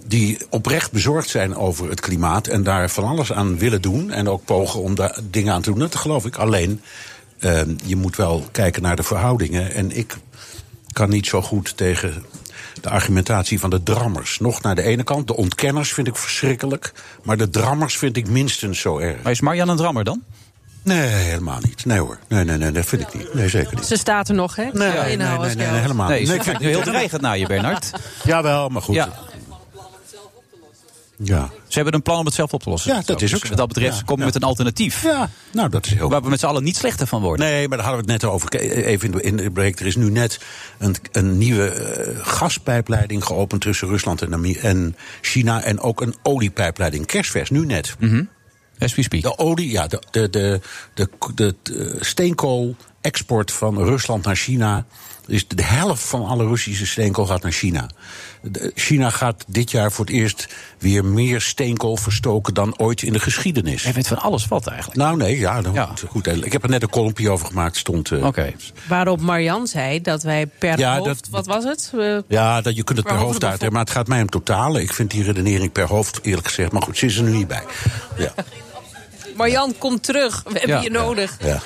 Speaker 12: die oprecht bezorgd zijn over het klimaat... en daar van alles aan willen doen en ook pogen om daar dingen aan te doen. Dat geloof ik. Alleen, ehm, je moet wel kijken naar de verhoudingen. En ik kan niet zo goed tegen de argumentatie van de drammers. Nog naar de ene kant, de ontkenners vind ik verschrikkelijk. Maar de drammers vind ik minstens zo erg.
Speaker 6: Maar is Marjan een drammer dan?
Speaker 12: Nee, helemaal niet. Nee hoor. Nee, nee, nee, dat vind ik niet. Nee, zeker niet.
Speaker 7: Ze staat er nog, hè? Ik zou
Speaker 12: nee, nee,
Speaker 7: inhouden
Speaker 12: nee,
Speaker 7: als
Speaker 12: nee,
Speaker 7: ik-
Speaker 12: helemaal
Speaker 6: Nee,
Speaker 12: niet.
Speaker 6: ze
Speaker 12: ik vind
Speaker 6: kijkt nu heel dreigend naar je, Bernard.
Speaker 12: Jawel, maar goed.
Speaker 6: Ja.
Speaker 12: Ja.
Speaker 6: Ze hebben een plan om het zelf op te lossen.
Speaker 12: Ja, dat
Speaker 6: Zo,
Speaker 12: is
Speaker 6: dus
Speaker 12: ook zo.
Speaker 6: Wat dat betreft
Speaker 12: Ja,
Speaker 6: kom je
Speaker 12: ja.
Speaker 6: met een alternatief.
Speaker 12: Ja, nou dat is heel
Speaker 6: Waar we met z'n allen niet slechter van worden.
Speaker 12: Nee, maar daar hadden we het net over. K- Even in de, in de break. Er is nu net een, een nieuwe eh, gaspijpleiding geopend tussen Rusland en, Ami- en China. En ook een oliepijpleiding. Kerstvers, nu net.
Speaker 6: Mhm. As we speak.
Speaker 12: De olie, ja, de, de, de, de, de, de steenkool-export van Rusland naar China. Is de helft van alle Russische steenkool gaat naar China. De- China gaat dit jaar voor het eerst weer meer steenkool verstoken dan ooit in de geschiedenis.
Speaker 6: Hij weet van alles wat eigenlijk.
Speaker 12: Nou nee, ja, dan Goed, goed. Ik heb er net een kolompje over gemaakt, stond... eh,
Speaker 7: Waarop Marian zei dat wij per
Speaker 12: Ja,
Speaker 7: hoofd...
Speaker 12: dat-
Speaker 7: wat was het? We-
Speaker 12: Ja, dat, je kunt het per
Speaker 7: Waarom
Speaker 12: hoofd
Speaker 7: dat
Speaker 12: uit, maar het gaat mij om totale. Ik vind die redenering per hoofd, eerlijk gezegd, maar goed, ze is er nu niet bij. Ja,
Speaker 7: Marjan, kom terug. We hebben
Speaker 6: Ja.
Speaker 7: je nodig.
Speaker 12: ja.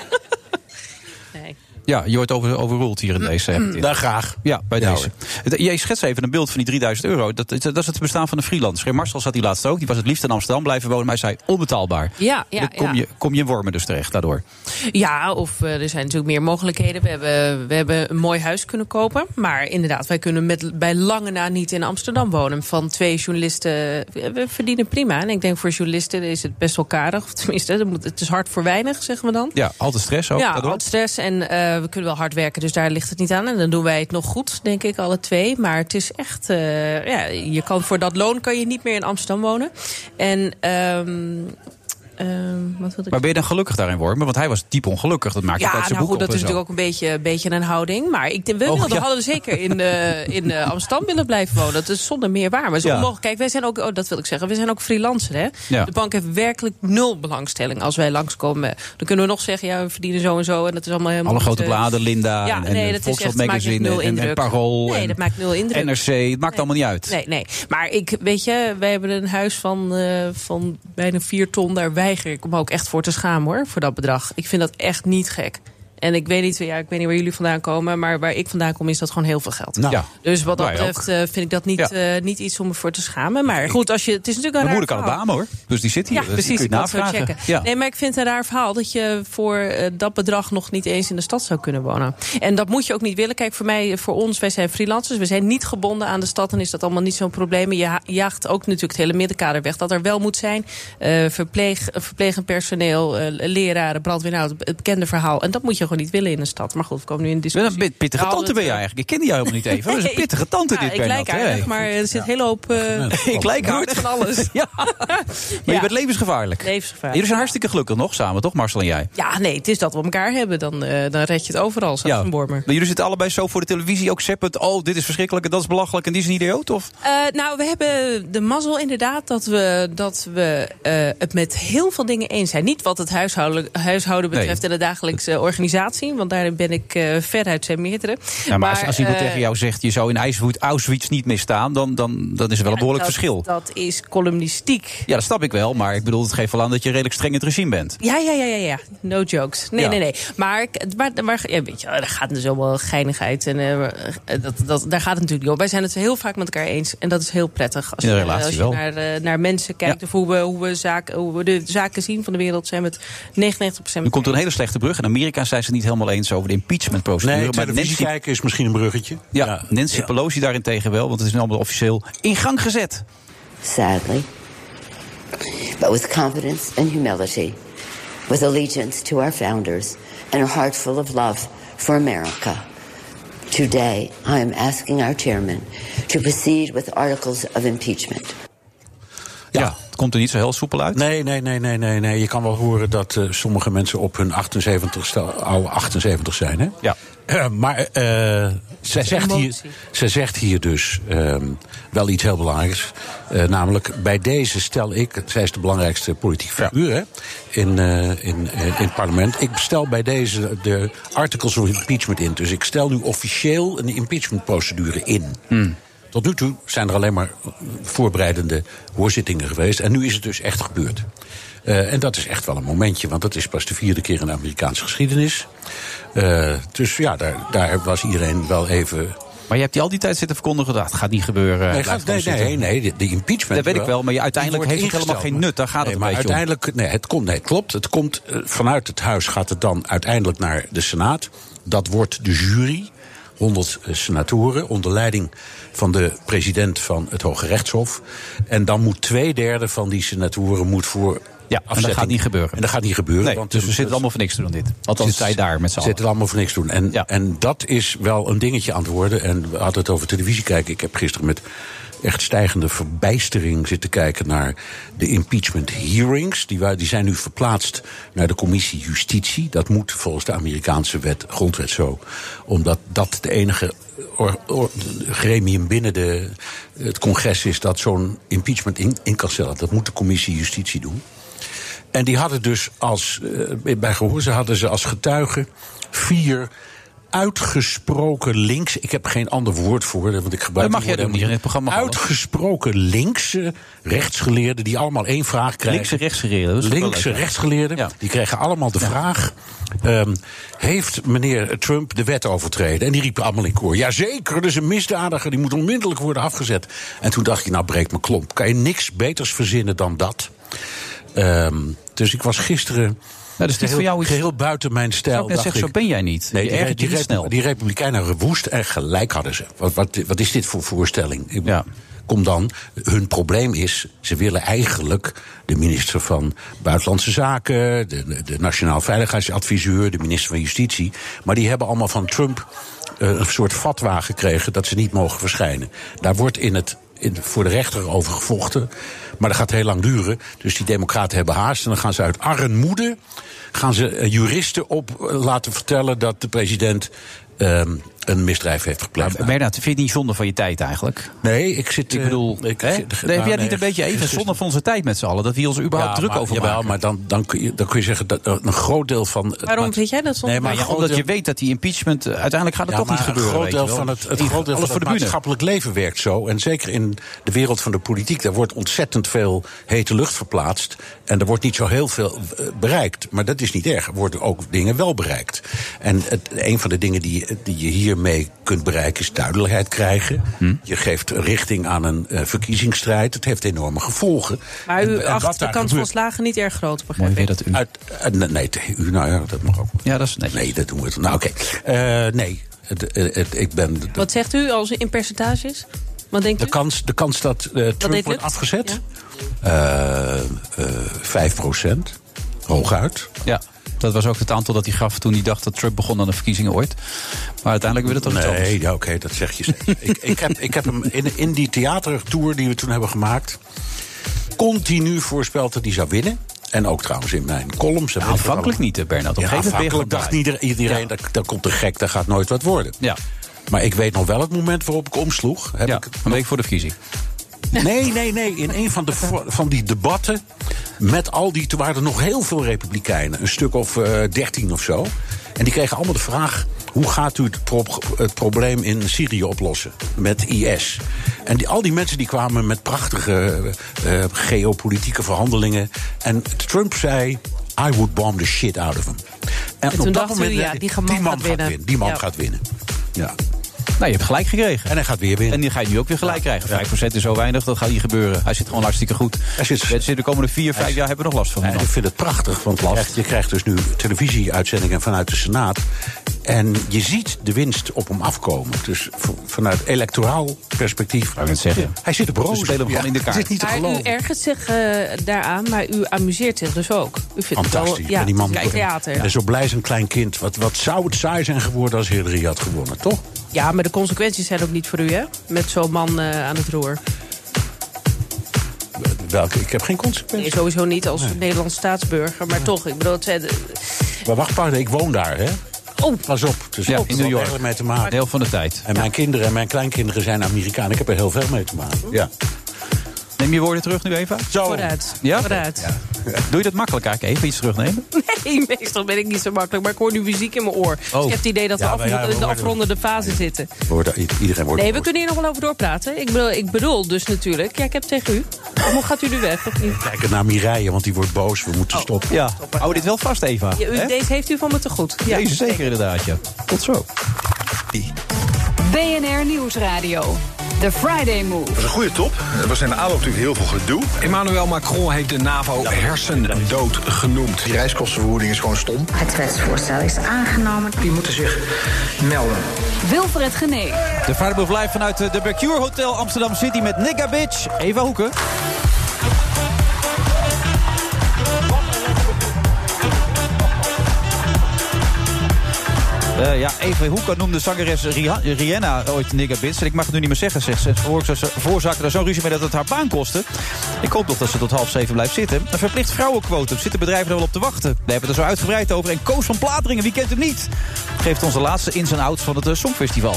Speaker 6: Ja, je wordt over, overruled hier in
Speaker 7: Mm,
Speaker 6: deze.
Speaker 12: Daar graag.
Speaker 6: Ja, bij
Speaker 12: Ja,
Speaker 6: deze. D- Jij schetst even een beeld van die 3000 euro. Dat, dat is het bestaan van een freelancer. Marcel zat hier laatst ook. Die was het liefst in Amsterdam blijven wonen. Maar hij zei onbetaalbaar.
Speaker 7: Ja, ja,
Speaker 6: Dan kom,
Speaker 7: ja.
Speaker 6: Je, kom je in wormen dus terecht daardoor.
Speaker 7: Ja, of eh, er zijn natuurlijk meer mogelijkheden. We hebben, we hebben een mooi huis kunnen kopen. Maar inderdaad, wij kunnen met, bij lange na niet in Amsterdam wonen. Van twee journalisten, we we verdienen prima. En ik denk voor journalisten is het best wel karig. Of tenminste, dat moet- het is hard voor weinig, zeggen we dan.
Speaker 6: Ja, altijd stress ook.
Speaker 7: Ja,
Speaker 6: daardoor.
Speaker 7: wat stress en eh, we kunnen wel hard werken, dus daar ligt het niet aan. En dan doen wij het nog goed, denk ik, alle twee. Maar het is echt, eh, ja, je kan voor dat loon kan je niet meer in Amsterdam wonen. En ehm ehm, wat wilde ik
Speaker 6: Maar ben je dan gelukkig daarin wormen? Want hij was diep ongelukkig. Dat maakt
Speaker 7: ja,
Speaker 6: hij uit zijn
Speaker 7: nou
Speaker 6: boek
Speaker 7: goed,
Speaker 6: op
Speaker 7: dat is
Speaker 6: en zo.
Speaker 7: natuurlijk ook een beetje, een beetje een houding. Maar ik denk, we
Speaker 6: Oh,
Speaker 7: wilden,
Speaker 6: ja.
Speaker 7: hadden zeker in, eh, in eh, Amsterdam willen blijven wonen. Dat is zonder meer waar. Maar het is
Speaker 6: Ja.
Speaker 7: onmogelijk. Kijk, wij zijn ook, oh, dat wil ik zeggen, we zijn ook freelancer. Hè?
Speaker 6: Ja.
Speaker 7: De bank heeft werkelijk nul belangstelling als wij langskomen. Dan kunnen we nog zeggen, ja, we verdienen zo en zo. En dat is allemaal helemaal
Speaker 6: Alle
Speaker 7: niet,
Speaker 6: grote
Speaker 7: eh,
Speaker 6: bladen, Linda
Speaker 7: ja,
Speaker 6: en,
Speaker 7: nee,
Speaker 6: en
Speaker 7: dat is
Speaker 6: Volkswagen
Speaker 7: echt- maakt echt
Speaker 6: Magazine
Speaker 7: nul
Speaker 6: en, en
Speaker 7: indruk.
Speaker 6: Parool
Speaker 7: Nee,
Speaker 6: en
Speaker 7: dat maakt nul indruk.
Speaker 6: NRC. Het maakt allemaal niet uit.
Speaker 7: Nee, nee. Maar ik, weet je, wij hebben een huis van, eh, van bijna 4 ton. Daar weiger ik me ook echt voor te schamen hoor, voor dat bedrag. Ik vind dat echt niet gek. En ik weet niet, ja, ik weet niet waar jullie vandaan komen, maar waar ik vandaan kom is dat gewoon heel veel geld.
Speaker 6: Nou. Ja.
Speaker 7: Dus wat dat
Speaker 6: Wij
Speaker 7: betreft eh, vind ik dat niet,
Speaker 6: Ja.
Speaker 7: eh, niet iets om me voor te schamen. Maar goed, als je, het is natuurlijk een
Speaker 6: Mijn
Speaker 7: raar
Speaker 6: moeder kan het
Speaker 7: verhaal.
Speaker 6: beamen hoor. Dus die zit hier.
Speaker 7: Ja,
Speaker 6: Dus die
Speaker 7: precies.
Speaker 6: kun
Speaker 7: Ik
Speaker 6: je
Speaker 7: kan het zo
Speaker 6: navragen.
Speaker 7: checken.
Speaker 6: Ja.
Speaker 7: Nee, maar ik vind het een raar verhaal dat je voor eh, dat bedrag nog niet eens in de stad zou kunnen wonen. En dat moet je ook niet willen. Kijk, voor mij, voor ons, wij zijn freelancers. We zijn niet gebonden aan de stad en is dat allemaal niet zo'n probleem. En Je ha- jaagt ook natuurlijk het hele middenkader weg. Dat er wel moet zijn. eh, verpleeg, eh, verplegend personeel, eh, leraren, brandweer. Nou, het- het bekende verhaal. En dat moet je gewoon niet willen in de stad. Maar goed, we komen nu in
Speaker 6: Je bent
Speaker 7: discussie.
Speaker 6: een pit- pittige
Speaker 7: Nou,
Speaker 6: tante
Speaker 7: dat-
Speaker 6: ben je eigenlijk. Ik kende jou helemaal niet even. Dat is een pittige tante
Speaker 7: Ja,
Speaker 6: dit,
Speaker 7: ik
Speaker 6: Bernard.
Speaker 7: lijk aardig,
Speaker 6: Hey.
Speaker 7: maar er zit een hele hoop... eh,
Speaker 6: Ik lijk
Speaker 7: bloed
Speaker 6: aardig.
Speaker 7: van alles.
Speaker 6: Ja. Maar je bent levensgevaarlijk.
Speaker 7: Levensgevaarlijk.
Speaker 6: Jullie zijn hartstikke gelukkig nog samen, toch Marcel en jij?
Speaker 7: Ja, nee, het is dat we elkaar hebben. Dan, eh, dan red je het overal, zoals
Speaker 6: Ja.
Speaker 7: een
Speaker 6: Maar
Speaker 7: bormer.
Speaker 6: jullie zitten allebei zo voor de televisie ook zeppend. Oh, dit is verschrikkelijk en dat is belachelijk en die is een idioot, of?
Speaker 7: Eh, nou, we hebben de mazzel inderdaad dat we, dat we eh, het met heel veel dingen eens zijn. Niet wat het huishouden, huishouden betreft en de dagelijkse organisatie. Want daarin ben ik eh, veruit zijn meerdere.
Speaker 6: Nou, maar als, als iemand
Speaker 7: eh,
Speaker 6: tegen jou zegt, je zou in IJswoed- Auschwitz niet meer staan... dan, dan, dan is er wel een behoorlijk
Speaker 7: dat-
Speaker 6: verschil.
Speaker 7: Dat is columnistiek.
Speaker 6: Ja, dat snap ik wel, maar ik bedoel, het geeft wel aan dat je redelijk streng in het regime bent.
Speaker 7: Ja, ja, ja, ja, ja. No jokes. Nee,
Speaker 6: Ja.
Speaker 7: nee, nee. Maar, ik- maar, maar ja, weet je, er gaat dus allemaal geinigheid. En, eh, dat, dat, daar gaat het natuurlijk niet om. Wij zijn het heel vaak met elkaar eens. En dat is heel prettig. Als
Speaker 6: In een
Speaker 7: je,
Speaker 6: relatie
Speaker 7: als je
Speaker 6: wel.
Speaker 7: naar, eh, naar mensen kijkt. Of hoe we, hoe, we zaken, hoe we de zaken zien van de wereld. Zijn we het 99%
Speaker 6: Nu komt er een hele slechte brug. In Amerika zijn ze het niet helemaal eens over de impeachmentprocedure.
Speaker 12: Nee,
Speaker 6: maar
Speaker 12: televisie
Speaker 6: Nancy,
Speaker 12: kijken is misschien een bruggetje.
Speaker 6: ja, Nancy Pelosi daarentegen wel, want het is nu allemaal officieel in gang gezet.
Speaker 13: sadly, but with confidence and humility, with allegiance to our founders, and a heart full of love for America. Today, I am asking our chairman to proceed with articles of impeachment.
Speaker 6: Ja. het komt er niet zo heel soepel uit.
Speaker 12: Nee, nee, nee, nee, nee, nee. Je kan wel horen dat eh, sommige mensen op hun 78ste, oude 78 zijn. Hè?
Speaker 6: Ja.
Speaker 12: Eh, maar eh, zij, zegt hier, zij zegt hier dus ehm, wel iets heel belangrijks. Eh, namelijk, bij deze stel ik, zij is de belangrijkste politieke figuur hè, in, eh, in, eh, in het parlement. Ik stel bij deze de articles of impeachment in. Dus ik stel nu officieel een impeachmentprocedure in.
Speaker 6: Hmm.
Speaker 12: Tot nu toe zijn er alleen maar voorbereidende hoorzittingen geweest. En nu is het dus echt gebeurd. Eh, en dat is echt wel een momentje, want dat is pas de vierde keer in de Amerikaanse geschiedenis. Eh, dus ja, daar, daar was iedereen wel even
Speaker 6: Maar je hebt die al die tijd zitten verkondigen. Dat gaat niet gebeuren.
Speaker 12: Nee,
Speaker 6: Blijf
Speaker 12: gaat-
Speaker 6: gewoon
Speaker 12: nee, nee,
Speaker 6: zitten.
Speaker 12: nee, die- die impeachment
Speaker 6: Dat weet ik wel, maar je-
Speaker 12: die
Speaker 6: uiteindelijk
Speaker 12: wordt
Speaker 6: heeft het helemaal
Speaker 12: ingesteld,
Speaker 6: geen nut. Daar gaat
Speaker 12: nee,
Speaker 6: het
Speaker 12: maar
Speaker 6: een beetje om.
Speaker 12: uiteindelijk, Nee, het komt, nee, het klopt. Het komt eh, vanuit het huis gaat het dan uiteindelijk naar de Senaat. Dat wordt de jury. 100 senatoren onder leiding van de president van het Hoge Rechtshof. En dan moet twee derde van die senatoren moet voor. Ja,
Speaker 6: en dat gaat niet gebeuren.
Speaker 12: En dat gaat niet gebeuren.
Speaker 6: Nee,
Speaker 12: want
Speaker 6: dus we zitten allemaal voor niks te doen dit. Althans, zij daar met z'n allen.
Speaker 12: zitten het allemaal voor niks doen. En, en dat is wel een dingetje aan het worden. En we hadden het over televisie kijken. Ik heb gisteren met echt stijgende verbijstering zitten kijken naar de impeachment hearings. Die, wa- die zijn nu verplaatst naar de commissie Justitie. Dat moet volgens de Amerikaanse wet, grondwet zo. Omdat dat de enige or- or- gremium binnen de, het congres is dat zo'n impeachment in, in kan stellen. Dat moet de commissie Justitie doen. En die hadden dus als, eh, bij Gehoorzen hadden ze als getuigen vier uitgesproken links. Ik heb geen ander woord voor, want ik
Speaker 6: Dat
Speaker 12: gebruik
Speaker 6: mag jij
Speaker 12: die woorden
Speaker 6: doen hier in het programma,
Speaker 12: helemaal
Speaker 6: Paul.
Speaker 12: niet. Uitgesproken linkse rechtsgeleerden die allemaal één vraag krijgen.
Speaker 6: Linkse rechtsgeleerden, dat is ook wel
Speaker 12: Linkse
Speaker 6: leuk, ja.
Speaker 12: rechtsgeleerden, die krijgen allemaal de vraag... ehm, heeft meneer Trump de wet overtreden? En die riepen allemaal in koor. Jazeker, dat is een misdadiger, die moet onmiddellijk worden afgezet. En toen dacht je, nou breek mijn klomp. Kan je niks beters verzinnen dan dat? Ehm, dus ik was gisteren.
Speaker 6: Nou, dat is niet
Speaker 12: geheel,
Speaker 6: voor jou iets-
Speaker 12: geheel buiten mijn stijl.
Speaker 6: Zou ik net
Speaker 12: dacht
Speaker 6: zeggen, zo ben jij niet.
Speaker 12: Nee,
Speaker 6: Je
Speaker 12: die,
Speaker 6: ergert je niet
Speaker 12: die, rep-
Speaker 6: snel.
Speaker 12: die Republikeinen woest en gelijk hadden ze. Wat, wat, wat is dit voor voorstelling? Ik bedoel, Kom dan, hun probleem is, ze willen eigenlijk de minister van Buitenlandse Zaken, de, de Nationaal Veiligheidsadviseur, de minister van Justitie. Maar die hebben allemaal van Trump eh, een soort fatwa gekregen dat ze niet mogen verschijnen. Daar wordt in het in, voor de rechter over gevochten. Maar dat gaat heel lang duren. Dus die democraten hebben haast. En dan gaan ze uit armoede... gaan ze eh, juristen op eh, laten vertellen... dat de president ehm, een misdrijf heeft gepleegd.
Speaker 6: Maar Bernard, vind je het niet zonde van je tijd eigenlijk?
Speaker 12: Nee, ik zit...
Speaker 6: Ik bedoel,
Speaker 12: eh, ik
Speaker 6: hè? Nee,
Speaker 12: zit-
Speaker 6: heb
Speaker 12: nou,
Speaker 6: jij
Speaker 12: nee,
Speaker 6: niet een beetje even
Speaker 12: gisteren-
Speaker 6: zonde van onze tijd met z'n allen? Dat we ons überhaupt
Speaker 12: Ja,
Speaker 6: druk
Speaker 12: maar-
Speaker 6: over
Speaker 12: jawel,
Speaker 6: maken?
Speaker 12: maar dan, dan, kun je, dan kun je zeggen dat eh, een groot deel van...
Speaker 7: Waarom
Speaker 12: maar-
Speaker 7: vind jij dat soms?
Speaker 12: Nee, maar
Speaker 6: Ja,
Speaker 12: een groot
Speaker 6: omdat je
Speaker 12: deel-
Speaker 6: weet dat die impeachment... eh, Uiteindelijk gaat het
Speaker 12: Ja,
Speaker 6: toch niet
Speaker 12: maar
Speaker 6: gebeuren.
Speaker 12: Een groot
Speaker 6: weet je
Speaker 12: deel
Speaker 6: wel.
Speaker 12: van het, het,
Speaker 6: Die-
Speaker 12: groot
Speaker 6: alles
Speaker 12: deel van het
Speaker 6: voor de bühne.
Speaker 12: maatschappelijk leven werkt zo. En zeker in de wereld van de politiek, daar wordt ontzettend veel hete lucht verplaatst. En er wordt niet zo heel veel eh, bereikt. Maar dat is niet erg. Er worden ook dingen wel bereikt. En het, een van de dingen die, die je hiermee kunt bereiken is duidelijkheid krijgen.
Speaker 6: Hm.
Speaker 12: Je geeft richting aan een eh, verkiezingsstrijd. Het heeft enorme gevolgen.
Speaker 7: eh, Maar
Speaker 12: En- en
Speaker 7: u
Speaker 12: wat
Speaker 7: acht de
Speaker 12: daar
Speaker 7: kans van
Speaker 12: gebeurt-
Speaker 7: slagen niet erg groot, begrijp
Speaker 6: Mooi weer dat u...
Speaker 12: uit, eh, nee, nee, te- u, nou ja, dat mag ook.
Speaker 6: Ja, dat is netjes.
Speaker 12: Nee, dat doen we toch. Nou, oké. Eh, nee, Het- eh, het- ik ben.
Speaker 7: ik. Wat zegt u als in percentages? Wat denkt u?
Speaker 12: De kans, de kans dat eh,
Speaker 7: dit
Speaker 12: Trump wordt
Speaker 7: lukt?
Speaker 12: afgezet? Eh, eh, 5 hooguit.
Speaker 6: Ja, dat was ook het aantal dat hij gaf toen hij dacht dat Trump begon aan de verkiezingen ooit. Maar uiteindelijk werd het toch iets
Speaker 12: Nee,
Speaker 6: anders.
Speaker 12: ja, oké, dat zeg je steeds. ik, ik, heb, ik heb hem in, in die theatertour die we toen hebben gemaakt... continu voorspeld dat hij zou winnen. En ook trouwens in mijn columns.
Speaker 6: Nou, aanvankelijk niet, hè, Bernard. Op een
Speaker 12: Ja,
Speaker 6: gegeven moment ben je
Speaker 12: aanvankelijk dacht
Speaker 6: gewoon
Speaker 12: ieder- iedereen, dat, dat komt een gek, dat gaat nooit wat worden.
Speaker 6: Ja.
Speaker 12: Maar ik weet nog wel het moment waarop ik omsloeg. Heb ik
Speaker 6: Een week voor de verkiezing.
Speaker 12: Nee, nee, nee. In een van, de, vo- van die debatten. Met al die. Toen waren er nog heel veel Republikeinen. Een stuk of eh, dertien of zo. En die kregen allemaal de vraag. Hoe gaat u het, pro- het probleem in Syrië oplossen? Met IS. En die, al die mensen die kwamen met prachtige eh, geopolitieke verhandelingen. En Trump zei. I would bomb the shit out of him. En,
Speaker 7: toen dacht u, ja,
Speaker 12: eh,
Speaker 7: die man gaat winnen.
Speaker 12: Die man
Speaker 7: Ja.
Speaker 12: gaat winnen. Ja.
Speaker 6: Nou, je hebt gelijk gekregen.
Speaker 12: En hij gaat weer winnen.
Speaker 6: En die ga je nu ook weer gelijk krijgen. 5% is zo weinig, dat gaat niet gebeuren. Hij zit gewoon hartstikke goed. Hij zit, de komende 4, 5 jaar hebben we nog last van.
Speaker 12: Ja, ik vind het prachtig, want je krijgt, je krijgt dus nu televisieuitzendingen vanuit de Senaat. En je ziet de winst op hem afkomen. Dus v- vanuit electoraal perspectief.
Speaker 6: het zeggen.
Speaker 12: Hij zit op
Speaker 6: Ze
Speaker 12: roze.
Speaker 6: spelen hem gewoon in de kaart.
Speaker 12: Het is niet te
Speaker 7: maar
Speaker 12: geloven.
Speaker 7: u ergert zich eh, daaraan, maar u amuseert zich dus ook. U vindt
Speaker 12: Fantastisch.
Speaker 7: Het wel,
Speaker 12: maar die man
Speaker 7: het is theater.
Speaker 12: En zo blij zijn klein kind. Wat, wat zou het saai zijn geworden als Hillary had gewonnen, toch?
Speaker 7: Ja, maar de consequenties zijn ook niet voor u, hè? Met zo'n man eh, aan het roer.
Speaker 12: Welke? Ik heb geen consequenties.
Speaker 7: Nee, sowieso niet als Nederlands staatsburger, maar toch. Ik bedoel, het zijn de-
Speaker 12: Maar wacht, pardon, ik woon daar, hè?
Speaker 7: Oh.
Speaker 12: Pas op. Dus
Speaker 6: Ja,
Speaker 12: ik heb
Speaker 6: in
Speaker 12: er wel
Speaker 6: New York.
Speaker 12: Eigenlijk mee te maken.
Speaker 6: Deel van de tijd.
Speaker 12: En mijn kinderen en mijn kleinkinderen zijn Amerikaan. Ik heb er heel veel mee te maken. Ja.
Speaker 6: Neem je woorden terug nu even?
Speaker 12: Zo.
Speaker 7: vooruit.
Speaker 6: Ja?
Speaker 7: vooruit.
Speaker 6: Doe je dat makkelijk eigenlijk? Even iets terugnemen?
Speaker 7: Nee, meestal ben ik niet zo makkelijk, maar ik hoor nu muziek in mijn oor. Dus ik heb het idee dat we
Speaker 12: Oh. Ja,
Speaker 7: af-
Speaker 12: maar ja, we
Speaker 7: in de
Speaker 12: worden-
Speaker 7: afrondende fase zitten.
Speaker 12: Wordt- Iedereen wordt
Speaker 7: Nee, we kunnen hier nog wel over doorpraten. Ik bedoel, ik bedoel dus natuurlijk, ja, ik heb tegen u. Hoe gaat u nu weg? Of niet?
Speaker 12: Kijken naar Mireille, want die wordt boos. We moeten stoppen.
Speaker 6: Ja. Hou dit wel vast, Eva.
Speaker 7: Oh. Ja, u-
Speaker 6: hè?
Speaker 7: deze heeft u van me te goed. Ja.
Speaker 6: Deze zeker inderdaad, ja. Tot zo.
Speaker 2: BNR Nieuwsradio. The Friday Move.
Speaker 3: Dat was een goede top. Er was in de aanloop natuurlijk heel veel gedoe.
Speaker 4: Emmanuel Macron heeft de NAVO hersendood genoemd. Die reiskostenvergoeding is gewoon stom.
Speaker 5: Het wetsvoorstel is aangenomen.
Speaker 14: Die moeten zich melden.
Speaker 2: Wilfred Genee.
Speaker 6: De Friday Move live vanuit eh, de Mercure Hotel Amsterdam City met Nigga Bitch. Eva Hoeken. Eh, ja, Eva Hoeken noemde zangeres Riha- Rihanna ooit nigga bitch. En ik mag het nu niet meer zeggen, zegt ze. Ze veroorza- ze veroorzaakte daar zo'n ruzie mee dat het haar baan kostte. Ik hoop toch dat ze tot half zeven blijft zitten. Een verplicht vrouwenquotum. Zitten bedrijven er wel op te wachten? We hebben het er zo uitgebreid over. En Koos van Plateringen, wie kent hem niet? Geeft ons de laatste ins en outs van het eh, Songfestival.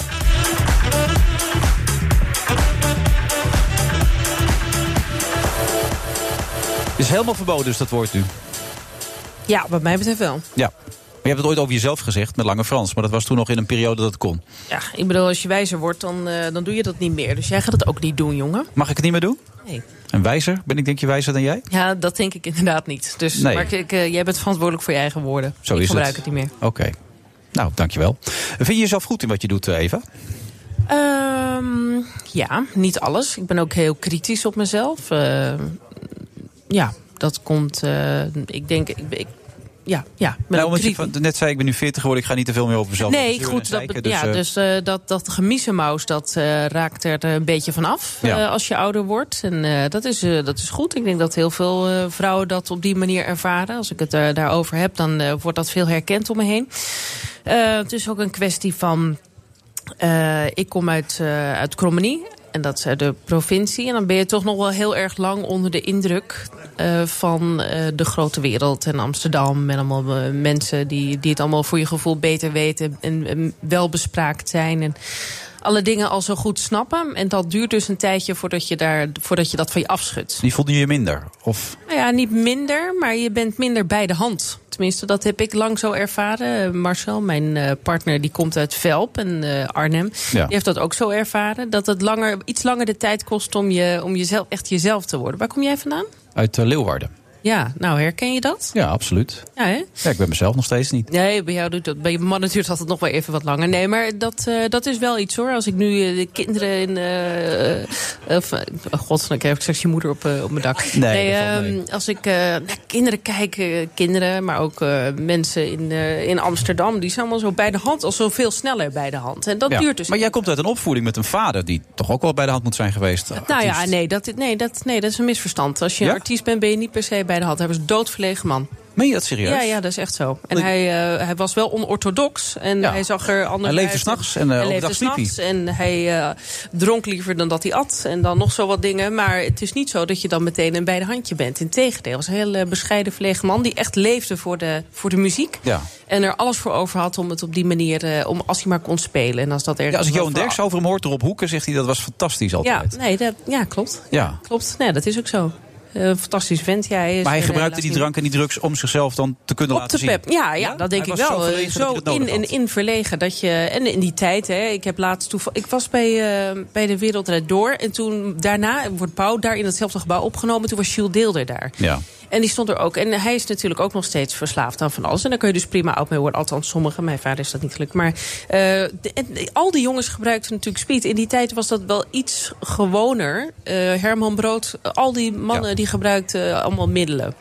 Speaker 6: Het is helemaal verboden, dus dat woord nu.
Speaker 7: Ja, wat mij betreft wel.
Speaker 6: Ja. Maar je hebt het ooit over jezelf gezegd met Lange Frans. Maar dat was toen nog in een periode dat het kon.
Speaker 7: Ja, ik bedoel, als je wijzer wordt, dan, eh, dan doe je dat niet meer. Dus jij gaat het ook niet doen, jongen.
Speaker 6: Mag ik het niet meer doen?
Speaker 7: Nee.
Speaker 6: En wijzer? Ben ik denk je wijzer dan jij?
Speaker 7: Ja, dat denk ik inderdaad niet. Dus
Speaker 6: Nee.
Speaker 7: maar ik, eh, jij bent verantwoordelijk voor je eigen woorden.
Speaker 6: Zo
Speaker 7: ik
Speaker 6: is
Speaker 7: gebruik
Speaker 6: het.
Speaker 7: het. niet meer.
Speaker 6: Oké. Nou, dankjewel. Vind je jezelf goed in wat je doet, eh, Eva?
Speaker 7: Ehm, ja, niet alles. Ik ben ook heel kritisch op mezelf. Eh, ja, dat komt. eh, ik denk. Ik, ik- ja, ja. ik ben
Speaker 6: nou,
Speaker 7: ook
Speaker 6: omdat je
Speaker 7: kritisch.
Speaker 6: van- net zei ik ben nu 40 geworden. Ik ga niet te veel meer over mezelf.
Speaker 7: Nee,
Speaker 6: zeuren en
Speaker 7: goed. Dat,
Speaker 6: zeiken,
Speaker 7: be- ja,
Speaker 6: eh,
Speaker 7: dus eh, dat, dat gemiezenmaus, dat eh, raakt er een beetje van af
Speaker 6: Ja.
Speaker 7: eh, als je ouder wordt. En eh, dat, is, eh, dat is goed. Ik denk dat heel veel eh, vrouwen dat op die manier ervaren. Als ik het eh, daarover heb, dan eh, wordt dat veel herkend om me heen. Eh, het is ook een kwestie van... eh, ik kom uit, eh uit Krommenie. En dat is eh, de provincie. En dan ben je toch nog wel heel erg lang onder de indruk eh, van eh, de grote wereld. En Amsterdam. En allemaal eh, mensen die, die het allemaal voor je gevoel beter weten. En, en welbespraakt zijn. En alle dingen al zo goed snappen. En dat duurt dus een tijdje voordat je, daar, voordat je dat van je afschudt.
Speaker 6: Die voelde je minder? Of
Speaker 7: Nou ja, niet minder, maar je bent minder bij de hand. Tenminste, dat heb ik lang zo ervaren. Eh, Marcel, mijn eh, partner, die komt uit Velp en eh, Arnhem.
Speaker 6: Ja.
Speaker 7: Die heeft dat ook zo ervaren. Dat het langer, iets langer de tijd kost om, je, om jezelf, echt jezelf te worden. Waar kom jij vandaan?
Speaker 6: uit eh, Leeuwarden?
Speaker 7: Ja, nou herken je dat?
Speaker 6: Ja, absoluut.
Speaker 7: Ja, hè?
Speaker 6: Ja, ik ben mezelf nog steeds niet.
Speaker 7: Nee, bij jou doet dat. Bij je mannen duurt dat nog wel even wat langer. Nee, maar dat, eh, dat is wel iets hoor. Als ik nu eh, de kinderen in. eh, eh, of, eh, oh, God, dan krijg ik straks je moeder op, eh, op mijn dak.
Speaker 6: Nee, dat valt
Speaker 7: ehm, als ik eh, naar kinderen kijk, eh, kinderen, maar ook eh, mensen in, eh, in Amsterdam, die zijn allemaal zo bij de hand, al zo veel sneller bij de hand. En dat
Speaker 6: Ja.
Speaker 7: duurt dus.
Speaker 6: Maar jij komt uit een opvoeding met een vader die toch ook wel bij de hand moet zijn geweest.
Speaker 7: Nou ja, nee dat, nee, dat, nee, dat is een misverstand. Als je
Speaker 6: Ja?
Speaker 7: een artiest bent, ben je niet per se bij de hand. Hij was een doodverlegen man.
Speaker 6: Meen je dat serieus?
Speaker 7: Ja, ja, dat is echt zo. En hij, eh, hij was wel onorthodox. En hij zag er anders
Speaker 6: Hij leefde
Speaker 7: uit.
Speaker 6: s'nachts en, eh,
Speaker 7: hij
Speaker 6: overdag
Speaker 7: leefde
Speaker 6: sliep hij.
Speaker 7: s'nachts en hij eh, dronk liever dan dat hij at. En dan nog zo wat dingen. Maar het is niet zo dat je dan meteen een bij de handje bent. Integendeel, hij was een heel eh, bescheiden verlegen man... die echt leefde voor de, voor de muziek.
Speaker 6: Ja.
Speaker 7: En er alles voor over had om het op die manier... eh, om, als hij maar kon spelen. En als dat ergens
Speaker 6: Ja, als ik
Speaker 7: wel
Speaker 6: Johan
Speaker 7: voor-
Speaker 6: Derks over hem hoort, erop hoeken, zegt hij dat was fantastisch
Speaker 7: Ja,
Speaker 6: altijd.
Speaker 7: nee, dat, ja, klopt.
Speaker 6: Ja.
Speaker 7: Klopt, nee, dat is ook zo. Eh, fantastisch vent. Ja, is
Speaker 6: Maar hij
Speaker 7: er, eh,
Speaker 6: gebruikte
Speaker 7: laat
Speaker 6: die
Speaker 7: zien.
Speaker 6: drank en die drugs om zichzelf dan te kunnen
Speaker 7: Op
Speaker 6: laten
Speaker 7: de
Speaker 6: zien.
Speaker 7: pep. Ja, ja, dat denk
Speaker 6: Hij
Speaker 7: ik
Speaker 6: was
Speaker 7: wel.
Speaker 6: zo verlegen
Speaker 7: Zo,
Speaker 6: dat hij dat
Speaker 7: in,
Speaker 6: nodig
Speaker 7: en
Speaker 6: had.
Speaker 7: in verlegen. Dat je, en in die tijd, hè, ik heb laatst toeval. Ik was bij, eh, bij de Wereldrijd Door. En toen daarna wordt Pauw daar in datzelfde gebouw opgenomen. Toen was Jules Deelder daar.
Speaker 6: Ja.
Speaker 7: En die stond er ook. En hij is natuurlijk ook nog steeds verslaafd aan van alles. En daar kun je dus prima oud mee worden. Althans, sommigen. Mijn vader is dat niet gelukt. Maar eh, de- en al die jongens gebruikten natuurlijk speed. In die tijd was dat wel iets gewoner. Eh, Herman Brood, al die mannen die gebruikten allemaal middelen.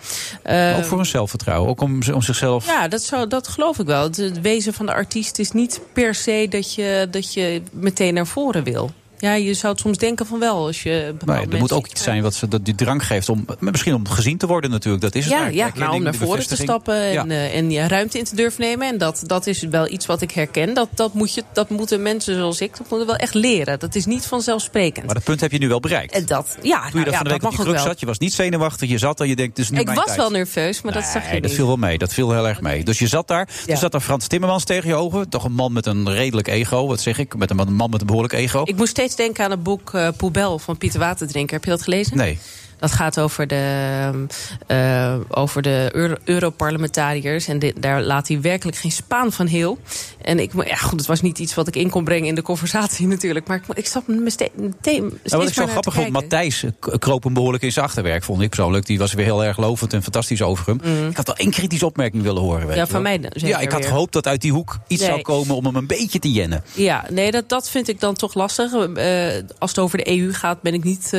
Speaker 6: Maar
Speaker 7: Eh,
Speaker 6: ook voor hun zelfvertrouwen, ook om, om zichzelf...
Speaker 7: ja, dat, zou, dat geloof ik wel. Het, het wezen van de artiest is niet per se dat je, dat je meteen naar voren wil. Ja, je zou het soms denken van wel. Als je
Speaker 6: Nee,
Speaker 7: bepaalde
Speaker 6: Nou er
Speaker 7: mensen-
Speaker 6: moet ook iets zijn wat ze dat die drank geeft om misschien om gezien te worden natuurlijk. Dat is het
Speaker 7: ja,
Speaker 6: eigenlijk.
Speaker 7: ja
Speaker 6: De
Speaker 7: nou, om
Speaker 6: erkenning,
Speaker 7: naar
Speaker 6: de
Speaker 7: voren te
Speaker 6: bevestiging.
Speaker 7: stappen en,
Speaker 6: Ja.
Speaker 7: eh, en je ruimte in te durven nemen. En dat, dat is wel iets wat ik herken. Dat, dat, moet je, dat moeten mensen zoals ik dat moeten wel echt leren. Dat is niet vanzelfsprekend.
Speaker 6: Maar dat punt heb je nu wel bereikt.
Speaker 7: En dat, ja,
Speaker 6: Toen je
Speaker 7: nou
Speaker 6: dat
Speaker 7: ja,
Speaker 6: van de week
Speaker 7: dat
Speaker 6: op die
Speaker 7: mag ook
Speaker 6: kruk
Speaker 7: wel.
Speaker 6: zat, je was niet zenuwachtig, je zat daar, je denkt, het is nu
Speaker 7: Ik
Speaker 6: mijn
Speaker 7: was
Speaker 6: tijd.
Speaker 7: wel nerveus, maar dat zag je
Speaker 6: Nee, dat
Speaker 7: niet.
Speaker 6: viel wel mee. Dat viel heel erg mee. Dus je zat daar.
Speaker 7: Ja.
Speaker 6: Toen zat daar Frans Timmermans tegen je ogen. Toch een man met een redelijk ego. Wat zeg ik? Met een man- een man met een behoorlijk ego.
Speaker 7: Ik moest steeds denken aan het boek eh Poebel van Pieter Waterdrinker. Heb je dat gelezen?
Speaker 6: Nee.
Speaker 7: Dat Dat gaat over de, eh, over de Euro- Europarlementariërs. En dit, daar laat hij werkelijk geen spaan van heel. En ik, mo- ja, goed, het was niet iets wat ik in kon brengen in de conversatie natuurlijk. Maar ik, mo- ik zat meteen. meteen
Speaker 6: Nou, wat ik zo grappig vond,
Speaker 7: vond,
Speaker 6: Matthijs eh, k- kroop hem behoorlijk in zijn achterwerk, vond ik persoonlijk. Die was weer heel erg lovend en fantastisch over hem.
Speaker 7: Mm.
Speaker 6: Ik had wel één kritische opmerking willen horen. Weet
Speaker 7: Ja,
Speaker 6: je
Speaker 7: van
Speaker 6: wel.
Speaker 7: mij dan zeker
Speaker 6: Ja, ik had
Speaker 7: weer.
Speaker 6: gehoopt dat uit die hoek iets
Speaker 7: Nee.
Speaker 6: zou komen om hem een beetje te jennen.
Speaker 7: Ja, nee, dat, dat vind ik dan toch lastig. Eh, als het over de EU gaat, ben ik niet eh,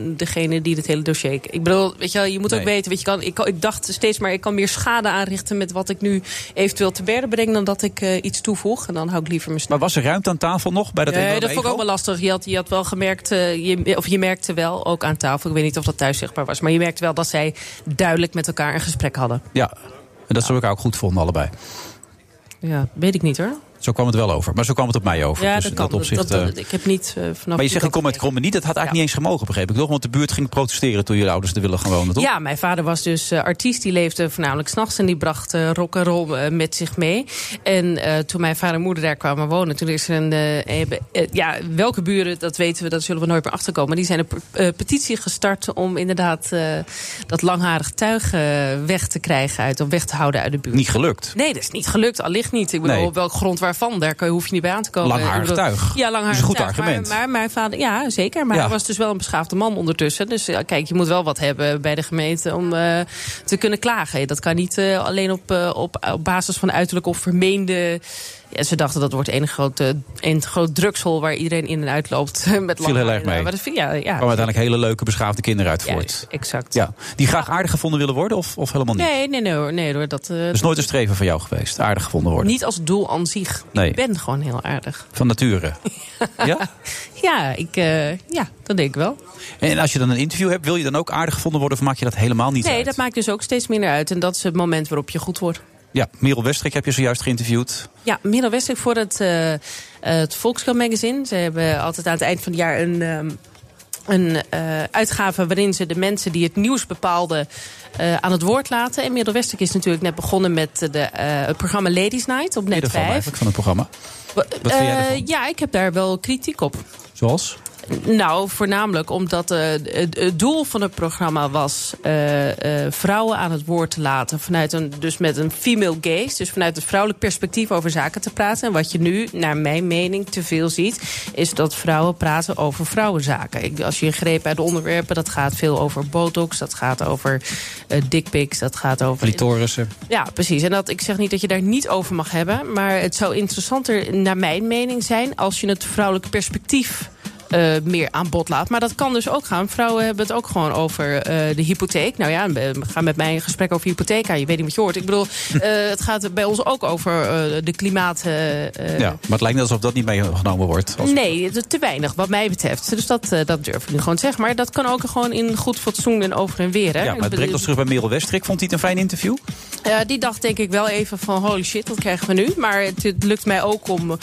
Speaker 7: degene die het hele dossier. Ik bedoel, weet je, wel, je moet ook
Speaker 6: Nee.
Speaker 7: weten. Weet je, kan, ik, kan- ik dacht steeds maar, ik kan meer schade aanrichten met wat ik nu eventueel te berden breng. dan dat ik eh, iets toevoeg. En dan hou ik liever mijn
Speaker 6: Maar was er ruimte aan tafel nog bij dat
Speaker 7: nee,
Speaker 6: enorme
Speaker 7: dat vond ik
Speaker 6: ego?
Speaker 7: ook wel lastig. Je had, je had wel gemerkt, eh, je, of je merkte wel ook aan tafel. Ik weet niet of dat thuis zichtbaar was. Maar je merkte wel dat zij duidelijk met elkaar een gesprek hadden.
Speaker 6: Ja, en dat zou ik ook goed vonden, allebei.
Speaker 7: Ja, weet ik niet hoor.
Speaker 6: Zo kwam het wel over. Maar zo kwam het op mij over.
Speaker 7: ja,
Speaker 6: dus
Speaker 7: dat
Speaker 6: in
Speaker 7: kan.
Speaker 6: dat opzicht.
Speaker 7: Dat- dat-
Speaker 6: eh,
Speaker 7: ik heb niet eh, vanaf.
Speaker 6: maar je
Speaker 7: die
Speaker 6: zegt, ik
Speaker 7: kant-
Speaker 6: kom uit Kromme niet. Dat had eigenlijk niet eens gemogen, begreep ik toch? Want de buurt ging protesteren toen jullie ouders er willen gaan wonen, toch?
Speaker 7: Ja, mijn vader was dus eh, artiest. Die leefde voornamelijk s'nachts en die bracht eh, rock en roll eh, met zich mee. En eh, toen mijn vader en moeder daar kwamen wonen, toen is er een. eh, hebben- eh, ja, welke buren, dat weten we, dat zullen we nooit meer achterkomen. Maar die zijn een pe- eh, petitie gestart om inderdaad eh, dat langharig tuig eh, weg te krijgen uit, of weg te houden uit de buurt.
Speaker 6: Niet gelukt.
Speaker 7: Nee, dat is niet gelukt. Allicht niet. Ik bedoel,
Speaker 6: Nee.
Speaker 7: op welk grond waarvan? Daar kan- hoef je niet bij aan te komen.
Speaker 6: Langharig
Speaker 7: Ik bedoel-
Speaker 6: tuig.
Speaker 7: Ja,
Speaker 6: Dat
Speaker 7: langharig
Speaker 6: is een goed
Speaker 7: tuig. Maar-
Speaker 6: argument.
Speaker 7: Maar, mijn vader, ja, zeker. Maar
Speaker 6: Ja.
Speaker 7: hij was dus wel een beschaafde man ondertussen. Dus ja, kijk, je moet wel wat hebben bij de gemeente om eh, te kunnen klagen. Dat kan niet eh, alleen op, eh, op, op basis van uiterlijk of vermeende. Ja, ze dachten dat wordt één groot, een groot drugshol waar iedereen in en uit loopt. Met
Speaker 6: Viel heel
Speaker 7: lang-
Speaker 6: erg mee.
Speaker 7: Maar dat, vind- ja, ja.
Speaker 6: kwamen uiteindelijk hele leuke, beschaafde kinderen uit voort.
Speaker 7: exact.
Speaker 6: Ja. Die graag aardig gevonden willen worden of, of helemaal niet? Dus
Speaker 7: Nee, nee, nee hoor. Nee, hoor dat, eh,
Speaker 6: Dat is nooit een streven van jou geweest, aardig gevonden worden.
Speaker 7: niet als doel aan zich.
Speaker 6: Nee.
Speaker 7: Ik ben gewoon heel aardig.
Speaker 6: Van nature.
Speaker 7: Ja, ik, eh, ja, dat denk ik wel.
Speaker 6: En als je dan een interview hebt, wil je dan ook aardig gevonden worden of maak je dat helemaal niet
Speaker 7: nee,
Speaker 6: uit?
Speaker 7: dat maakt dus ook steeds minder uit. En dat is het moment waarop je goed wordt.
Speaker 6: Ja, Merel Westrik heb je zojuist geïnterviewd.
Speaker 7: Ja, Merel Westrik voor het, eh eh, het Volkskrant magazine. Ze hebben altijd aan het eind van het jaar een, ehm, een eh, uitgave waarin ze de mensen die het nieuws bepaalden eh, aan het woord laten. En Merel Westrik is natuurlijk net begonnen met de, eh, het programma Ladies Night op
Speaker 6: Ieder van
Speaker 7: Net 5.
Speaker 6: eigenlijk van het programma.
Speaker 7: Wat
Speaker 6: vind jij ervan?
Speaker 7: ja, ik heb daar wel kritiek op.
Speaker 6: Zoals?
Speaker 7: Nou, voornamelijk omdat eh, het het doel van het programma was eh, eh, vrouwen aan het woord te laten. Vanuit een, dus met een female gaze, dus vanuit het vrouwelijk perspectief over zaken te praten. En wat je nu, naar mijn mening, te veel ziet, is dat vrouwen praten over vrouwenzaken. Ik, als je een greep uit de onderwerpen, dat gaat veel over botox, dat gaat over eh dickpics, dat gaat over.
Speaker 6: Clitorissen.
Speaker 7: Ja, precies. En dat, ik zeg niet dat je daar niet over mag hebben. Maar het zou interessanter, naar mijn mening, zijn als je het vrouwelijke perspectief. eh, meer aan bod laat. Maar dat kan dus ook gaan. Vrouwen hebben het ook gewoon over eh, de hypotheek. Nou ja, we gaan met mij een gesprek over hypotheek aan. Je weet niet wat je hoort. Ik bedoel, eh, het gaat bij ons ook over eh, de klimaat. eh, eh,
Speaker 6: ja, maar het lijkt net alsof dat niet meegenomen wordt. Als...
Speaker 7: Nee, te- te weinig wat mij betreft. Dus dat, eh, dat durf ik nu gewoon te zeggen. Maar dat kan ook gewoon in goed fatsoen en over en weer. Hè?
Speaker 6: Ja, maar het brengt ons terug bij Merel Westrik. Vond hij het een fijn interview?
Speaker 7: Eh, die dacht denk ik wel even van holy shit, wat krijgen we nu? Maar het, het lukt mij ook om,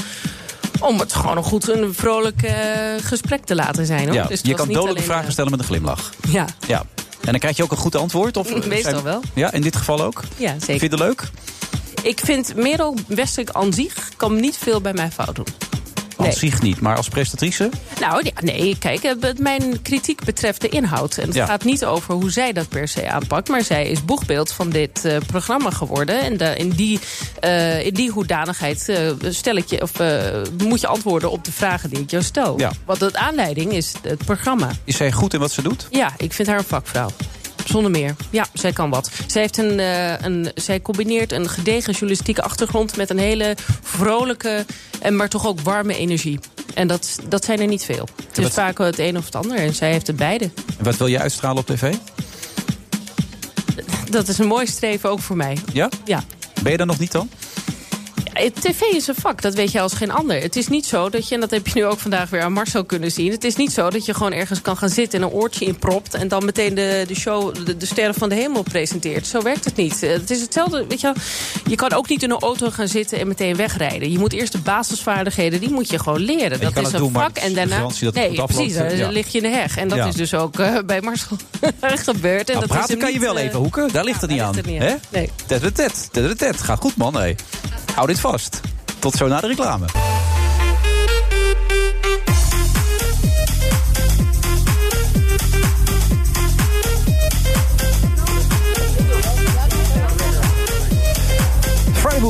Speaker 7: om het gewoon een goed een vrolijk eh, gesprek te laten zijn. Hoor.
Speaker 6: ja,
Speaker 7: Dus het
Speaker 6: je
Speaker 7: was
Speaker 6: kan
Speaker 7: niet
Speaker 6: dodelijke
Speaker 7: alleen,
Speaker 6: vragen stellen met een glimlach.
Speaker 7: eh, ja.
Speaker 6: Ja. En dan krijg je ook een goed antwoord? Of, eh,
Speaker 7: Meestal
Speaker 6: zijn-
Speaker 7: wel.
Speaker 6: Ja, in dit geval ook?
Speaker 7: Ja, zeker.
Speaker 6: Vind je het leuk?
Speaker 7: Ik vind Merel Westrik aan zich kan niet veel bij mij fout doen. Nee.
Speaker 6: Als zich niet, maar als prestatrice?
Speaker 7: Nou, ja, nee, kijk, eh, wat mijn kritiek betreft de inhoud. En het
Speaker 6: Ja.
Speaker 7: gaat niet over hoe zij dat per se aanpakt. Maar zij is boegbeeld van dit eh, programma geworden. En da- in, die, eh, in die hoedanigheid eh, stel ik je, of, eh, moet je antwoorden op de vragen die ik jou stel.
Speaker 6: Ja.
Speaker 7: Want de aanleiding is het programma.
Speaker 6: Is zij goed in wat ze doet?
Speaker 7: Ja, ik vind haar een vakvrouw. Zonder meer. Ja, zij kan wat. Zij, heeft een, eh, een, zij combineert een gedegen journalistieke achtergrond met een hele vrolijke, en maar toch ook warme energie. En dat, dat zijn er niet veel. Het is vaak wel het een of het ander. En zij heeft het beide.
Speaker 6: En wat wil je uitstralen op tv?
Speaker 7: Dat is een mooi streven ook voor mij.
Speaker 6: Ja?
Speaker 7: Ja.
Speaker 6: Ben je daar nog niet dan?
Speaker 7: Eh, TV is een vak, dat weet je als geen ander. Het is niet zo dat je, en dat heb je nu ook vandaag weer aan Marcel kunnen zien... het is niet zo dat je gewoon ergens kan gaan zitten en een oortje inpropt... en dan meteen de, de show de, de Sterren van de Hemel presenteert. Zo werkt het niet. Eh, Het is hetzelfde, weet je wel. Je kan ook niet in een auto gaan zitten en meteen wegrijden. Je moet eerst de basisvaardigheden, die moet je gewoon
Speaker 6: kan
Speaker 7: leren. Dat is
Speaker 6: het
Speaker 7: een
Speaker 6: doen, maar
Speaker 7: vak
Speaker 6: het is
Speaker 7: en
Speaker 6: de
Speaker 7: daarna...
Speaker 6: garantie dat het
Speaker 7: nee,
Speaker 6: goed afloopt,
Speaker 7: precies, dan
Speaker 6: eh, ja.
Speaker 7: lig je in de heg. En dat
Speaker 6: Ja.
Speaker 7: is dus ook eh, bij Marcel gebeurd. En
Speaker 6: Nou,
Speaker 7: dat is
Speaker 6: praten
Speaker 7: hem
Speaker 6: kan je
Speaker 7: niet,
Speaker 6: wel
Speaker 7: eh,
Speaker 6: even hoeken. Daar ligt het niet aan.
Speaker 7: ligt het niet
Speaker 6: hè?
Speaker 7: aan. Nee.
Speaker 6: Tet tet tet, tet tet tet. Gaat goed, man. Hé. Hou dit vast. Tot zo na de reclame.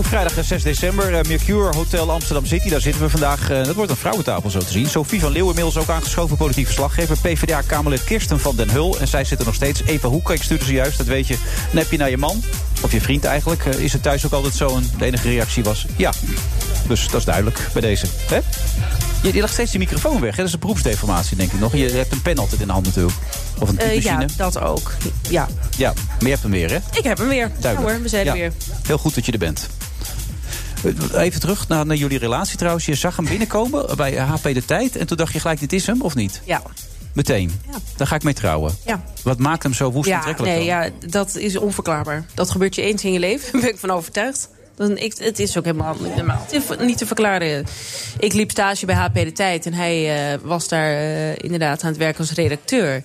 Speaker 6: vrijdag eh, 6 december. eh, Mercure Hotel Amsterdam City. Daar zitten we vandaag. Eh, dat wordt een vrouwentafel zo te zien. Sophie van Leeuwen inmiddels ook aangeschoven politiek verslaggever. PvdA Kamerlid Kirsten van den Hul. En zij zitten nog steeds. Eva Hoeken, ik stuurde ze juist. Dat weet je. Een appje naar je man. Of je vriend eigenlijk. Eh, is het thuis ook altijd zo? En de enige reactie was ja. Dus dat is duidelijk bij deze. Hè? Je, je legt steeds die microfoon weg. Hè? Dat is een beroepsdeformatie, denk ik nog. Je hebt een pen altijd in de hand natuurlijk. Of een
Speaker 7: Eh,
Speaker 6: typemachine.
Speaker 7: ja, dat ook. Ja.
Speaker 6: ja, maar je hebt hem weer, hè?
Speaker 7: Ik heb hem weer. Ja
Speaker 6: Duidelijk.
Speaker 7: hoor, we zijn er
Speaker 6: Ja.
Speaker 7: weer.
Speaker 6: Heel goed dat je er bent. Eh, Even terug naar, naar jullie relatie trouwens. Je zag hem binnenkomen bij HP De Tijd. En toen dacht je gelijk, dit is hem of niet?
Speaker 7: Ja.
Speaker 6: Meteen. Daar ga ik mee trouwen.
Speaker 7: Ja.
Speaker 6: Wat maakt hem zo woest
Speaker 7: Ja,
Speaker 6: aantrekkelijk
Speaker 7: nee,
Speaker 6: dan?
Speaker 7: ja, dat is onverklaarbaar. Dat gebeurt je eens in je leven, daar ben ik van overtuigd. Dan, ik, het is ook helemaal niet normaal. Het is niet te verklaren. Ik liep stage bij HP De Tijd en hij eh, was daar eh, inderdaad aan het werk als redacteur.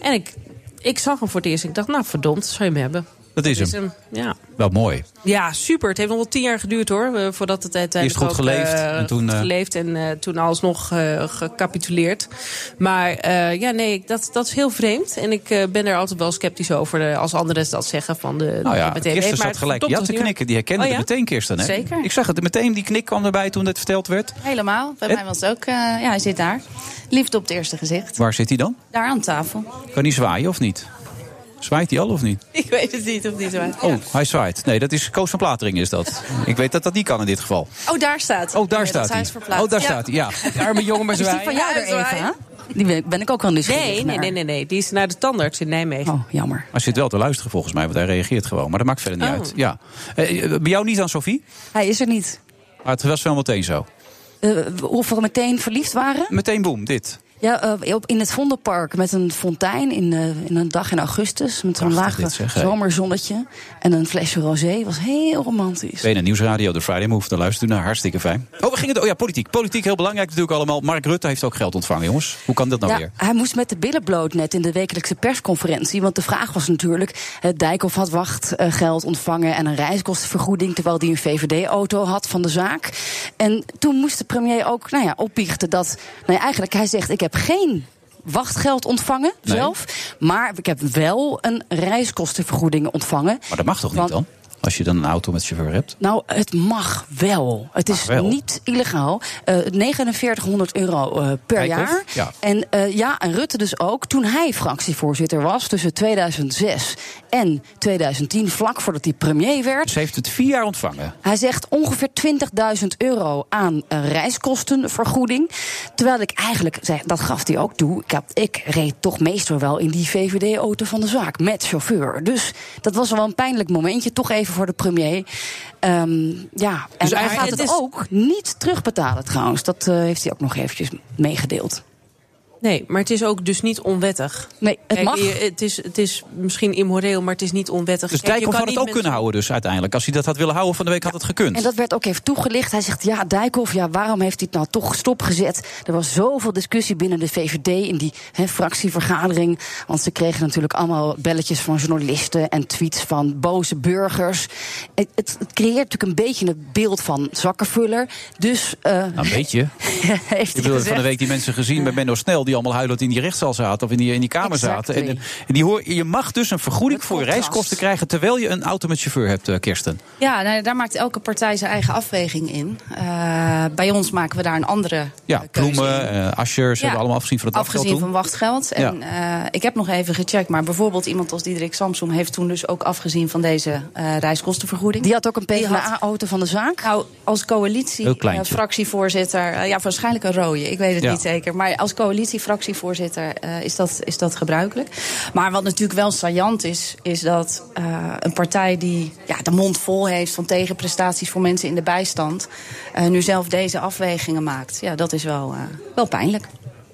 Speaker 7: En ik, ik zag hem voor het eerst. Ik dacht, nou verdomd, zou je hem hebben.
Speaker 6: Dat is hem.
Speaker 7: Ja. Eh,
Speaker 6: Wel mooi.
Speaker 7: Ja, super. Het heeft nog wel tien jaar geduurd hoor. eh, Voordat het uiteindelijk
Speaker 6: Eerst goed
Speaker 7: ook,
Speaker 6: geleefd
Speaker 7: eh,
Speaker 6: en toen,
Speaker 7: goed
Speaker 6: eh,
Speaker 7: geleefd en eh, toen alsnog eh, gecapituleerd. Maar eh, ja, nee, ik- dat, dat is heel vreemd. En ik eh, ben daar altijd wel sceptisch over eh, als anderen dat zeggen. Van de,
Speaker 6: Nou ja,
Speaker 7: dat je
Speaker 6: Kirsten
Speaker 7: meteen weet, maar
Speaker 6: zat
Speaker 7: het
Speaker 6: gelijk
Speaker 7: klopt
Speaker 6: ja
Speaker 7: dus
Speaker 6: te
Speaker 7: niet meer.
Speaker 6: knikken. Die herkende
Speaker 15: Oh ja?
Speaker 6: het meteen Kirsten, hè?
Speaker 15: Zeker.
Speaker 6: Ik zag het meteen, die knik kwam erbij toen dit verteld werd.
Speaker 15: Helemaal. Bij
Speaker 6: En-
Speaker 15: mij was het ook. eh, ja, hij zit daar. Liefde op het eerste gezicht.
Speaker 6: Waar zit hij dan?
Speaker 15: Daar aan tafel.
Speaker 6: Kan hij zwaaien of niet? Zwaait hij al of niet?
Speaker 7: Ik weet het niet of niet waar.
Speaker 6: Oh, hij zwaait. Nee, dat is Koos van Platering is dat. Ik weet dat dat niet kan in dit geval.
Speaker 7: Oh, daar staat.
Speaker 6: Oh, daar
Speaker 15: Nee, dat
Speaker 6: staat
Speaker 15: is
Speaker 6: hij.
Speaker 15: huisverplaatst.
Speaker 6: Oh, daar
Speaker 15: Ja.
Speaker 6: staat hij, ja.
Speaker 15: Arme jongen, maar
Speaker 16: Is die
Speaker 15: zwaaien.
Speaker 16: van jou
Speaker 15: Ja,
Speaker 16: er even,
Speaker 15: zwaaien.
Speaker 16: hè? Die ben, ben ik ook wel nieuwsgierig
Speaker 7: Nee, nee,
Speaker 16: naar.
Speaker 7: nee, nee, nee. Die is naar de tandarts in Nijmegen.
Speaker 16: Oh, jammer.
Speaker 6: Hij zit wel te luisteren volgens mij, want hij reageert gewoon. Maar dat maakt verder niet
Speaker 16: Oh.
Speaker 6: uit. Ja. Eh, eh, bij jou niet dan, Sophie?
Speaker 16: Hij is er niet.
Speaker 6: Maar het was wel meteen zo.
Speaker 16: Eh, of we meteen verliefd waren?
Speaker 6: Meteen boem, dit.
Speaker 16: Ja, eh, op- in het Vondelpark met een fontein in, eh, in een dag in augustus. Met zo'n lage
Speaker 6: dit zeg, hè?
Speaker 16: zomerzonnetje. En een flesje rosé. was heel romantisch.
Speaker 6: BNN Nieuwsradio, de Friday Move. Daar luistert u naar. Hartstikke fijn. Oh, we gingen... door- Oh ja, politiek. Politiek, heel belangrijk natuurlijk allemaal. Mark Rutte heeft ook geld ontvangen, jongens. Hoe kan dat nou
Speaker 16: ja,
Speaker 6: weer?
Speaker 16: Hij moest met de billen bloot net in de wekelijkse persconferentie. Want de vraag was natuurlijk: eh, Dijkhoff had wachtgeld ontvangen en een reiskostenvergoeding. terwijl hij een VVD-auto had van de zaak. En toen moest de premier ook nou ja, opbiechten dat. Nou ja, eigenlijk, hij zegt: Ik heb geen. Wachtgeld ontvangen
Speaker 6: Nee.
Speaker 16: zelf. Maar ik heb wel een reiskostenvergoeding ontvangen.
Speaker 6: Maar dat mag toch niet
Speaker 16: Want-
Speaker 6: dan? Als je dan een auto met chauffeur hebt.
Speaker 16: nou, het mag wel. Het is
Speaker 6: wel.
Speaker 16: niet illegaal. Eh 4900 euro eh, per
Speaker 6: Dijkhoff?
Speaker 16: jaar.
Speaker 6: Ja.
Speaker 16: En eh, ja, en Rutte dus ook. Toen hij fractievoorzitter was, tussen 2006 en 2010, vlak voordat hij premier werd.
Speaker 6: Ze heeft het vier jaar ontvangen.
Speaker 16: Hij zegt ongeveer 20.000 euro aan eh, reiskostenvergoeding. Terwijl ik eigenlijk, zei, dat gaf hij ook toe. Ik, had, ik reed toch meestal wel in die VVD-auto van de zaak met chauffeur. Dus dat was wel een pijnlijk momentje, toch even voor de premier. Ehm, ja, en
Speaker 15: Dus
Speaker 16: hij
Speaker 15: eigenlijk-
Speaker 16: gaat het
Speaker 15: het is-
Speaker 16: ook niet terugbetalen trouwens. Dat eh, heeft hij ook nog eventjes meegedeeld.
Speaker 7: Nee, maar het is ook dus niet onwettig.
Speaker 16: Nee, het
Speaker 7: Kijk,
Speaker 16: mag.
Speaker 7: je- het, is, het is misschien immoreel, maar het is niet onwettig.
Speaker 6: Dus
Speaker 7: Kijk, je
Speaker 6: Dijkhoff
Speaker 7: kan
Speaker 6: had het
Speaker 7: niet
Speaker 6: ook
Speaker 7: met-
Speaker 6: kunnen houden dus uiteindelijk. Als hij dat had willen houden van de week, had het gekund.
Speaker 16: En dat werd ook even toegelicht. Hij zegt, ja, Dijkhoff, ja, waarom heeft hij het nou toch stopgezet? Er was zoveel discussie binnen de VVD in die hè, fractievergadering. Want ze kregen natuurlijk allemaal belletjes van journalisten... en tweets van boze burgers. Het, het, het creëert natuurlijk een beetje het beeld van zakkenvuller. Dus... eh,
Speaker 6: Nou, een beetje.
Speaker 16: heeft hij
Speaker 6: Ik bedoel, van de
Speaker 16: gezegd.
Speaker 6: week die mensen gezien bij Menno Snel... die allemaal huilend in die rechtszaal zaten of in die, in die kamer zaten. En, en die hoor, je mag dus een vergoeding voor je reiskosten krijgen... terwijl je een auto met chauffeur hebt, eh, Kirsten.
Speaker 15: Ja, nou, daar maakt elke partij zijn eigen afweging in. Eh, bij ons maken we daar een andere
Speaker 6: Ja, bloemen, eh asjers,
Speaker 15: Ja.
Speaker 6: hebben allemaal afgezien van het afgeld
Speaker 15: afgezien
Speaker 6: toen.
Speaker 15: van wachtgeld. En eh, ik heb nog even gecheckt, maar bijvoorbeeld iemand als Diederik Samsom heeft toen dus ook afgezien van deze eh, reiskostenvergoeding.
Speaker 16: Die had ook een
Speaker 15: PvdA-auto
Speaker 16: van de zaak?
Speaker 15: Nou, als
Speaker 6: Heel
Speaker 15: coalitie, eh,
Speaker 6: kleintje.
Speaker 15: fractievoorzitter, eh, ja, waarschijnlijk een rode, ik weet het
Speaker 6: Ja.
Speaker 15: niet zeker. Maar als coalitie-fractievoorzitter eh, is, dat, is dat gebruikelijk. Maar wat natuurlijk wel saillant is, is dat eh, een partij die ja, de mond vol heeft van tegenprestaties voor mensen in de bijstand, eh, nu zelf deze afwegingen maakt. Ja, dat is wel, eh, wel pijnlijk.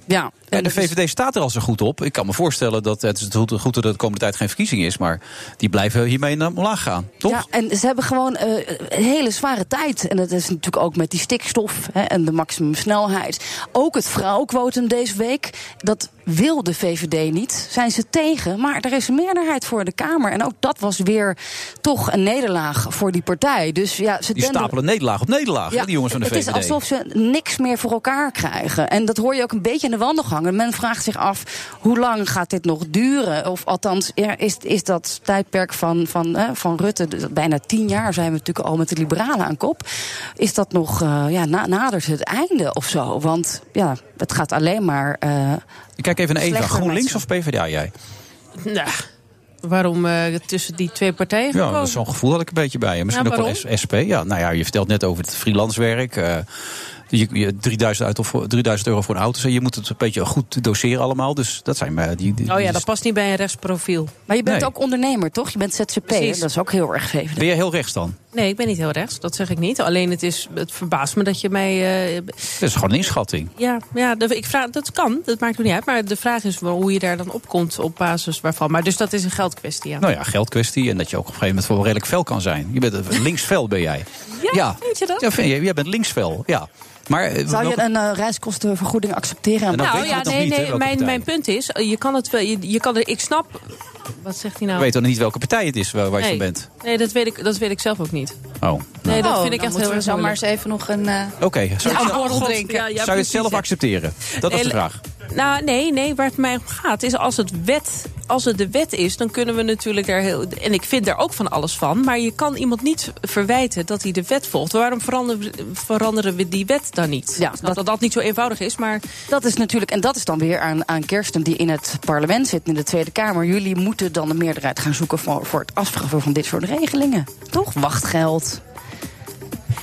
Speaker 16: Ja,
Speaker 6: Ja, de VVD staat er al zo goed op. Ik kan me voorstellen dat het is goed, goed dat er de komende tijd geen verkiezing is... maar die blijven hiermee naar omlaag gaan, toch?
Speaker 16: Ja, en ze hebben gewoon eh, een hele zware tijd. En dat is natuurlijk ook met die stikstof hè, en de maximumsnelheid. Ook het vrouwenquotum deze week. Dat wil de VVD niet. Zijn ze tegen. Maar er is een meerderheid voor de Kamer. En ook dat was weer toch een nederlaag voor die partij. Dus ja, ze
Speaker 6: Die
Speaker 16: denderen-
Speaker 6: stapelen nederlaag op nederlaag, hè, die jongens van de
Speaker 16: het
Speaker 6: VVD.
Speaker 16: is alsof ze niks meer voor elkaar krijgen. En dat hoor je ook een beetje aan de gang. En men vraagt zich af, hoe lang gaat dit nog duren? Of althans, er is, is dat tijdperk van, van, eh, van Rutte, dus bijna tien jaar zijn we natuurlijk al met de liberalen aan kop. Is dat nog, eh, ja, na, nadert het einde of zo? Want ja, het gaat alleen maar... eh,
Speaker 6: Ik kijk even naar Eva.
Speaker 16: Slechter
Speaker 6: GroenLinks of PvdA jij?
Speaker 7: Nou, waarom eh, tussen die twee partijen
Speaker 6: Ja,
Speaker 7: gekozen?
Speaker 6: dat is zo'n gevoel had ik een beetje bij. je. Misschien
Speaker 7: Ja,
Speaker 6: ook wel
Speaker 7: waarom?
Speaker 6: S- SP. Ja, nou ja, je vertelt net over het freelancewerk. eh, je, je, 3000, uit of voor- 3000 euro voor een auto. Je moet het een beetje goed doseren allemaal. Dus dat zijn eh, die, die,
Speaker 7: Oh ja,
Speaker 6: die-
Speaker 7: dat past niet bij een rechtsprofiel.
Speaker 16: Maar je bent
Speaker 6: Nee.
Speaker 16: ook ondernemer, toch? Je bent ZZP'er,
Speaker 7: Precies.
Speaker 16: dat is ook heel erg even.
Speaker 6: Ben je heel rechts dan?
Speaker 7: Nee, ik ben niet heel rechts, dat zeg ik niet. Alleen het, is, het verbaast me dat je mij... eh,
Speaker 6: Dat is gewoon een inschatting.
Speaker 7: ja, ja dat, ik vraag, dat kan, dat maakt me niet uit. Maar de vraag is wel hoe je daar dan op komt op basis waarvan. Maar dus dat is een geldkwestie, ja.
Speaker 6: Nou ja, geldkwestie. En dat je ook op een gegeven moment wel redelijk fel kan zijn. Je bent een linksvel, ben jij.
Speaker 7: Ja,
Speaker 6: weet je dat? Ja, vind je, jij bent linksvel, ja. Maar, eh,
Speaker 16: Zou je
Speaker 6: welke-
Speaker 16: een eh, reiskostenvergoeding accepteren?
Speaker 6: En dan
Speaker 7: Nou
Speaker 6: weten we
Speaker 7: ja,
Speaker 6: het nog
Speaker 7: nee,
Speaker 6: niet, hè,
Speaker 7: nee.
Speaker 6: welke
Speaker 7: mijn,
Speaker 6: partij.
Speaker 7: mijn punt is, eh, je kan het wel. Je, je kan er, ik snap. Wat zegt hij
Speaker 6: Ik
Speaker 7: nou?
Speaker 6: weet dan niet welke partij het is waar, waar je
Speaker 7: nee.
Speaker 6: van bent.
Speaker 7: Nee, dat weet, ik, dat weet ik zelf ook niet.
Speaker 6: Oh.
Speaker 7: Nee, dat
Speaker 15: Oh,
Speaker 7: vind ik
Speaker 15: dan
Speaker 7: echt
Speaker 15: moeten
Speaker 7: heel
Speaker 15: we
Speaker 7: erg
Speaker 15: zo maar
Speaker 7: moeilijk. Oh,
Speaker 15: eens even nog een... eh,
Speaker 6: Oké, zou,
Speaker 15: Ja,
Speaker 6: je-
Speaker 15: een borrel
Speaker 6: God,
Speaker 15: drinken.
Speaker 6: ja, ja, zou je het
Speaker 7: precies,
Speaker 6: zelf
Speaker 7: hè.
Speaker 6: accepteren? Dat was
Speaker 7: Nee,
Speaker 6: de vraag.
Speaker 7: Nou, nee, nee. Waar het mij om gaat is als het, wet, als het de wet is, dan kunnen we natuurlijk daar heel. En ik vind daar ook van alles van. Maar je kan iemand niet verwijten dat hij de wet volgt. Waarom veranderen, we- veranderen we die wet dan niet? Ja, dat, dat dat niet zo eenvoudig is, maar.
Speaker 16: Dat is natuurlijk, en dat is dan weer aan, aan Kirsten die in het parlement zit, in de Tweede Kamer. Jullie moeten dan een meerderheid gaan zoeken voor, voor het afschaffen van dit soort regelingen. Toch? Wachtgeld.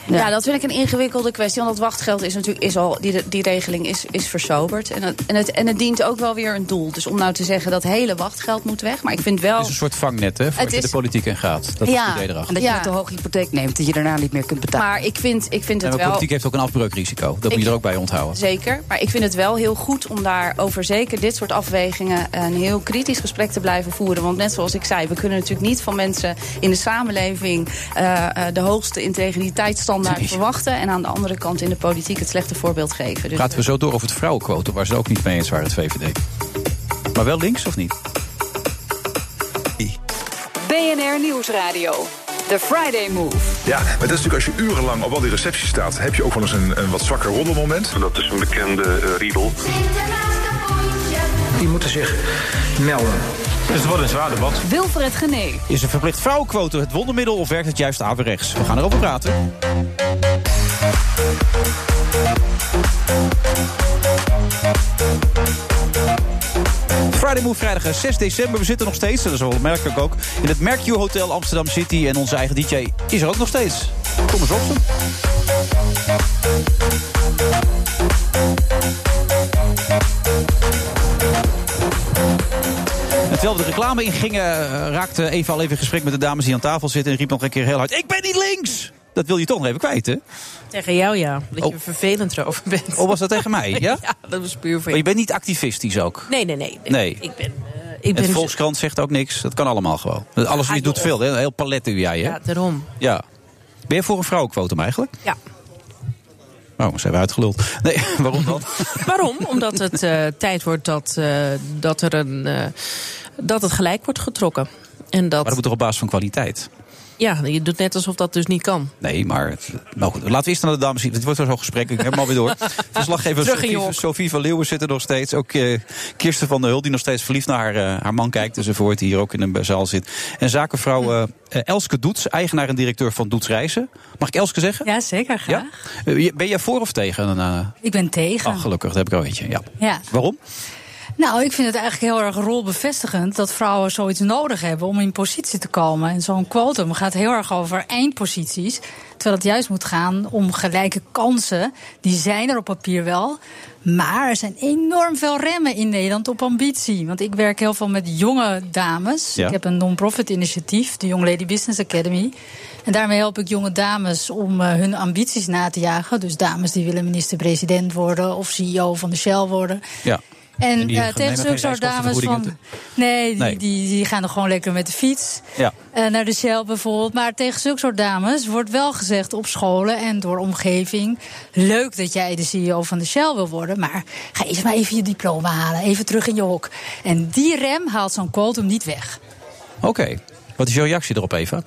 Speaker 15: Ja. dat vind ik een ingewikkelde kwestie. Want dat wachtgeld is natuurlijk is al, die, die regeling is, is versoberd. En het, en, het, en het dient ook wel weer een doel. Dus om nou te zeggen dat hele wachtgeld moet weg. Maar ik vind wel.
Speaker 6: Het is een soort vangnet, hè,
Speaker 15: Het
Speaker 6: voordat je
Speaker 15: is-
Speaker 6: de politiek in gaat. Dat is het idee erachter.
Speaker 16: en dat je met de hoge hypotheek neemt die je daarna niet meer kunt betalen.
Speaker 15: Maar ik vind, ik vind
Speaker 6: En
Speaker 15: het
Speaker 6: de
Speaker 15: wel.
Speaker 6: politiek heeft ook een afbreukrisico. Dat
Speaker 15: Ik-
Speaker 6: moet je er ook bij onthouden.
Speaker 15: Zeker. Maar ik vind het wel heel goed om daarover zeker dit soort afwegingen eh, een heel kritisch gesprek te blijven voeren. Want net zoals ik zei, we kunnen natuurlijk niet van mensen in de samenleving eh, eh, de hoogste integriteitsstandaard verwachten. En aan de andere kant in de politiek het slechte voorbeeld geven. Dus,
Speaker 6: Praten we zo door over het vrouwenquotum, waar ze ook niet mee eens waren, het VVD. Maar wel links of niet?
Speaker 2: BNR Nieuwsradio. The Friday Move.
Speaker 3: Ja, maar dat is natuurlijk als je urenlang op al die recepties staat, heb je ook wel eens een, een wat zwakker roddelmoment. Dat is een bekende eh, riedel.
Speaker 14: Die moeten zich melden. Dus het wordt een zwaar debat.
Speaker 2: Wilfred Genee.
Speaker 6: Is een verplicht vrouwenquotum het wondermiddel of werkt het juist averechts? We gaan erover praten. Friday Move vrijdag eh, 6 december. We zitten nog steeds, dat is wel merkelijk ook, in het Mercure Hotel Amsterdam City. En onze eigen DJ is er ook nog steeds. Thomas Robson. En terwijl we de reclame ingingen, eh, raakte Eva al even in gesprek met de dames die aan tafel zitten. En riep nog een keer heel hard, ik ben niet links! Dat wil je toch nog even kwijt, hè?
Speaker 7: Tegen jou ja. Dat
Speaker 6: Oh.
Speaker 7: je vervelend erover bent.
Speaker 6: Oh, was dat tegen mij, ja?
Speaker 7: dat was puur voor
Speaker 6: Maar je
Speaker 7: jou.
Speaker 6: bent niet activistisch ook.
Speaker 7: Nee, nee, nee.
Speaker 6: Nee.
Speaker 7: Ik ben. eh, ik
Speaker 6: Het
Speaker 7: ben
Speaker 6: Volkskrant zegt ook niks. Dat kan allemaal gewoon. Alles je doet veel, hè? Een heel palet doe jij, hè?
Speaker 7: ja, daarom.
Speaker 6: Ja. Ben je voor een vrouwenquotum eigenlijk?
Speaker 7: Ja.
Speaker 6: Oh, zijn we uitgeluld. Nee, waarom dan?
Speaker 7: Waarom? Omdat het eh, tijd wordt dat, eh, dat, er een, eh, dat het gelijk wordt getrokken. En dat,
Speaker 6: Maar dat moet toch op basis van kwaliteit?
Speaker 7: ja, je doet net alsof dat dus niet kan.
Speaker 6: Nee, maar, het- nou goed, laten we eerst naar de dames zien. Het wordt wel zo'n gesprek, ik heb hem alweer door. Verslaggever
Speaker 7: Terug in je
Speaker 6: Sophie,
Speaker 7: hok.
Speaker 6: Sophie van Leeuwen zit er nog steeds. Ook eh, Kirsten van der Hul, die nog steeds verliefd naar haar, eh, haar man kijkt. Enzovoort, die hier ook in een eh, zaal zit. En
Speaker 17: Hm.
Speaker 6: zakenvrouw eh, eh, Elske Doets, eigenaar en directeur van Doets Reizen. Mag ik Elske zeggen?
Speaker 17: Ja, zeker, graag.
Speaker 6: Eh, je- Ben jij voor of tegen? een, eh,
Speaker 17: Ik ben tegen.
Speaker 6: Ah, gelukkig, dat heb ik al eentje. Ja.
Speaker 17: Ja.
Speaker 6: Waarom?
Speaker 17: Nou, ik vind het eigenlijk heel erg rolbevestigend dat vrouwen zoiets nodig hebben om in positie te komen. En zo'n quotum gaat heel erg over eindposities. Terwijl het juist moet gaan om gelijke kansen. Die zijn er op papier wel. Maar er zijn enorm veel remmen in Nederland op ambitie. Want ik werk heel veel met jonge dames.
Speaker 18: Ja.
Speaker 17: Ik heb een non-profit initiatief, de Young Lady Business Academy. En daarmee help ik jonge dames om eh, hun ambities na te jagen. Dus dames die willen minister-president worden of CEO van de Shell worden.
Speaker 6: Ja.
Speaker 17: En,
Speaker 6: En die
Speaker 17: eh,
Speaker 6: nemen
Speaker 17: tegen
Speaker 6: geen
Speaker 17: zulke soort dames van.
Speaker 6: reiskostenvergoedingen
Speaker 17: Nee, die,
Speaker 6: Nee.
Speaker 17: Die, die gaan er gewoon lekker met de fiets.
Speaker 6: Ja.
Speaker 17: eh, naar de Shell bijvoorbeeld. Maar tegen zulke soort dames wordt wel gezegd op scholen en door omgeving. Leuk dat jij de CEO van de Shell wil worden. Maar ga eerst maar even je diploma halen. Even terug in je hok. En die rem haalt zo'n quotum niet weg.
Speaker 6: Oké. Wat is jouw reactie erop, Eva?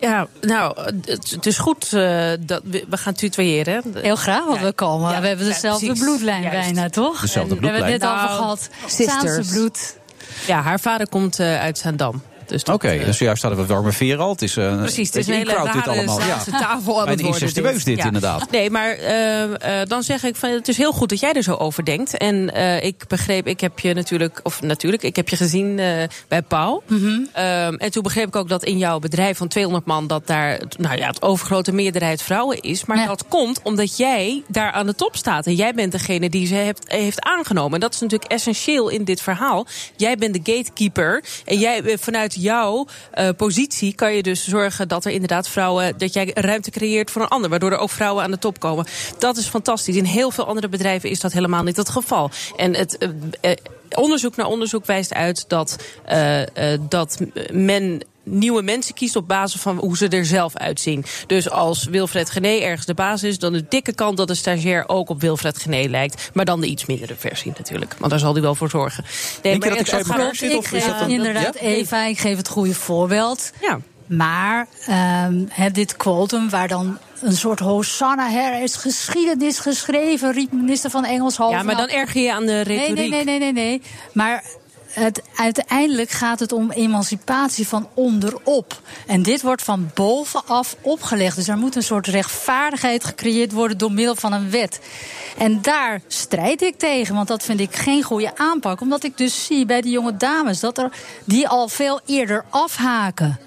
Speaker 7: Ja, nou, het, het is goed eh, dat we, we gaan tutoyeren.
Speaker 17: Heel graag, want we komen. we hebben
Speaker 7: ja,
Speaker 17: dezelfde
Speaker 7: precies.
Speaker 17: bloedlijn
Speaker 7: Juist.
Speaker 17: bijna, toch?
Speaker 7: Dezelfde
Speaker 17: We hebben het net
Speaker 7: bloedlijn.
Speaker 17: over
Speaker 7: Nou,
Speaker 17: gehad.
Speaker 7: sisters.
Speaker 17: Saanse bloed.
Speaker 7: Ja, haar vader komt eh, uit Zaandam. Dus dat,
Speaker 6: Oké,
Speaker 7: eh,
Speaker 6: dus juist hadden we het warme veer al. Het is eh, een
Speaker 7: Precies, het is een
Speaker 6: beetje
Speaker 7: hele
Speaker 6: in-crowd
Speaker 7: rare
Speaker 6: dit allemaal.
Speaker 7: Zaanse tafel aan
Speaker 6: Bijna
Speaker 7: het worden. dus-
Speaker 6: incestueus dit,
Speaker 7: Ja.
Speaker 6: inderdaad.
Speaker 7: Nee, maar eh, eh, dan zeg ik, van, het is heel goed dat jij er zo over denkt. En eh, ik begreep, ik heb je natuurlijk, of natuurlijk, ik heb je gezien eh, bij Pauw. Ehm, en toen begreep ik ook dat in jouw bedrijf van 200 man... dat daar nou ja, het overgrote meerderheid vrouwen is. Maar dat komt omdat jij daar aan de top staat. En jij bent degene die ze hebt, heeft aangenomen. En dat is natuurlijk essentieel in dit verhaal. Jij bent de gatekeeper. En jij, eh, vanuit jouw eh, positie kan je dus zorgen dat er inderdaad vrouwen... dat jij ruimte creëert voor een ander. Waardoor er ook vrouwen aan de top komen. Dat is fantastisch. In heel veel andere bedrijven is dat helemaal niet het geval. En het... eh, eh, onderzoek naar onderzoek wijst uit dat, eh, eh, dat men nieuwe mensen kiest op basis van hoe ze er zelf uitzien. Dus als Wilfred Gené ergens de baas is... dan de dikke kant dat de stagiair ook op Wilfred Gené lijkt. Maar dan de iets mindere versie natuurlijk. Want daar zal hij wel voor zorgen. Nee,
Speaker 17: maar
Speaker 7: maar het- het gaat-
Speaker 17: klopt. Ik geef inderdaad Eva, ik geef het goede voorbeeld. Maar ehm, hè, dit quotum waar dan een soort Hosanna her is geschiedenis geschreven, riep minister van Engelshoven.
Speaker 7: Ja, maar
Speaker 17: Nou,
Speaker 7: dan erger je aan de retoriek.
Speaker 17: Nee, nee, nee, nee, nee. nee. Maar het, uiteindelijk gaat het om emancipatie van onderop. En dit wordt van bovenaf opgelegd. Dus er moet een soort rechtvaardigheid gecreëerd worden door middel van een wet. En daar strijd ik tegen, want dat vind ik geen goede aanpak. Omdat ik dus zie bij die jonge dames dat er die al veel eerder afhaken.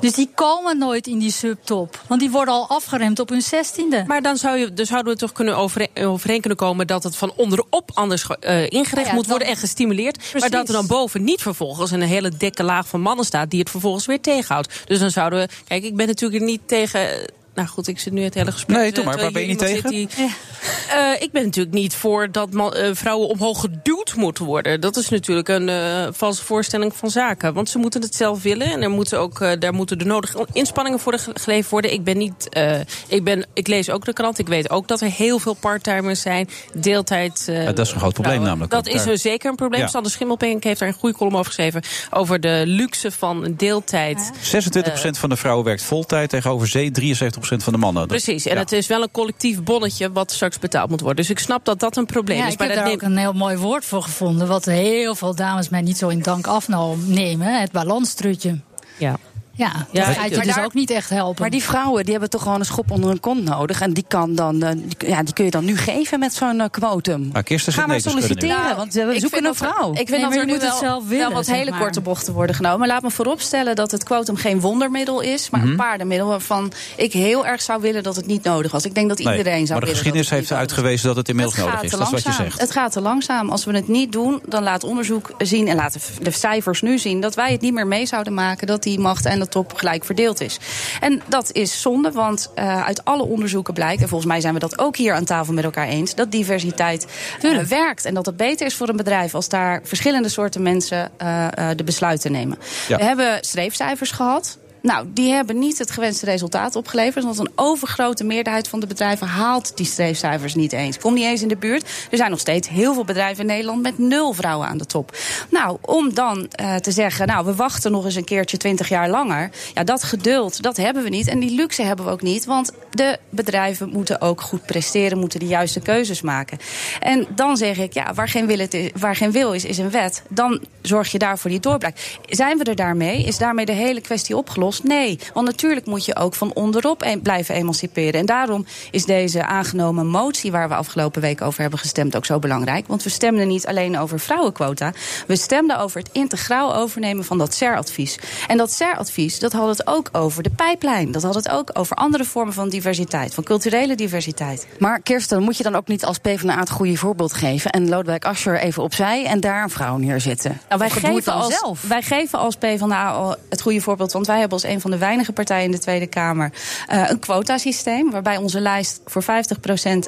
Speaker 17: Dus die komen nooit in die subtop. Want die worden al afgeremd op hun zestiende.
Speaker 7: Maar dan zou je, dus zouden we toch kunnen overeen, overeen kunnen komen dat het van onderop anders ge- eh, ingericht
Speaker 17: Ja,
Speaker 7: moet worden
Speaker 17: dan-
Speaker 7: en gestimuleerd. Maar dat er dan boven niet vervolgens een hele dikke laag van mannen staat die het vervolgens weer tegenhoudt. Dus dan zouden we. Kijk, ik ben natuurlijk niet tegen. Nou goed, ik zit nu het hele gesprek.
Speaker 6: Nee,
Speaker 7: eh,
Speaker 6: doe maar.
Speaker 7: terwijl
Speaker 6: Waar ben je
Speaker 7: hier
Speaker 6: niet
Speaker 7: iemand zit die- Eh, ik ben natuurlijk niet voor dat man- eh, vrouwen omhoog geduwd moeten worden. Dat is natuurlijk een eh, valse voorstelling van zaken. Want ze moeten het zelf willen en er moeten ook, eh, daar moeten de nodige inspanningen voor ge- geleverd worden. Ik ben niet. eh, ik, ben, ik lees ook de krant. Ik weet ook dat er heel veel parttimers zijn. Deeltijd. eh,
Speaker 6: Ja, dat is een groot probleem
Speaker 7: vrouwen.
Speaker 6: namelijk
Speaker 7: Dat
Speaker 6: ook Eh,
Speaker 7: is
Speaker 6: daar.
Speaker 7: een, zeker een probleem.
Speaker 6: Ja.
Speaker 7: Sander Schimmelpenk heeft daar een goede column over geschreven. Over de luxe van deeltijd.
Speaker 6: 26% van de vrouwen werkt voltijd tegenover zee 73% van de mannen. Dat-
Speaker 7: Precies, en
Speaker 6: ja.
Speaker 7: het is wel een collectief bonnetje wat straks betaald moet worden. Dus ik snap dat dat een probleem
Speaker 17: Ja,
Speaker 7: is.
Speaker 17: ik
Speaker 7: dus maar
Speaker 17: heb
Speaker 7: dat
Speaker 17: daar ook
Speaker 7: neemt-
Speaker 17: een heel mooi woord voor gevonden. Wat heel veel dames mij niet zo in dank afnemen. Het balanstrutje.
Speaker 7: Ja.
Speaker 17: Ja, dat
Speaker 16: Ja,
Speaker 17: gaat je
Speaker 16: maar
Speaker 17: dus
Speaker 16: daar-
Speaker 17: ook niet echt helpen.
Speaker 16: Maar die vrouwen die hebben toch gewoon een schop onder hun kont nodig. En die, kan dan, eh, die- ja, die kun je dan nu geven met zo'n eh, quotum.
Speaker 6: Maar Nou, Kirsten zit
Speaker 16: Ga maar
Speaker 6: nee te schudden nu.
Speaker 16: solliciteren, want we zoeken een vrouw.
Speaker 15: Ik vind dat er nu wel, wel wat hele korte bochten worden genomen. Laat me vooropstellen dat het quotum geen wondermiddel is, maar
Speaker 6: Mhm.
Speaker 15: een paardenmiddel waarvan ik heel erg zou willen dat het niet nodig was. Ik denk dat
Speaker 6: Nee,
Speaker 15: iedereen
Speaker 6: maar
Speaker 15: zou
Speaker 6: de
Speaker 15: willen.
Speaker 6: geschiedenis heeft uitgewezen dat het inmiddels nodig is. Dat is wat je zegt.
Speaker 15: Het gaat te langzaam. Als we het niet doen, dan laat onderzoek zien en laten de cijfers nu zien dat wij het niet meer mee zouden maken dat die macht en de top gelijk verdeeld is. En dat is zonde, want eh, uit alle onderzoeken blijkt, en volgens mij zijn we dat ook hier aan tafel met elkaar eens, dat diversiteit eh, werkt en dat het beter is voor een bedrijf als daar verschillende soorten mensen eh, eh, de besluiten nemen.
Speaker 18: Ja.
Speaker 15: We hebben streefcijfers gehad. Nou, die hebben niet het gewenste resultaat opgeleverd. Want een overgrote meerderheid van de bedrijven haalt die streefcijfers niet eens. Komt niet eens in de buurt. Er zijn nog steeds heel veel bedrijven in Nederland met nul vrouwen aan de top. Nou, om dan eh, te zeggen, nou, we wachten nog eens een keertje 20 jaar langer. Ja, dat geduld, dat hebben we niet. En die luxe hebben we ook niet. Want de bedrijven moeten ook goed presteren, moeten de juiste keuzes maken. En dan zeg ik, ja, waar geen wil, het is, waar geen wil is, is een wet. Dan zorg je daarvoor die doorbraak. Zijn we er daarmee? Is daarmee de hele kwestie opgelost? Nee. Want natuurlijk moet je ook van onderop e- blijven emanciperen. En daarom is deze aangenomen motie waar we afgelopen week over hebben gestemd ook zo belangrijk. Want we stemden niet alleen over vrouwenquota. We stemden over het integraal overnemen van dat CER-advies. En dat CER-advies, dat had het ook over de pijplijn. Dat had het ook over andere vormen van diversiteit, van culturele diversiteit.
Speaker 16: Maar Kirsten, moet je dan ook niet als PvdA het goede voorbeeld geven... en Lodewijk Asscher even opzij en daar een vrouw neerzetten?
Speaker 15: Nou, wij,
Speaker 16: Of doe het
Speaker 15: geven
Speaker 16: dan
Speaker 15: als,
Speaker 16: zelf.
Speaker 15: wij geven als PvdA al het goede voorbeeld. Want wij hebben als een van de weinige partijen in de Tweede Kamer eh, een quotasysteem. Waarbij onze lijst voor 50%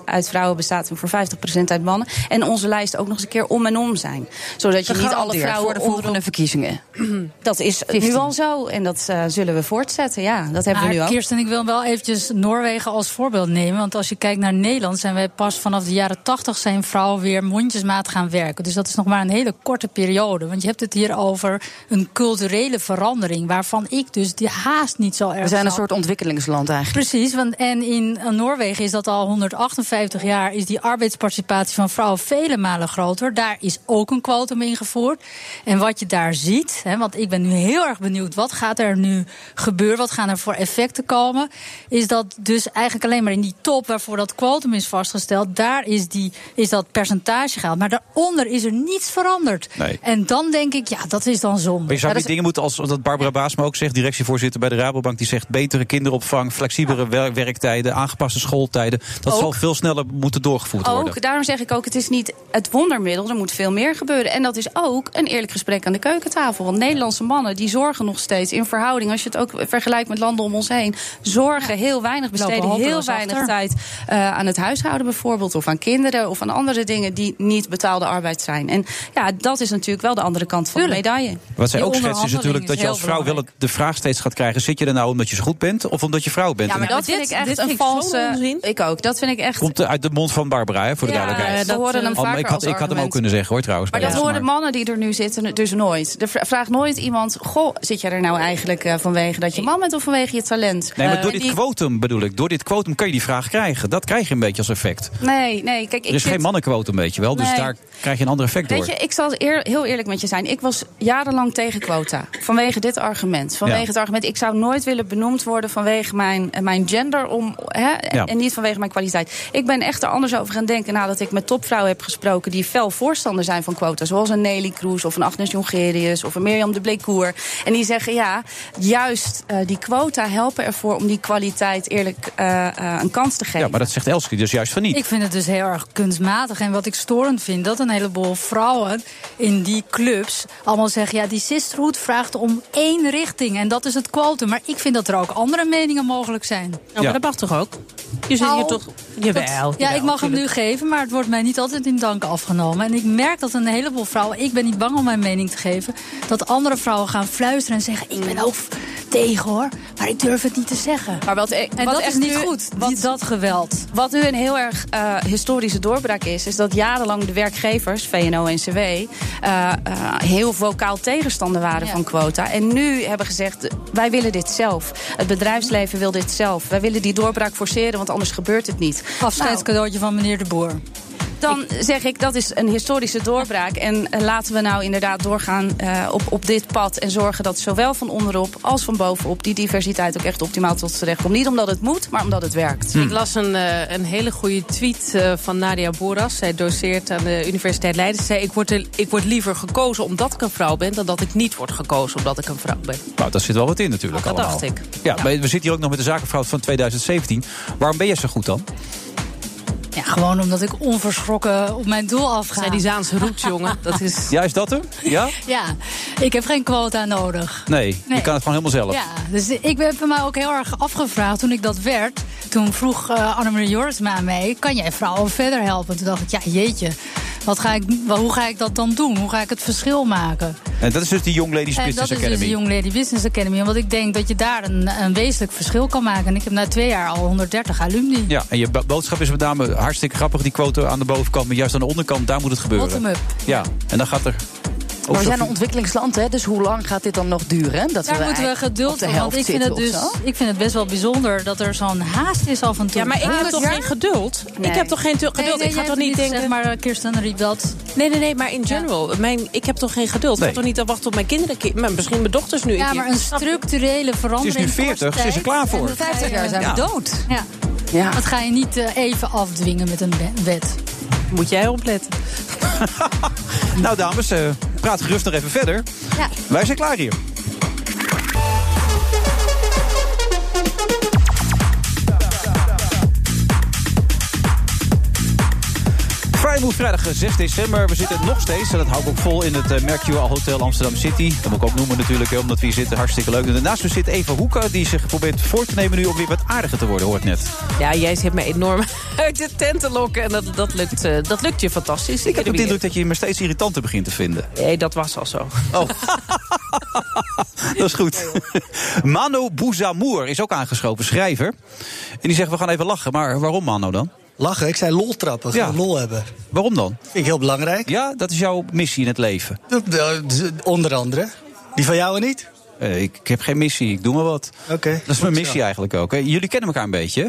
Speaker 15: uit vrouwen bestaat en voor 50% uit mannen. En onze lijst ook nog eens een keer om en om zijn. Zodat je niet alle
Speaker 16: Gegarandeerd
Speaker 15: vrouwen
Speaker 16: voor de volgende verkiezingen.
Speaker 15: Dat is nu
Speaker 16: 15.
Speaker 15: al zo. En dat eh, zullen we voortzetten. Ja, dat hebben
Speaker 17: maar
Speaker 15: we nu ook.
Speaker 17: Kirsten, ik wil wel eventjes Noorwegen als voorbeeld nemen. Want als je kijkt naar Nederland, zijn wij pas vanaf de jaren 80 zijn vrouwen weer mondjesmaat gaan werken. Dus dat is nog maar een hele korte periode. Want je hebt het hier over een culturele verandering. Waarvan ik dus je haast niet zo erg.
Speaker 16: We zijn een
Speaker 17: zou-
Speaker 16: soort ontwikkelingsland eigenlijk.
Speaker 17: Precies, want en in eh, Noorwegen is dat al 158 jaar, is die arbeidsparticipatie van vrouwen vele malen groter. Daar is ook een kwotum ingevoerd. En wat je daar ziet, hè, want ik ben nu heel erg benieuwd, wat gaat er nu gebeuren? Wat gaan er voor effecten komen? Is dat dus eigenlijk alleen maar in die top waarvoor dat kwotum is vastgesteld, daar is, die, is dat percentage gehaald. Maar daaronder is er niets veranderd.
Speaker 6: Nee.
Speaker 17: En dan denk ik, ja, dat is dan zonde.
Speaker 6: Maar je zou
Speaker 17: Ja,
Speaker 6: niet dingen moeten als dat Barbara Baasma ook zegt, directievoorzitter bij de Rabobank, die zegt betere kinderopvang, flexibelere wer- werktijden, aangepaste schooltijden. Dat
Speaker 15: Ook.
Speaker 6: zal veel sneller moeten doorgevoerd worden.
Speaker 15: Ook, daarom zeg ik ook, het is niet het wondermiddel. Er moet veel meer gebeuren. En dat is ook een eerlijk gesprek aan de keukentafel. Want Nederlandse mannen die zorgen nog steeds in verhouding... als je het ook vergelijkt met landen om ons heen... zorgen heel weinig,
Speaker 17: Lopen
Speaker 15: besteden heel
Speaker 17: hopeloos
Speaker 15: weinig
Speaker 17: achter.
Speaker 15: tijd... eh, aan het huishouden bijvoorbeeld, of aan kinderen... of aan andere dingen die niet betaalde arbeid zijn. En ja, dat is natuurlijk wel de andere kant van de medaille.
Speaker 6: Wat zij ook schetst is natuurlijk dat je als vrouw wel het- de vraag steeds gaat krijgen: zit je er nou omdat je zo goed bent of omdat je vrouw bent?
Speaker 15: Ja, maar
Speaker 6: En
Speaker 15: dat vind
Speaker 17: dit-
Speaker 15: ik echt
Speaker 17: dit
Speaker 15: een
Speaker 17: vind ik zo'n
Speaker 15: valse... Ik ook, dat vind ik echt...
Speaker 6: Komt uit de mond van Barbara, hè, voor de
Speaker 15: Ja,
Speaker 6: duidelijkheid.
Speaker 15: we horen hem
Speaker 6: Al- maar
Speaker 15: vaker
Speaker 6: ik, had,
Speaker 15: als
Speaker 6: ik had hem ook
Speaker 15: argument.
Speaker 6: kunnen zeggen hoor, trouwens.
Speaker 15: Maar
Speaker 6: bij
Speaker 15: dat
Speaker 6: ons,
Speaker 15: horen mannen die er nu zitten dus nooit. Er vra- vraagt nooit iemand: Goh, zit jij er nou eigenlijk eh, vanwege dat je man bent of vanwege je talent?
Speaker 6: Nee, maar
Speaker 15: Eh,
Speaker 6: door
Speaker 15: en
Speaker 6: dit
Speaker 15: die-
Speaker 6: quotum bedoel ik. Door dit quotum kun je die vraag krijgen. Dat krijg je een beetje als effect.
Speaker 15: Nee, nee, kijk, ik
Speaker 6: er is
Speaker 15: zit-
Speaker 6: geen mannenquotum, weet je wel. Dus
Speaker 15: Nee.
Speaker 6: daar krijg je een ander effect door.
Speaker 15: Weet je, ik zal eer- heel eerlijk met je zijn. Ik was jarenlang tegen quota. Vanwege dit argument. Vanwege
Speaker 6: Ja.
Speaker 15: het argument, ik zou nooit willen benoemd worden vanwege mijn, eh, mijn gender om, hè,
Speaker 6: Ja.
Speaker 15: en niet vanwege mijn kwaliteit. Ik ben echt er anders over gaan denken nadat ik met topvrouwen heb gesproken die fel voorstander zijn van quota. Zoals een Nelly Kroes of een Agnes Jongerius of een Mirjam de Blekoer. En die zeggen ja, juist eh, die quota helpen ervoor om die kwaliteit eerlijk eh, eh, een kans te geven.
Speaker 6: Ja, maar dat zegt Elske dus juist van niet.
Speaker 17: Ik vind het dus heel erg kunstmatig. En wat ik storend vind, dat een heleboel vrouwen in die clubs allemaal zeggen: ja, die sisterhood vraagt om één richting. En dat is het quotum. Maar ik vind dat er ook andere meningen mogelijk zijn.
Speaker 7: maar Ja. dat mag toch ook? Je zit hier toch- Jawel, jawel,
Speaker 17: ja, ik mag hem nu
Speaker 7: tuurlijk.
Speaker 17: geven, maar het wordt mij niet altijd in dank afgenomen. En ik merk dat een heleboel vrouwen, ik ben niet bang om mijn mening te geven, dat andere vrouwen gaan fluisteren en zeggen: ik ben ook tegen hoor, maar ik durf het niet te zeggen.
Speaker 15: Maar wat, e-
Speaker 17: en
Speaker 15: wat
Speaker 17: dat is
Speaker 15: echt
Speaker 17: niet
Speaker 15: nu-
Speaker 17: goed, die- dat geweld.
Speaker 15: Wat nu een heel erg eh, historische doorbraak is, is dat jarenlang de werkgevers, VNO en CW, eh, eh, heel vocaal tegenstander waren van quota. En nu hebben gezegd: wij willen dit zelf. Het bedrijfsleven wil dit zelf. Wij willen die doorbraak forceren, want anders gebeurt het niet. Nou,
Speaker 17: Afscheidscadeautje van meneer De Boer.
Speaker 15: Dan zeg ik, dat is een historische doorbraak. En eh, laten we nou inderdaad doorgaan eh, op, op dit pad. En zorgen dat zowel van onderop als van bovenop die diversiteit ook echt optimaal tot z'n recht komt. Niet omdat het moet, maar omdat het werkt.
Speaker 6: Hmm.
Speaker 7: Ik las een, eh, een hele goede tweet eh, van Nadia Boras. Zij doseert aan de Universiteit Leiden. Ze zei, ik word, er- ik word liever gekozen omdat ik een vrouw ben... dan dat ik niet word gekozen omdat ik een vrouw ben.
Speaker 6: Nou, daar zit wel wat in
Speaker 15: Oh,
Speaker 6: natuurlijk
Speaker 7: Dat
Speaker 6: allemaal.
Speaker 7: dacht ik.
Speaker 6: Ja, maar we zitten hier ook nog met de zakenvrouw van 2017. Waarom ben je zo goed dan?
Speaker 17: Ja, gewoon omdat ik onverschrokken op mijn doel afga.
Speaker 7: Zij die Zaanse roots, jongen. Dat is...
Speaker 6: Ja, is dat hem? Ja?
Speaker 17: Ja, ik heb geen quota nodig.
Speaker 6: Nee,
Speaker 17: Nee.
Speaker 6: je kan het gewoon helemaal zelf.
Speaker 17: Ja, dus ik heb mij ook heel erg afgevraagd toen ik dat werd. Toen vroeg eh Annemarie Jorisma aan mij, kan jij vrouwen verder helpen? Toen dacht ik, ja jeetje, wat ga ik, wa- hoe ga ik dat dan doen? Hoe ga ik het verschil maken?
Speaker 6: En dat is dus die Young Ladies
Speaker 17: en dat
Speaker 6: Business
Speaker 17: is
Speaker 6: Academy.
Speaker 17: dus de Young Lady Business Academy. Omdat ik denk dat je daar een, een wezenlijk verschil kan maken. En ik heb na twee jaar al 130 alumni.
Speaker 6: Ja, en je bo- boodschap is met name hartstikke grappig. Die quote aan de bovenkant, maar juist aan de onderkant, daar moet het gebeuren.
Speaker 16: Bottom-up.
Speaker 6: Ja, en dan gaat er...
Speaker 16: Maar we zijn een ontwikkelingsland, hè? dus hoe lang gaat dit dan nog duren? hè? Dat
Speaker 17: Daar moeten we
Speaker 16: eigenlijk op
Speaker 17: geduld
Speaker 16: de
Speaker 17: voor, want
Speaker 16: helft
Speaker 17: ik vind, het dus,
Speaker 16: zitten of zo?
Speaker 17: ik vind het best wel bijzonder dat er zo'n haast is af en toe.
Speaker 7: Ja, maar ik heb
Speaker 17: 100
Speaker 7: toch
Speaker 17: jaar?
Speaker 7: geen geduld? Ik
Speaker 17: Nee.
Speaker 7: heb toch geen tu-
Speaker 17: Nee,
Speaker 7: geduld?
Speaker 17: nee,
Speaker 7: ik
Speaker 17: jij
Speaker 7: ga toch
Speaker 17: hebt
Speaker 7: niet
Speaker 17: het
Speaker 7: denken...
Speaker 17: gezegd, maar eh, Kirsten riep dat.
Speaker 7: Nee, nee, nee, maar in general. Mijn, ik heb toch geen geduld? Ik
Speaker 6: Nee.
Speaker 7: ga toch niet te wachten op mijn kinderen? ki- maar Misschien mijn dochters nu een
Speaker 17: Ja,
Speaker 7: keer.
Speaker 17: maar een structurele verandering.
Speaker 6: Het is nu 40, ze is er klaar voor.
Speaker 17: 50 jaar zijn
Speaker 6: Ja.
Speaker 17: we dood. Ja. Dat ga je niet eh, even afdwingen met een be- wet.
Speaker 7: Moet jij opletten.
Speaker 6: Nou dames, eh, praat gerust nog even verder.
Speaker 17: Ja.
Speaker 6: Wij zijn klaar hier. Vrijmoed vrijdag eh, 6 december. We zitten nog steeds, en dat hou ik ook vol, in het eh, Mercure Hotel Amsterdam City. Dat moet ik ook noemen natuurlijk, hè, omdat we hier zitten. Hartstikke leuk. En daarnaast me zit Eva Hoeka, die zich probeert voor te nemen nu om weer wat aardiger te worden, hoort net.
Speaker 7: Ja, jij zit me enorm uit de tent te lokken. En dat, dat, lukt, eh, dat lukt je fantastisch.
Speaker 6: Ik heb
Speaker 7: Iedere
Speaker 6: de indruk
Speaker 7: weer.
Speaker 6: dat je je maar steeds irritanter begint te vinden.
Speaker 7: Nee, dat was al zo.
Speaker 6: Dat is goed. Mano Bouzamour is ook aangeschoven, schrijver. En die zegt, we gaan even lachen. Maar waarom Mano dan?
Speaker 18: Lachen? Ik zei lol trappen.
Speaker 6: Ja.
Speaker 18: Gewoon lol hebben.
Speaker 6: Waarom dan?
Speaker 18: Vind ik heel belangrijk.
Speaker 6: Ja, dat is jouw missie in het leven.
Speaker 18: Eh, eh, Onder andere. Die van jou niet?
Speaker 6: eh, ik, ik heb geen missie, ik doe maar wat.
Speaker 18: Oké.
Speaker 6: Dat is mijn missie eigenlijk ook. hè. Jullie kennen elkaar een beetje. hè?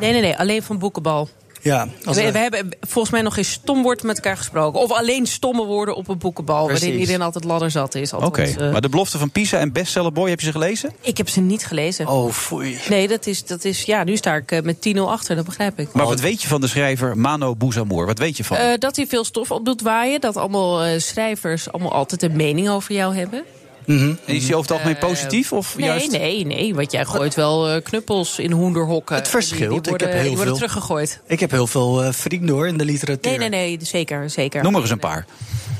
Speaker 7: Nee, nee, nee. Alleen van boekenbal.
Speaker 18: Ja.
Speaker 7: we, we hebben volgens mij nog geen stom woord met elkaar gesproken. Of alleen stomme woorden op een boekenbal. Waarin
Speaker 6: Precies.
Speaker 7: iedereen altijd ladder zat is.
Speaker 6: Oké,
Speaker 7: althans, eh,
Speaker 6: maar de belofte van Pisa en Bestseller Boy, heb je ze gelezen?
Speaker 7: Ik heb ze niet gelezen.
Speaker 18: Oh, foei.
Speaker 7: Nee, dat is, dat is. Ja, nu sta ik eh, met 10-0 achter, dat begrijp ik.
Speaker 6: Maar wat weet je van de schrijver Mano Bouzamour? Wat weet je van?
Speaker 7: Eh, dat hij veel stof op doet waaien. Dat allemaal eh, schrijvers allemaal altijd een mening over jou hebben.
Speaker 18: Mhm.
Speaker 6: En is hij over het algemeen
Speaker 7: Eh,
Speaker 6: positief? Of
Speaker 7: nee,
Speaker 6: juist...
Speaker 7: nee, nee. Want jij gooit wel eh, knuppels in hoenderhokken.
Speaker 18: Het verschilt.
Speaker 7: Die, die
Speaker 18: Ik
Speaker 7: worden,
Speaker 18: heb heel
Speaker 7: die worden
Speaker 18: veel-
Speaker 7: teruggegooid.
Speaker 18: Ik heb heel veel eh, vrienden hoor in de literatuur.
Speaker 7: Nee, nee, nee. Zeker, zeker.
Speaker 18: Noem er
Speaker 6: eens een paar.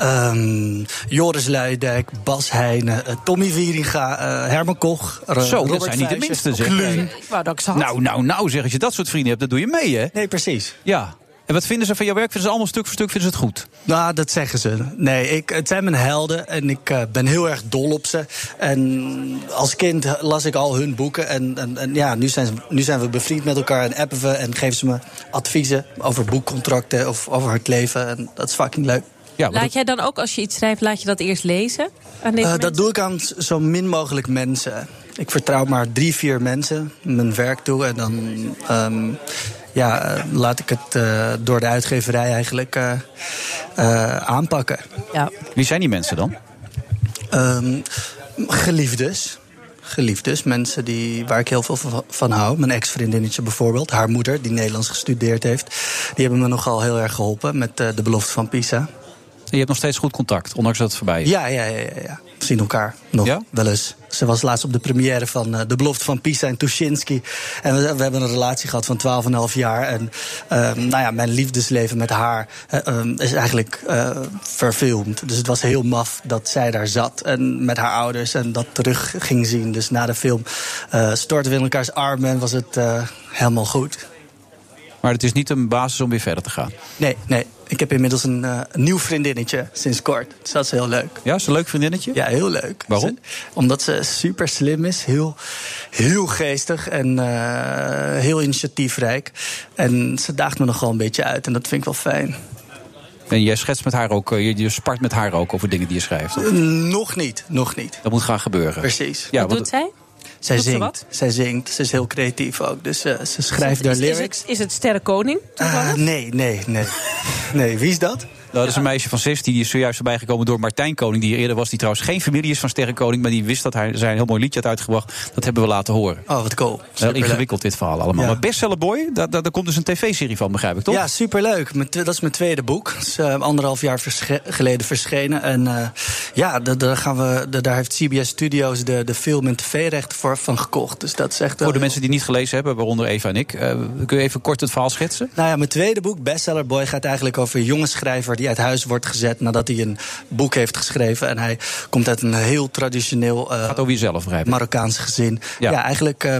Speaker 18: Ehm, Joris Luidijk, Bas Heijnen, eh, Tommy Wieringa, eh, Herman Koch. Ro-
Speaker 6: Zo,
Speaker 18: Robert
Speaker 6: dat zijn niet de
Speaker 18: Vijzer,
Speaker 6: minste, zeg.
Speaker 18: Kluun.
Speaker 7: Ik wou dat ik ze had.
Speaker 6: Nou, nou, nou, zeg, als je dat soort vrienden hebt, dan doe je mee, hè?
Speaker 18: Nee, precies.
Speaker 6: Ja. En wat vinden ze van jouw werk? Vinden ze allemaal stuk voor stuk vinden ze het goed?
Speaker 18: Nou, dat zeggen ze. Nee, ik, het zijn mijn helden en ik eh, ben heel erg dol op ze. En als kind las ik al hun boeken. En, en, en ja, nu zijn, ze- nu zijn we bevriend met elkaar en appen we en geven ze me adviezen over boekcontracten of over het leven. En dat is fucking leuk.
Speaker 6: Ja,
Speaker 7: Laat jij dan ook, als je iets schrijft, laat je dat eerst lezen? Aan deze
Speaker 18: Eh,
Speaker 7: mensen?
Speaker 18: dat doe ik aan z- zo min mogelijk mensen. Ik vertrouw maar drie, vier mensen mijn werk toe. En dan ehm, ja, eh, laat ik het eh, door de uitgeverij eigenlijk eh, eh, aanpakken. Ehm,
Speaker 7: Ja.
Speaker 6: Wie zijn die mensen dan?
Speaker 18: geliefdes. Geliefdes, mensen die, waar ik heel veel van, van hou. Mijn ex-vriendinnetje bijvoorbeeld, haar moeder, die Nederlands gestudeerd heeft. Die hebben me nogal heel erg geholpen met eh, de belofte van Pisa.
Speaker 6: En je hebt nog steeds goed contact, ondanks dat het voorbij is.
Speaker 18: Ja, ja, ja, ja. ja. We zien elkaar nog wel eens. Ze was laatst op de première van eh, De Belofte van Pisa en Tuschinski. En we, we hebben een relatie gehad van 12,5 jaar. En ehm, nou ja, mijn liefdesleven met haar eh, ehm, is eigenlijk eh, verfilmd. Dus het was heel maf dat zij daar zat en met haar ouders en dat terug ging zien. Dus na de film eh, stortten we in elkaars armen en was het eh, helemaal goed.
Speaker 6: Maar het is niet een basis om weer verder te gaan.
Speaker 18: Nee, nee. Ik heb inmiddels een eh, nieuw vriendinnetje sinds kort. Dus dat is heel leuk.
Speaker 6: Ja, is een leuk vriendinnetje?
Speaker 18: Ja, heel leuk.
Speaker 6: Waarom?
Speaker 18: Ze- omdat ze super slim is, heel, heel geestig en eh, heel initiatiefrijk. En ze daagt me nogal een beetje uit en dat vind ik wel fijn.
Speaker 6: En jij schetst met haar ook, eh, je, je spart met haar ook over dingen die je schrijft.
Speaker 18: Nog niet, nog niet.
Speaker 6: Dat moet gaan gebeuren.
Speaker 18: Precies.
Speaker 6: Ja, want-
Speaker 7: zij?
Speaker 18: Zij
Speaker 7: Doet ze
Speaker 18: zingt.
Speaker 7: wat?
Speaker 18: zij zingt. Ze is heel creatief ook. Dus eh, ze schrijft daar
Speaker 7: is, is,
Speaker 18: lyrics.
Speaker 7: het, is het Sterrenkoning?
Speaker 18: Ah, nee, nee, nee. nee, wie is dat?
Speaker 6: Nou, dat is een meisje van 16, die is zojuist erbij gekomen door Martijn Koning, die hier eerder was, die trouwens geen familie is van Sterrenkoning, maar die wist dat hij zijn heel mooi liedje had uitgebracht. Dat hebben we laten horen.
Speaker 18: Oh, wat cool.
Speaker 6: Heel
Speaker 18: Superleuk.
Speaker 6: ingewikkeld dit verhaal allemaal.
Speaker 18: Ja.
Speaker 6: Maar Bestseller Boy, daar, daar, daar komt dus een tv-serie van, begrijp ik toch?
Speaker 18: Ja, superleuk. Mijn tw- Dat is mijn tweede boek. Dat is eh, anderhalf jaar versche- geleden verschenen. En eh, ja, da- daar, gaan we, da- daar heeft CBS Studios de, de film- en tv-rechten voor van gekocht. Dus dat is echt... wel
Speaker 6: Voor de mensen die niet gelezen hebben, waaronder Eva en ik, eh, kun je even kort het verhaal schetsen?
Speaker 18: Nou ja, mijn tweede boek, Bestseller Boy, gaat eigenlijk over een jonge schrijver die uit huis wordt gezet nadat hij een boek heeft geschreven. En hij komt uit een heel traditioneel eh, Marokkaans gezin. Ja, eigenlijk eh,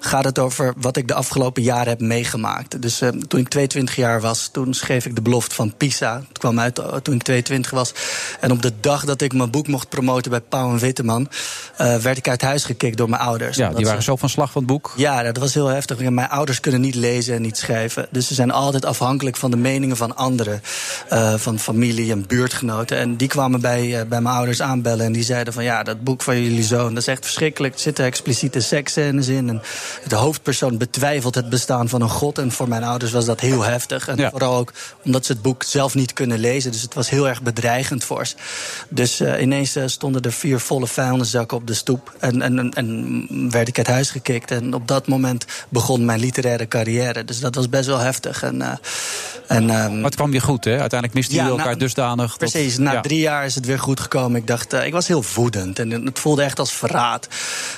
Speaker 18: gaat het over wat ik de afgelopen jaren heb meegemaakt. Dus eh, toen ik 22 jaar was, toen schreef ik de belofte van Pisa. Het kwam uit eh, toen ik 22 was. En op de dag dat ik mijn boek mocht promoten bij Pauw en Witteman, eh, werd ik uit huis gekikt door mijn ouders.
Speaker 6: Ja,
Speaker 18: Omdat
Speaker 6: die
Speaker 18: ze-
Speaker 6: waren zo van slag van het boek.
Speaker 18: ja, dat was heel heftig. Ja, Mijn ouders kunnen niet lezen en niet schrijven. Dus ze zijn altijd afhankelijk van de meningen van anderen. eh, van familie en buurtgenoten. En die kwamen bij, eh, bij mijn ouders aanbellen. En die zeiden van ja, dat boek van jullie zoon, dat is echt verschrikkelijk. Er zitten expliciete seksscènes in. En de hoofdpersoon betwijfelt het bestaan van een god. En voor mijn ouders was dat heel heftig. En vooral ook omdat ze het boek zelf niet kunnen lezen. Dus het was heel erg bedreigend voor ze. Dus eh, ineens eh, stonden er vier volle vuilniszakken op de stoep. En, en, en, en werd ik uit huis gekikt. En op dat moment begon mijn literaire carrière. Dus dat was best wel heftig. En, eh, en, ehm,
Speaker 6: Maar het kwam weer goed, hè? Uiteindelijk misten jullie
Speaker 18: ja,
Speaker 6: elkaar
Speaker 18: na-
Speaker 6: dusdanig. dat-
Speaker 18: Precies, na
Speaker 6: ja.
Speaker 18: drie jaar is het weer goed gekomen. Ik dacht, eh, ik was heel woedend en het voelde echt als verraad.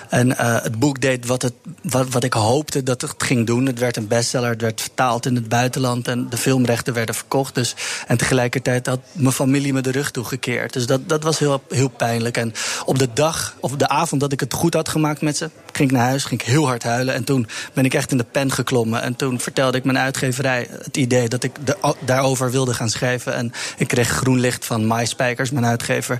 Speaker 18: En eh, het boek deed wat, het, wat, wat ik hoopte dat het ging doen. Het werd een bestseller, het werd vertaald in het buitenland en de filmrechten werden verkocht. Dus, en tegelijkertijd had mijn familie me de rug toegekeerd. Dus dat, dat was heel, heel pijnlijk. En op de dag, of de avond dat ik het goed had gemaakt met ze, ging ik naar huis, ging ik heel hard huilen. En toen ben ik echt in de pen geklommen. En toen vertelde ik mijn uitgeverij het idee dat ik da- daarover wilde gaan schrijven. En ik kreeg groen licht van Mai Spijkers, mijn uitgever.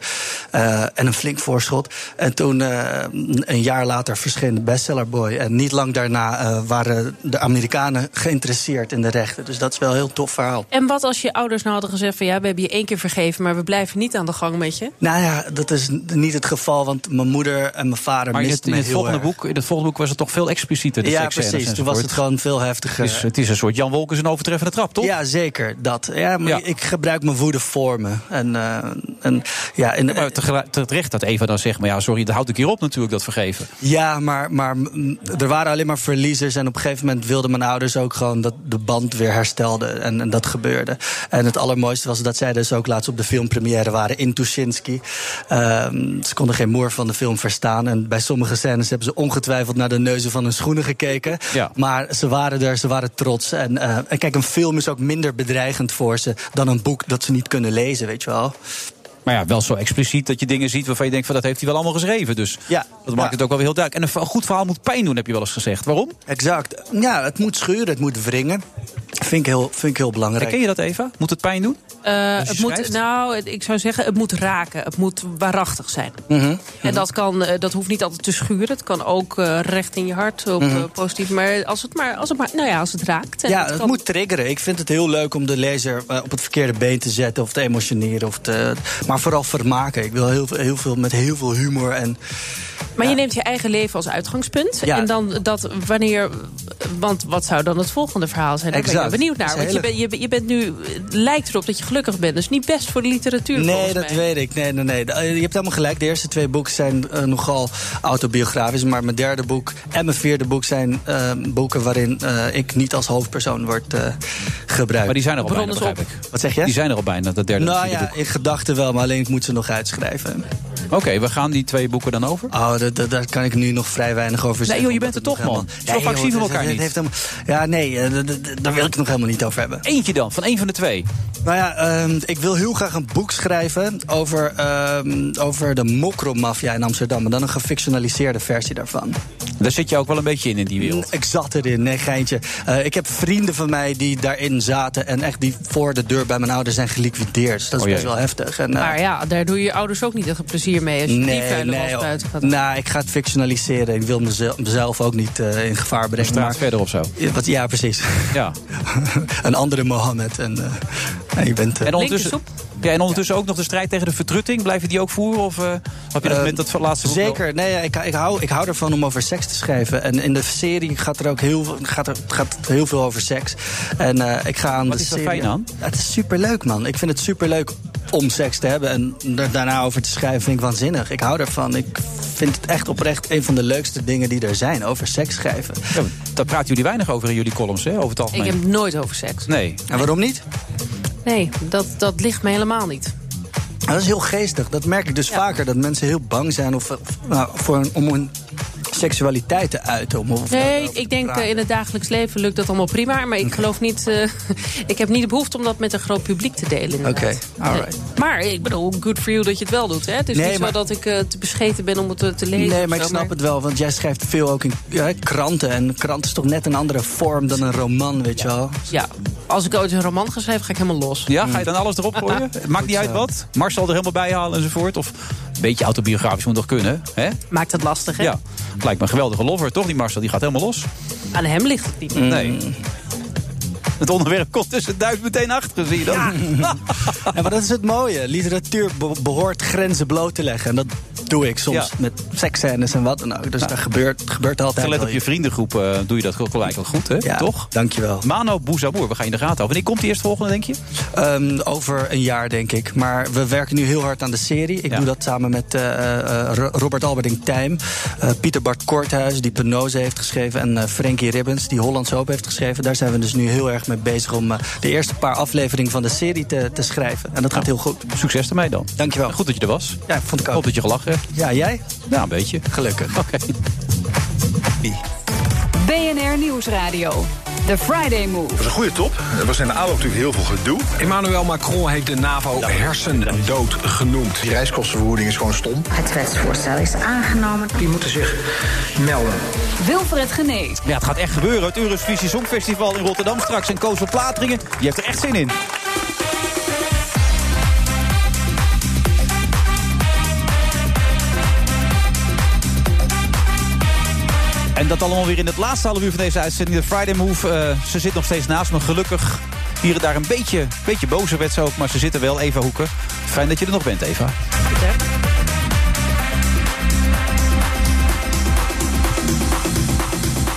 Speaker 18: eh, en een flink voorschot. En toen, eh, een jaar later, verscheen de bestseller Boy. En niet lang daarna eh, waren de Amerikanen geïnteresseerd in de rechten. Dus dat is wel een heel tof verhaal.
Speaker 7: En wat als je ouders nou hadden gezegd van ja, we hebben je één keer vergeven, maar we blijven niet aan de gang met je?
Speaker 18: Nou ja, dat is n- niet het geval, want mijn moeder en mijn vader
Speaker 6: Maar in het,
Speaker 18: misten
Speaker 6: in,
Speaker 18: me
Speaker 6: het
Speaker 18: heel
Speaker 6: volgende
Speaker 18: erg.
Speaker 6: boek, in het volgende boek was het toch veel explicieter. De
Speaker 18: ja,
Speaker 6: seksscènes
Speaker 18: precies. Toen was
Speaker 6: enzovoort.
Speaker 18: het gewoon veel heftiger.
Speaker 6: Het is, het is een soort Jan Wolkers een overtreffende trap, toch?
Speaker 18: Ja, zeker. Dat. Ja, maar ik gebruik mijn woede voor me. En, eh, en, ja, en, eh,
Speaker 6: Maar tegelijk- terecht dat Eva dan zegt, maar ja, sorry, dat houdt ik hierop natuurlijk, dat vergeven.
Speaker 18: Ja, maar, maar mm, er waren alleen maar verliezers. En op een gegeven moment wilden mijn ouders ook gewoon dat de band weer herstelde. En, en dat gebeurde. En het allermooiste was dat zij dus ook laatst op de filmpremière waren in Tuschinski. Ehm, ze konden geen moer van de film verstaan. En bij sommige scènes hebben ze ongetwijfeld naar de neuzen van hun schoenen gekeken.
Speaker 6: Ja.
Speaker 18: Maar ze waren er, ze waren trots. En, eh, en kijk, een film is ook minder bedreigend voor ze dan een boek dat ze niet kunnen lezen, weet je wel.
Speaker 6: Maar ja, wel zo expliciet dat je dingen ziet waarvan je denkt van dat heeft hij wel allemaal geschreven. Dus
Speaker 18: Ja.
Speaker 6: dat maakt
Speaker 18: Ja.
Speaker 6: het ook wel weer heel duidelijk. En een v- goed verhaal moet pijn doen, heb je wel eens gezegd. Waarom?
Speaker 18: Exact. Ja, het moet schuren, het moet wringen. Vind ik heel, vind ik heel belangrijk.
Speaker 6: Herken je dat, Eva? Moet het pijn doen?
Speaker 7: Eh,
Speaker 18: Dus
Speaker 6: je
Speaker 7: het moet,
Speaker 6: schrijft?
Speaker 7: nou, het- ik zou zeggen, het moet raken. Het moet waarachtig zijn.
Speaker 18: Mhm.
Speaker 7: En dat, kan, eh, dat hoeft niet altijd te schuren. Het kan ook eh, recht in je hart op
Speaker 18: Mhm.
Speaker 7: eh, positief. Maar als het maar, als het maar, nou ja, als het raakt. en
Speaker 18: Ja,
Speaker 7: het
Speaker 18: het
Speaker 7: kan-
Speaker 18: moet triggeren. Ik vind het heel leuk om de lezer eh, op het verkeerde been te zetten of te emotioneren. Of te, maar vooral vermaken. Ik wil heel, veel- heel veel met heel veel humor. En,
Speaker 7: Maar je neemt je eigen leven als uitgangspunt.
Speaker 18: Ja.
Speaker 7: En dan dat wanneer. Want wat zou dan het volgende verhaal zijn? Daar ben
Speaker 18: Exact.
Speaker 7: ik wel benieuwd
Speaker 18: Dat
Speaker 7: naar.
Speaker 18: is
Speaker 7: Want je,
Speaker 18: hele-
Speaker 7: bent, je, bent- je bent nu. Het lijkt erop dat je gelukkig bent. Dus niet best voor de literatuur.
Speaker 18: nee,
Speaker 7: volgens
Speaker 18: dat
Speaker 7: mij.
Speaker 18: weet ik. Nee, nee, nee. Eh, Je hebt helemaal gelijk. De eerste twee boeken zijn eh, nogal autobiografisch. Maar mijn derde boek en mijn vierde boek zijn eh, boeken waarin eh, ik niet als hoofdpersoon word eh, gebruikt.
Speaker 6: Maar die zijn er al bijna,
Speaker 18: Bronnen
Speaker 6: begrijp
Speaker 18: op.
Speaker 6: ik.
Speaker 18: Wat zeg je?
Speaker 6: Die zijn er al bijna, dat derde en
Speaker 18: Nou
Speaker 6: vierde
Speaker 18: ja,
Speaker 6: boek.
Speaker 18: in gedachten wel, maar alleen ik moet ze nog uitschrijven.
Speaker 6: Oké, we gaan die twee boeken dan over?
Speaker 18: Oh, dat- dat- daar kan ik nu nog vrij weinig over
Speaker 6: Nee,
Speaker 18: zeggen.
Speaker 6: joh, je
Speaker 18: omdat
Speaker 6: bent
Speaker 18: het
Speaker 6: er toch,
Speaker 18: nog
Speaker 6: man.
Speaker 18: helemaal-
Speaker 6: Zo
Speaker 18: Nee,
Speaker 6: vaak
Speaker 18: joh,
Speaker 6: zien we
Speaker 18: het-
Speaker 6: elkaar
Speaker 18: het
Speaker 6: niet.
Speaker 18: heeft helemaal- Ja, nee, eh, d- d- daar wil ik het nog helemaal niet over hebben.
Speaker 6: Eentje dan, van één van de twee.
Speaker 18: Nou ja, ehm, ik wil heel graag een boek schrijven over, ehm, over de mokromafia in Amsterdam. Maar dan een gefictionaliseerde versie daarvan.
Speaker 6: Daar zit je ook wel een beetje in, in die wereld.
Speaker 18: Ik zat erin, nee geintje. Eh, ik heb vrienden van mij die daarin zaten en echt die voor de deur bij mijn ouders zijn geliquideerd. Dus dat is
Speaker 7: Oh, jee.
Speaker 18: best wel heftig. En, eh,
Speaker 7: Maar ja, daar doe je je ouders ook niet echt een plezier mee. Als je die vuile was
Speaker 18: joh.
Speaker 7: buiten gaat.
Speaker 18: Nou, ik ga het fictionaliseren. Ik wil mezelf, mezelf ook niet eh, in gevaar brengen.
Speaker 6: straat
Speaker 18: maar-
Speaker 6: verder of zo.
Speaker 18: Ja, wat, ja precies.
Speaker 6: Ja.
Speaker 18: een andere Mohammed. En, eh, nou, je bent, eh,
Speaker 6: En ondertussen, ja, en ondertussen ook nog de strijd tegen de verdrutting. Blijf je die ook voeren? Of eh, heb je dat
Speaker 18: Eh,
Speaker 6: met dat laatste boek wel?
Speaker 18: Zeker. Nee, ja, ik, ik, hou, ik hou ervan om over seks te schrijven. En in de serie gaat er ook heel, veel- gaat er, gaat het heel veel over seks. En eh, ik ga aan
Speaker 6: Wat
Speaker 18: de
Speaker 6: is er
Speaker 18: serie-
Speaker 6: fijn aan?
Speaker 18: Ja, het is superleuk, man. Ik vind het superleuk om seks te hebben. En daar- daarna over te schrijven vind ik waanzinnig. Ik hou ervan. Ik vind het echt oprecht een van de leukste dingen die er zijn. Over seks schrijven.
Speaker 6: Ja, maar daar praten jullie weinig over in jullie columns, hè, over het
Speaker 7: Ik
Speaker 6: algemeen.
Speaker 7: heb nooit over seks.
Speaker 6: Nee.
Speaker 18: En waarom niet?
Speaker 7: Nee, dat, dat ligt me helemaal niet.
Speaker 18: Dat is heel geestig. Dat merk ik dus vaker. Dat mensen heel bang zijn of, of- nou, voor hun- om hun seksualiteit te uiten. Om, of-
Speaker 7: Nee, ik denk eh, in het dagelijks leven lukt dat allemaal prima. Maar ik geloof niet. eh, ik heb niet de behoefte om dat met een groot publiek te delen. inderdaad.
Speaker 18: Oké, alright.
Speaker 7: Nee. Maar ik bedoel, good for you dat je het wel doet. Hè? Het is
Speaker 18: Nee,
Speaker 7: niet
Speaker 18: maar-
Speaker 7: zo dat ik eh, te bescheten ben om het eh, te lezen.
Speaker 18: Nee,
Speaker 7: of
Speaker 18: maar ik
Speaker 7: zo,
Speaker 18: snap het wel, want jij schrijft veel ook in ja, kranten. En kranten is toch net een andere vorm dan een roman, weet je wel?
Speaker 7: Ja, als ik ooit een roman ga schrijven, ga ik helemaal los.
Speaker 6: Ja, ga je
Speaker 18: Hmm.
Speaker 6: dan alles erop gooien? Maakt niet uit wat. Marcel er helemaal bij halen enzovoort. Of een beetje autobiografisch moet nog kunnen. Hè?
Speaker 7: Maakt het lastig, hè?
Speaker 6: Ja, het lijkt me een geweldige lover, toch? Die Marcel die gaat helemaal los.
Speaker 7: Aan hem ligt het niet.
Speaker 6: Nee. Het onderwerp komt tussen duizend meteen achter, zie je dan?
Speaker 18: En maar dat is het mooie. Literatuur be- behoort grenzen bloot te leggen. En dat doe ik soms
Speaker 6: Ja.
Speaker 18: met seksscènes en wat dan ook. Dus daar gebeurt, gebeurt altijd
Speaker 6: Gelet
Speaker 18: wel
Speaker 6: op je
Speaker 18: iets.
Speaker 6: vriendengroep eh, doe je dat gelijk wel goed, hè?
Speaker 18: Ja,
Speaker 6: toch?
Speaker 18: Dankjewel.
Speaker 6: Mano Bouzamour, we gaan je in de gaten houden. Wanneer komt die eerst volgende, denk je?
Speaker 18: Ehm, over een jaar, denk ik. Maar we werken nu heel hard aan de serie. Ik doe dat samen met eh, eh, Ro- Robert Alberding Tijm, eh, Pieter Bart Korthuis, die Penose heeft geschreven, en eh, Frankie Ribbons, die Hollands Hoop heeft geschreven. Daar zijn we dus nu heel erg mee bezig om eh, de eerste paar afleveringen van de serie te, te schrijven. En dat gaat heel goed.
Speaker 6: Succes ermee dan.
Speaker 18: Dankjewel.
Speaker 6: Goed dat je er was.
Speaker 18: Ja, vond ik ook.
Speaker 6: Hoop dat je gelachen hebt.
Speaker 18: Ja, jij?
Speaker 6: Ja, een beetje.
Speaker 18: Gelukkig.
Speaker 6: Oké.
Speaker 2: BNR Nieuwsradio. The Friday Move.
Speaker 3: Dat was een goede top. Er was in de aanloop natuurlijk heel veel gedoe.
Speaker 4: Emmanuel Macron heeft de NAVO hersendood genoemd. Die reiskostenvergoeding is gewoon stom.
Speaker 5: Het wetsvoorstel is aangenomen.
Speaker 14: Die moeten zich melden.
Speaker 2: Wilfred Genee.
Speaker 6: Ja, het gaat echt gebeuren. Het Eurovisie Songfestival in Rotterdam straks. En Koos van Plateringen, die heeft er echt zin in. En dat allemaal weer in het laatste half uur van deze uitzending. De Friday Move. eh, ze zit nog steeds naast me, gelukkig. Hier en daar een beetje, beetje boze werd ze ook. Maar ze zitten wel, Eva Hoeken. Fijn dat je er nog bent, Eva.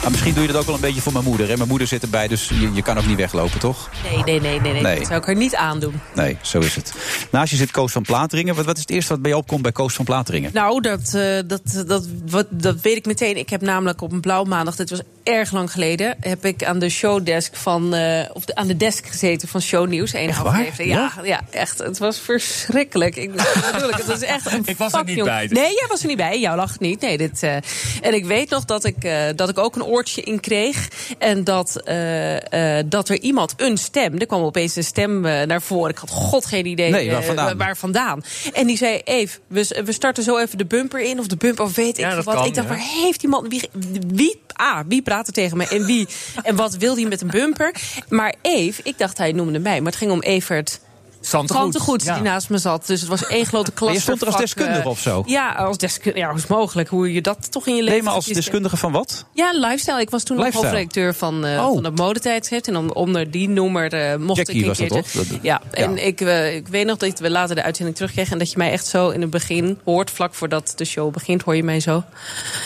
Speaker 6: Maar misschien doe je dat ook wel een beetje voor mijn moeder. Hè? Mijn moeder zit erbij, dus je, je kan ook niet weglopen, toch?
Speaker 7: Nee, nee, nee, nee, nee.
Speaker 6: Nee.
Speaker 7: Dat zou ik haar niet aandoen.
Speaker 6: Nee, zo is het. Naast je zit Koos van Plateringen. Wat, wat is het eerste wat bij je opkomt bij Koos van Plateringen?
Speaker 7: Nou, dat, eh, dat, dat, wat, dat weet ik meteen. Ik heb namelijk op een blauw maandag, dit was erg lang geleden, heb ik aan de showdesk van, eh, of de, aan de desk gezeten van Shownieuws. Eén
Speaker 19: waar?
Speaker 7: aflevering. Ja, ja? echt. Het was verschrikkelijk. Ik, natuurlijk, het was echt een
Speaker 19: Ik was er
Speaker 7: vak,
Speaker 19: niet
Speaker 7: jongen.
Speaker 19: bij, dus.
Speaker 7: Nee, jij was er niet bij. Jou lag niet. Nee, dit, eh, en ik weet nog dat ik, eh, dat ik ook een oortje in kreeg. En dat, eh, eh, dat er iemand een stem. Er kwam opeens een stem eh, naar voren. Ik had god geen idee
Speaker 6: Nee, waar
Speaker 7: eh,
Speaker 6: vandaan?
Speaker 7: wa- waar vandaan. En die zei: Eve, we, we starten zo even de bumper in. Of de bumper, of weet ik
Speaker 19: dat
Speaker 7: veel wat.
Speaker 19: kan,
Speaker 7: ik dacht,
Speaker 19: ja.
Speaker 7: waar heeft die man. Wie, wie, ah, wie praatte tegen mij en wie? en wat wilde hij met een bumper? Maar Eve, ik dacht hij noemde mij. Maar het ging om Evert.
Speaker 19: Santegoed.
Speaker 7: Santegoed,
Speaker 19: Ja.
Speaker 7: die naast me zat. Dus het was één grote klas.
Speaker 6: Maar je stond er als deskundige of zo?
Speaker 7: eh, Ja, als deskundige. Ja, hoe is mogelijk hoe je dat toch in je leven.
Speaker 6: Nee, maar als
Speaker 7: verkiest.
Speaker 6: deskundige van wat?
Speaker 7: Ja, lifestyle. Ik was toen nog
Speaker 6: Lifestyle.
Speaker 7: hoofdredacteur van, eh
Speaker 6: Oh.
Speaker 7: van het modetijdschrift. En dan onder die noemer eh, mocht
Speaker 6: Jackie
Speaker 7: ik een
Speaker 6: was dat,
Speaker 7: keertje-
Speaker 6: toch? Dat-
Speaker 7: Ja,
Speaker 6: ja.
Speaker 7: en ik, eh, ik weet nog dat we later de uitzending terugkregen. En dat je mij echt zo in het begin hoort, vlak voordat de show begint, hoor je mij zo.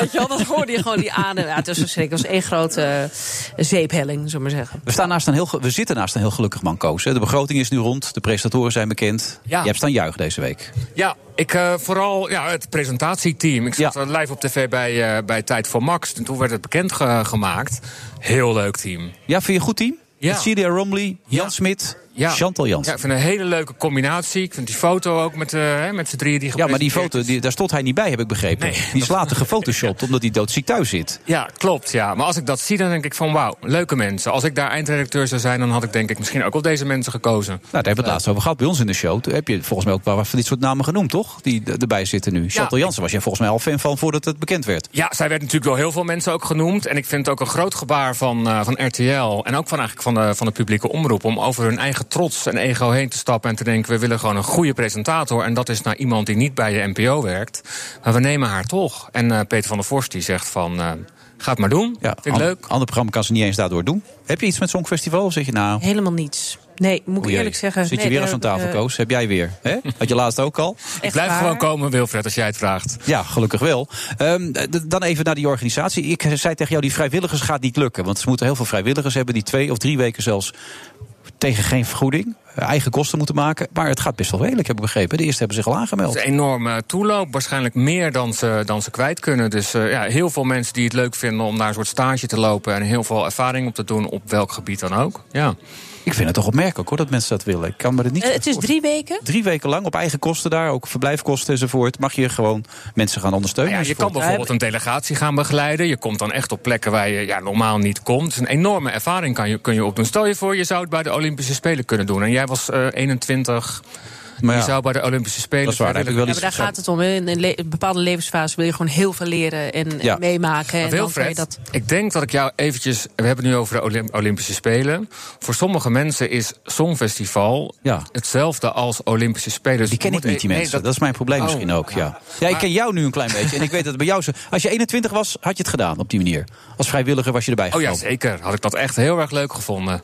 Speaker 7: weet je wel, dat hoorde je gewoon die adem. Ja, het was verschrikkelijk. Het was één grote eh, zeephelling, zullen we maar zeggen.
Speaker 6: We, staan naast een heel, ge- we zitten naast een heel gelukkig man, Koos. hè. De begroting is nu rond, de presentatoren zijn bekend.
Speaker 19: Ja.
Speaker 6: Je hebt staan juichen deze week.
Speaker 19: Ja, ik, eh, vooral ja, het presentatieteam. Ik zat eh, live op tv bij, eh, bij Tijd voor Max. En toen werd het bekendgemaakt. Heel leuk team.
Speaker 6: Ja, vind je een goed team?
Speaker 19: Ja.
Speaker 6: Met Celia Romley, Jan Smit, Chantal Jans.
Speaker 19: Ja, ik vind het een hele leuke combinatie. Ik vind die foto ook met, eh, hè, met z'n drieën die
Speaker 6: Ja, maar die
Speaker 19: gepresenteerd
Speaker 6: foto, die, daar stond hij niet bij, heb ik begrepen. Die is later gefotoshopt, omdat hij doodziek thuis zit. Nou,
Speaker 19: Ja, klopt. Ja. Maar als ik dat zie, dan denk ik van wauw, leuke mensen. Als ik daar eindredacteur zou zijn, dan had ik denk ik misschien ook wel deze mensen gekozen.
Speaker 6: Nou, daar hebben we het laatst over gehad bij ons in de show. Toen heb je volgens mij ook wel wat van dit soort namen genoemd, toch? Die er- erbij zitten nu. Chantal Jansen was jij volgens mij al fan van voordat het bekend werd.
Speaker 19: Ja, zij werd natuurlijk door heel veel mensen ook genoemd. En ik vind het ook een groot gebaar van, eh, van RTL. En ook van, eigenlijk van, de, van de publieke omroep. Om over hun eigen trots en ego heen te stappen. En te denken: we willen gewoon een goede presentator. En dat is nou iemand die niet bij de NPO werkt. Maar we nemen haar toch. En eh, Peter van der Vorst die zegt: van, eh, ga het maar doen.
Speaker 6: Ja,
Speaker 19: vind ik leuk.
Speaker 6: Ander programma kan ze niet eens daardoor doen. Heb je iets met Songfestival? Of zeg je nou...
Speaker 7: Helemaal niets. Nee, moet ik
Speaker 6: oei,
Speaker 7: eerlijk zeggen.
Speaker 6: Zit je
Speaker 7: nee,
Speaker 6: weer
Speaker 7: daar
Speaker 6: als aan
Speaker 7: heb ik,
Speaker 6: tafel,
Speaker 7: eh,
Speaker 6: Koos? Heb jij weer? Hè? Had je laatst ook al?
Speaker 7: Ik blijf waar. gewoon
Speaker 19: komen, Wilfred, als jij het vraagt.
Speaker 6: Ja, gelukkig wel. Ehm, d- dan even naar die organisatie. Ik zei tegen jou, die vrijwilligers gaat niet lukken. Want ze moeten heel veel vrijwilligers hebben... die twee of drie weken zelfs tegen geen vergoeding... eh, eigen kosten moeten maken. Maar het gaat best wel redelijk, heb ik begrepen. De eerste hebben zich al aangemeld.
Speaker 19: Het is een enorme toeloop, waarschijnlijk meer dan ze, dan ze kwijt kunnen. Dus eh, ja, heel veel mensen die het leuk vinden om daar een soort stage te lopen... en heel veel ervaring op te doen, op welk gebied dan ook. Ja.
Speaker 6: Ik vind het toch opmerkelijk hoor, dat mensen dat willen. Ik kan me het niet
Speaker 7: eh, het is drie weken.
Speaker 6: Drie weken lang op eigen kosten daar, ook verblijfkosten enzovoort. Mag je gewoon mensen gaan ondersteunen.
Speaker 19: Ja, je kan bijvoorbeeld een delegatie gaan begeleiden. Je komt dan echt op plekken waar je ja, normaal niet komt. Het is een enorme ervaring kan je, kun je opdoen. Stel je voor, je zou het bij de Olympische Spelen kunnen doen. En jij was eh, 21... Maar je zou bij de Olympische Spelen.
Speaker 6: dat is waar, daar heb ik wel
Speaker 7: Ja,
Speaker 6: iets
Speaker 7: maar daar gaat het om. hè. In een le- bepaalde levensfase wil je gewoon heel veel leren en, en
Speaker 19: Ja.
Speaker 7: eh, meemaken. En
Speaker 19: Maar
Speaker 7: dan kan je
Speaker 19: Wilfred,
Speaker 7: dat
Speaker 19: ik denk dat ik jou eventjes... We hebben het nu over de Olymp- Olympische Spelen. Voor sommige mensen is Songfestival hetzelfde als Olympische Spelen. Dus
Speaker 6: Die ken
Speaker 19: je
Speaker 6: ik
Speaker 19: moet-
Speaker 6: niet, die
Speaker 19: nee,
Speaker 6: mensen. dat... is mijn probleem
Speaker 19: Oh,
Speaker 6: misschien ook, ja. Ja, ik
Speaker 19: Maar-
Speaker 6: ken jou nu een klein beetje. En ik weet dat het bij jou zo... Als je 21 was, had je het gedaan op die manier. Als vrijwilliger was je erbij
Speaker 19: Oh
Speaker 6: gekomen.
Speaker 19: ja, zeker. Had ik dat echt heel erg leuk gevonden.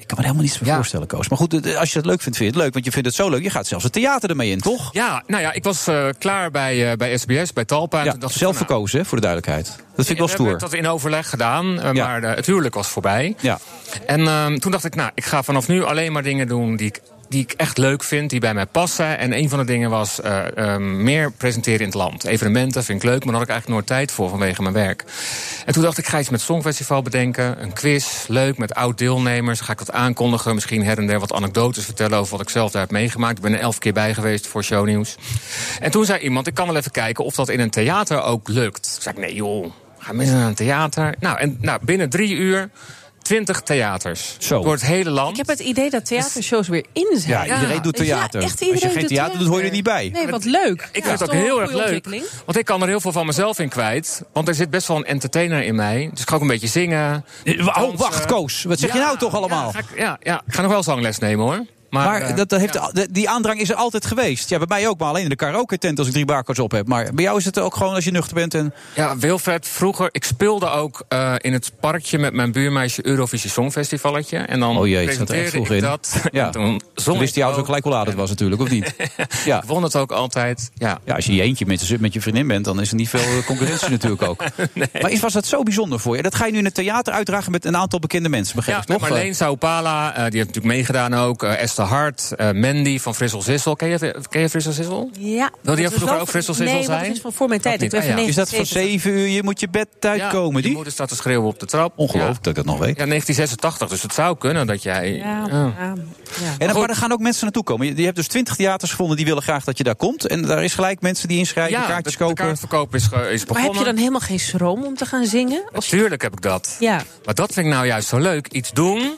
Speaker 6: Ik kan me er helemaal niets meer voorstellen, Koos. Maar goed, eh, als je het leuk vindt, vind je het leuk. Want je vindt het zo leuk. Je gaat zelfs het theater ermee in, toch?
Speaker 19: Ja, nou ja, ik was eh, klaar bij, eh, bij SBS, bij Talpa. en
Speaker 6: Ja,
Speaker 19: toen dacht ik
Speaker 6: zelf
Speaker 19: van, nou,
Speaker 6: verkozen, hè, voor de duidelijkheid. Dat vind ik wel
Speaker 19: We hebben
Speaker 6: stoer.
Speaker 19: dat in overleg gedaan, eh, maar eh, het huwelijk was voorbij.
Speaker 6: Ja.
Speaker 19: En ehm, toen dacht ik, nou, ik ga vanaf nu alleen maar dingen doen die ik, die ik echt leuk vind, die bij mij passen. En een van de dingen was eh, ehm, meer presenteren in het land. Evenementen vind ik leuk, maar daar had ik eigenlijk nooit tijd voor vanwege mijn werk. En toen dacht ik, ik ga iets met Songfestival bedenken. Een quiz, leuk, met oud-deelnemers. Ga ik wat aankondigen, misschien her en der wat anekdotes vertellen over wat ik zelf daar heb meegemaakt. Ik ben er elf keer bij geweest voor shownieuws. En toen zei iemand, ik kan wel even kijken of dat in een theater ook lukt. Toen zei ik, nee joh. gaan mensen naar een theater. Nou, en nou, binnen drie uur 20 theaters. Door het hele land.
Speaker 7: Ik heb het idee dat theatershows weer in zijn.
Speaker 19: Ja, iedereen doet theater.
Speaker 7: Ja, echt
Speaker 19: Als je
Speaker 7: iedereen
Speaker 19: geen
Speaker 7: doet
Speaker 19: theater doet, hoor je er niet bij.
Speaker 7: Nee, wat
Speaker 19: Ik
Speaker 7: leuk. Ja.
Speaker 19: vind het ook
Speaker 7: Toch een
Speaker 19: heel erg
Speaker 7: goede
Speaker 19: leuk.
Speaker 7: ontwikkeling.
Speaker 19: Want ik kan er heel veel van mezelf in kwijt. Want er zit best wel een entertainer in mij. Dus ik ga ook een beetje zingen.
Speaker 6: Oh, wacht, Koos. Wat zeg je nou toch allemaal?
Speaker 19: Ja, ga ik- ja, ja, ik ga nog wel zangles nemen hoor. Maar,
Speaker 6: Maar,
Speaker 19: eh,
Speaker 6: dat, dat heeft, de- die aandrang is er altijd geweest. Ja, bij mij ook, maar alleen in de karaoke-tent als ik drie barcodes op heb. Maar bij jou is het ook gewoon als je nuchter bent. En...
Speaker 19: Ja, Wilfred, vroeger, ik speelde ook eh, in het parkje met mijn buurmeisje Eurovisie Songfestivalletje. En dan
Speaker 6: oh jee, het zat er
Speaker 19: presenteerde
Speaker 6: echt vroeg
Speaker 19: ik
Speaker 6: in.
Speaker 19: dat.
Speaker 6: Ja.
Speaker 19: En toen zong
Speaker 6: wist
Speaker 19: ik
Speaker 6: die
Speaker 19: ook.
Speaker 6: auto gelijk wel laat het was natuurlijk, of niet? Ja. Ik
Speaker 19: won het ook altijd. Ja.
Speaker 6: als je je eentje met, je- met je vriendin bent, dan is er niet veel eh, concurrentie natuurlijk ook. Maar is, was dat zo bijzonder voor je? Dat ga je nu in het theater uitdragen met een aantal bekende mensen, begrijp
Speaker 19: Ja,
Speaker 6: ik
Speaker 19: met
Speaker 6: toch?
Speaker 19: Marleen Saupala, eh, die heeft natuurlijk meegedaan ook. eh, Esther Hart, eh, Mandy van Frissel Zissel. Ken je, ken je Frissel Zissel?
Speaker 7: Ja.
Speaker 19: Wil die
Speaker 7: dat is
Speaker 19: vroeger
Speaker 7: wel-
Speaker 19: ook Frissel Sissel
Speaker 7: nee, want
Speaker 19: zijn?
Speaker 7: dat is van voor mijn tijd. Ik
Speaker 19: niet.
Speaker 7: ben
Speaker 19: Ah,
Speaker 7: van
Speaker 19: ja.
Speaker 6: Is dat van 7 uur, je moet je bed uitkomen?
Speaker 19: die? moeder staat te schreeuwen op de trap.
Speaker 6: Ongelooflijk dat ik dat nog weet.
Speaker 19: Ja, 1986, dus het zou kunnen dat jij...
Speaker 7: Ja, ja, ja.
Speaker 6: En dan, maar daar gaan ook mensen naartoe komen. Je, je hebt dus 20 theaters gevonden die willen graag dat je daar komt. En daar is gelijk mensen die inschrijven,
Speaker 19: Ja,
Speaker 6: kaartjes
Speaker 19: de- de
Speaker 6: kopen.
Speaker 19: kaartverkoop is, ge- is
Speaker 7: Maar
Speaker 19: begonnen.
Speaker 7: heb je dan helemaal geen schroom om te gaan zingen?
Speaker 19: Tuurlijk heb ik dat.
Speaker 7: Ja.
Speaker 19: Maar dat vind ik nou juist zo leuk. Iets doen.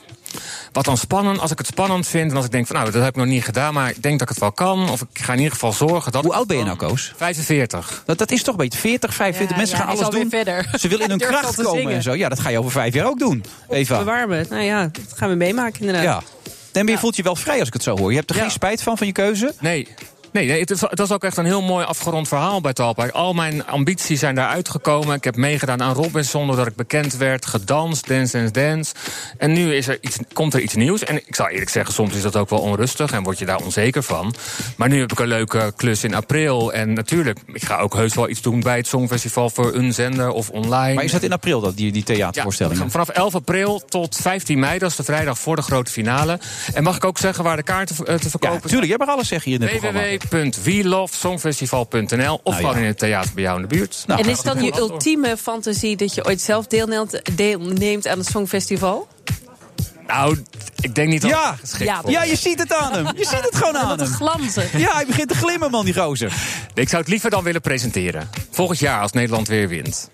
Speaker 19: Wat dan spannend, als ik het spannend vind. En als ik denk van nou, dat heb ik nog niet gedaan, maar ik denk dat ik het wel kan. Of ik ga in ieder geval zorgen dat. Hoe
Speaker 6: oud ben je nou, Koos?
Speaker 19: 45.
Speaker 6: Dat, dat is toch een beetje 40, 45.
Speaker 7: Ja,
Speaker 6: mensen
Speaker 7: ja,
Speaker 6: gaan
Speaker 7: hij is
Speaker 6: alles doen.
Speaker 7: alweer verder.
Speaker 6: Ze willen in hun
Speaker 7: Hij durft
Speaker 6: kracht
Speaker 7: al te
Speaker 6: komen
Speaker 7: zingen.
Speaker 6: en zo. Ja, dat ga je over vijf jaar ook doen, Eva.
Speaker 7: Verwarmen. het. Nou ja, dat gaan we meemaken inderdaad.
Speaker 6: Ja. En je voelt je wel vrij als ik het zo hoor. Je hebt er geen spijt van, van je keuze?
Speaker 19: Nee. Nee, nee het, is, het was ook echt een heel mooi afgerond verhaal bij Talpa. Al mijn ambities zijn daar uitgekomen. Ik heb meegedaan aan Robinson doordat ik bekend werd. Gedanst, dance, dance, dance. En nu is er iets, komt er iets nieuws. En ik zal eerlijk zeggen, soms is dat ook wel onrustig en word je daar onzeker van. Maar nu heb ik een leuke eh, klus in april. En natuurlijk, ik ga ook heus wel iets doen bij het Songfestival voor een zender of online.
Speaker 6: Maar is dat in april, dat, die, die theatervoorstelling?
Speaker 19: Ja, vanaf 11 april tot 15 mei, dat is de vrijdag voor de grote finale. En mag ik ook zeggen waar de kaarten eh, te verkopen zijn?
Speaker 6: Tuurlijk, jij mag alles zeggen hier in dit programma. Nou
Speaker 19: www.welovesongfestival.nl of
Speaker 6: ja. Nou,
Speaker 19: gewoon in het theater bij jou in de buurt.
Speaker 7: en is dat je ultieme fantasie dat je ooit zelf deelneemt, deelneemt aan het Songfestival?
Speaker 19: Nou, ik denk niet dat
Speaker 6: Ja,
Speaker 19: het geschikt
Speaker 7: Ja,
Speaker 19: voor
Speaker 6: ja,
Speaker 19: is.
Speaker 6: je ziet het aan hem. Je ziet het gewoon aan
Speaker 7: Wat een
Speaker 6: hem.
Speaker 7: glanzen.
Speaker 6: Ja, hij begint te glimmen, man, die gozer.
Speaker 19: Ik zou het liever dan willen presenteren. Volgend jaar, als Nederland weer wint.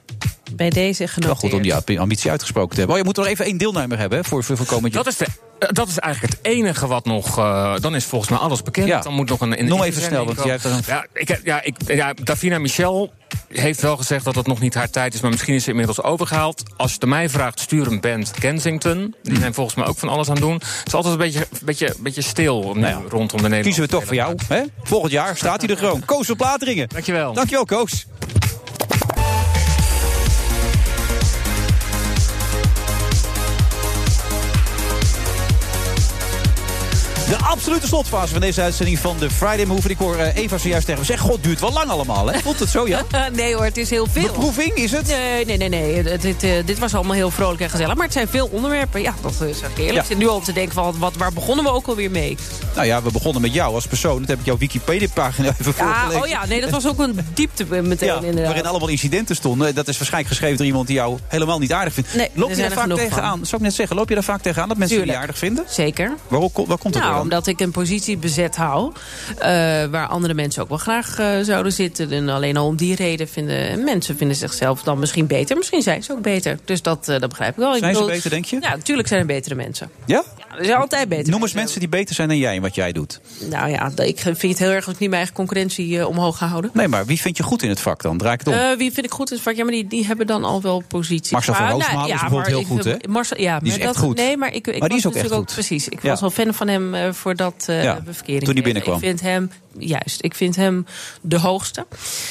Speaker 7: Bij deze
Speaker 6: Wel
Speaker 7: genoteerd.
Speaker 6: goed om die ambi- ambitie uitgesproken te hebben. Oh, je moet nog even één deelnemer hebben hè, voor, voor, voor komend jaar.
Speaker 19: Dat is, de, eh, dat is eigenlijk het enige wat nog... eh, dan is volgens mij alles bekend.
Speaker 6: Ja.
Speaker 19: Dan moet nog een... een
Speaker 6: Noem even
Speaker 19: inzending
Speaker 6: snel, want
Speaker 19: komen.
Speaker 6: jij hebt er een-
Speaker 19: Ja, ik, heb- ja, ik, ja, Davina Michel heeft wel gezegd dat het nog niet haar tijd is... maar misschien is ze inmiddels overgehaald. Als je het aan mij vraagt, stuur een band Kensington. Die zijn volgens mij ook van alles aan het doen. Het is altijd een beetje, beetje, beetje stil nu rondom de Nederlandse...
Speaker 6: Nou Kiezen we toch voor jou. Hè? Volgend jaar staat hij er gewoon. Koos van Plateringen.
Speaker 19: Dankjewel.
Speaker 6: Dankjewel, Koos. De absolute slotfase van deze uitzending van de Friday Move. Ik hoor eh, Eva zojuist tegen me zeggen... God, het duurt wel lang allemaal, hè? Voelt het zo, ja?
Speaker 7: nee hoor, het is heel veel.
Speaker 6: Beproeving is het?
Speaker 7: Nee, nee, nee. nee. Het- het- eh, dit was allemaal heel vrolijk en gezellig. Maar het zijn veel onderwerpen. Ja, dat is echt eerlijk.
Speaker 6: Ja.
Speaker 7: Ik zit nu al te denken, van, wat, wat, waar begonnen we ook alweer mee?
Speaker 6: Nou ja, we begonnen met jou als persoon. Dat heb ik jouw Wikipedia-pagina even
Speaker 7: Ja,
Speaker 6: voorgelezen.
Speaker 7: oh ja, nee, dat was ook een diepte eh, meteen
Speaker 6: Ja,
Speaker 7: inderdaad.
Speaker 6: waarin allemaal incidenten stonden. Dat is waarschijnlijk geschreven door iemand die jou helemaal niet aardig vindt.
Speaker 7: Nee, er
Speaker 6: loop je
Speaker 7: zijn
Speaker 6: daar
Speaker 7: er
Speaker 6: vaak
Speaker 7: genoeg
Speaker 6: tegenaan?
Speaker 7: van.
Speaker 6: Zou ik net zeggen, loop je daar vaak tegenaan dat mensen je niet
Speaker 7: Tuurlijk.
Speaker 6: aardig vinden?
Speaker 7: Zeker.
Speaker 6: Waarom, waar komt dat
Speaker 7: nou,
Speaker 6: door dan?
Speaker 7: omdat ik een positie bezet hou. eh, waar andere mensen ook wel graag eh, zouden zitten. En alleen al om die reden vinden mensen vinden zichzelf dan misschien beter. Misschien zijn ze ook beter. Dus dat, eh, dat begrijp ik wel.
Speaker 6: Zijn
Speaker 7: ik
Speaker 6: ze beter, denk je?
Speaker 7: Ja, natuurlijk zijn er betere mensen.
Speaker 6: Ja?
Speaker 7: Ja, er zijn altijd beter
Speaker 6: Noem eens mensen die beter zijn dan jij in wat jij doet.
Speaker 7: Nou ja, ik vind het heel erg als ik niet mijn eigen concurrentie eh, omhoog ga houden.
Speaker 6: Nee, maar wie vind je goed in het vak dan? Draai ik het om.
Speaker 7: Eh, wie vind ik goed in het vak? Ja, maar die, die hebben dan al wel positie.
Speaker 6: Marcel van
Speaker 7: Maar, nou
Speaker 6: Roosmalen is
Speaker 7: ja,
Speaker 6: bijvoorbeeld
Speaker 7: maar
Speaker 6: heel
Speaker 7: ik-
Speaker 6: goed, hè?
Speaker 7: Marcel, ja,
Speaker 6: Die is
Speaker 7: maar
Speaker 6: echt
Speaker 7: dat-
Speaker 6: goed.
Speaker 7: Nee, maar ik, ik
Speaker 6: Maar die is ook
Speaker 7: was
Speaker 6: echt
Speaker 7: natuurlijk ook
Speaker 6: goed.
Speaker 7: precies. Ik
Speaker 6: Ja.
Speaker 7: was wel fan van hem eh, voordat eh
Speaker 6: Ja,
Speaker 7: we verkering
Speaker 6: toen hij
Speaker 7: kregen.
Speaker 6: binnenkwam.
Speaker 7: Ik vind hem, juist, ik vind hem de hoogste.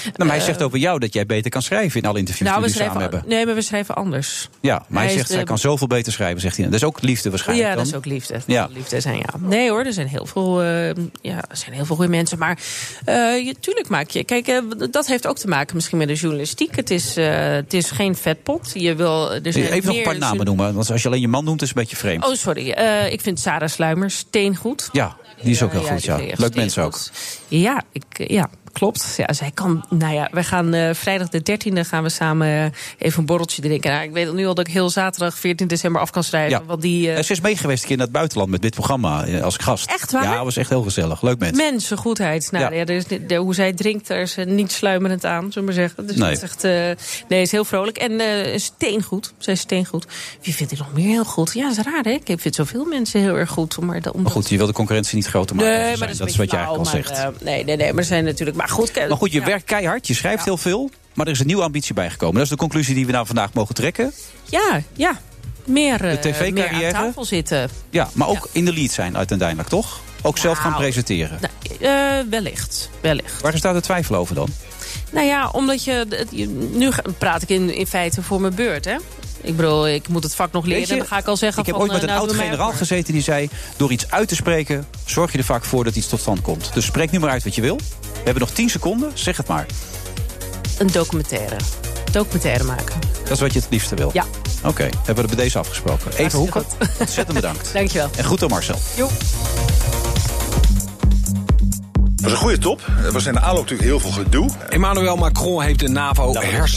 Speaker 6: nou, maar hij
Speaker 7: Eh,
Speaker 6: zegt over jou dat jij beter kan schrijven in alle interviews
Speaker 7: nou,
Speaker 6: die
Speaker 7: we
Speaker 6: we samen
Speaker 7: schrijven,
Speaker 6: hebben.
Speaker 7: nee, maar we schrijven anders.
Speaker 6: Ja, maar hij,
Speaker 7: hij is
Speaker 6: zegt,
Speaker 7: de-
Speaker 6: zij kan zoveel beter schrijven, zegt hij. Dat is ook liefde waarschijnlijk
Speaker 7: Ja, dat
Speaker 6: dan.
Speaker 7: is ook liefde. Dat
Speaker 6: Ja.
Speaker 7: zal liefde zijn, ja. Nee hoor, er zijn heel veel, eh, ja, er zijn heel veel goede mensen. Maar eh, je, tuurlijk maak je... Kijk, eh, dat heeft ook te maken misschien met de journalistiek. Het is, eh, het is geen vetpot. Je wil, er zijn
Speaker 6: Even nog een
Speaker 7: meer
Speaker 6: paar namen
Speaker 7: jour-
Speaker 6: noemen, want als je alleen je man noemt is het een beetje vreemd.
Speaker 7: Oh, sorry. Eh, ik vind Sarah Sluimers steengoed.
Speaker 6: Ja, die is ook
Speaker 7: Ja,
Speaker 6: heel
Speaker 7: ja,
Speaker 6: goed,
Speaker 7: die
Speaker 6: ja.
Speaker 7: vind ik echt
Speaker 6: Leuk mensen ook.
Speaker 7: Ja, ik, eh, ja klopt. Ja, zij kan. Nou ja, wij gaan eh, vrijdag de 13e gaan we samen eh, even een borreltje drinken. Nou, ik weet nu al dat ik heel zaterdag 14 december af kan schrijven.
Speaker 6: Ja.
Speaker 7: Want die eh,
Speaker 6: Eh, Ze is meegeweest een keer naar het buitenland met dit programma eh, als gast.
Speaker 7: Echt waar?
Speaker 6: Ja, was echt heel gezellig. Leuk mens.
Speaker 7: mensengoedheid. Nou,
Speaker 6: Ja.
Speaker 7: ja. er is ni- de- hoe zij drinkt, daar is ze niet sluimerend aan, zullen we maar zeggen. Dus
Speaker 6: Nee.
Speaker 7: dat is echt, eh, nee, is heel vrolijk. En eh, steengoed. Zij is steengoed. Wie vind ik nog meer heel goed? Ja, dat is raar, hè? Ik vind zoveel mensen heel erg goed. Maar dat,
Speaker 6: Maar goed, je wil de concurrentie niet groter maken.
Speaker 7: Nee,
Speaker 6: Ze
Speaker 7: maar
Speaker 6: zijn-
Speaker 7: dat is,
Speaker 6: Oh, dat is wat je eigenlijk al zegt.
Speaker 7: nee, nee, nee, maar er zijn natuurlijk. Maar goed,
Speaker 6: Maar goed, je werkt keihard, je schrijft heel veel. Maar er is een nieuwe ambitie bijgekomen. Dat is de conclusie die we nou vandaag mogen trekken.
Speaker 7: Ja, ja. Meer, eh,
Speaker 6: De TV
Speaker 7: meer
Speaker 6: carrière?
Speaker 7: aan tafel zitten.
Speaker 6: Ja, maar ook in de lead zijn uiteindelijk, toch? Ook zelf gaan presenteren.
Speaker 7: Eh, wellicht. Nou, wellicht.
Speaker 6: Waar staat de twijfel over dan?
Speaker 7: Nou ja, omdat je. het- je- Nu ga- praat ik in, in feite voor mijn beurt, hè? Ik bedoel, ik moet het vak nog leren.
Speaker 6: Weet je,
Speaker 7: dan ga ik al zeggen.
Speaker 6: Ik heb
Speaker 7: van,
Speaker 6: ooit met een
Speaker 7: eh, nou, doe mij
Speaker 6: oud-generaal
Speaker 7: maar.
Speaker 6: gezeten die zei... door iets uit te spreken, zorg je er vaak voor dat iets tot stand komt. Dus spreek nu maar uit wat je wil. We hebben nog 10 seconden, zeg het maar.
Speaker 7: Een documentaire. Documentaire maken.
Speaker 6: Dat is wat je het liefste wil.
Speaker 7: Ja.
Speaker 6: Oké, hebben we er bij deze afgesproken. Even Hoeken, ontzettend bedankt.
Speaker 7: Dankjewel.
Speaker 6: En goed dan Marcel.
Speaker 3: Het was een goede top. Er was in de aanloop natuurlijk heel veel gedoe.
Speaker 4: Emmanuel Macron heeft de NAVO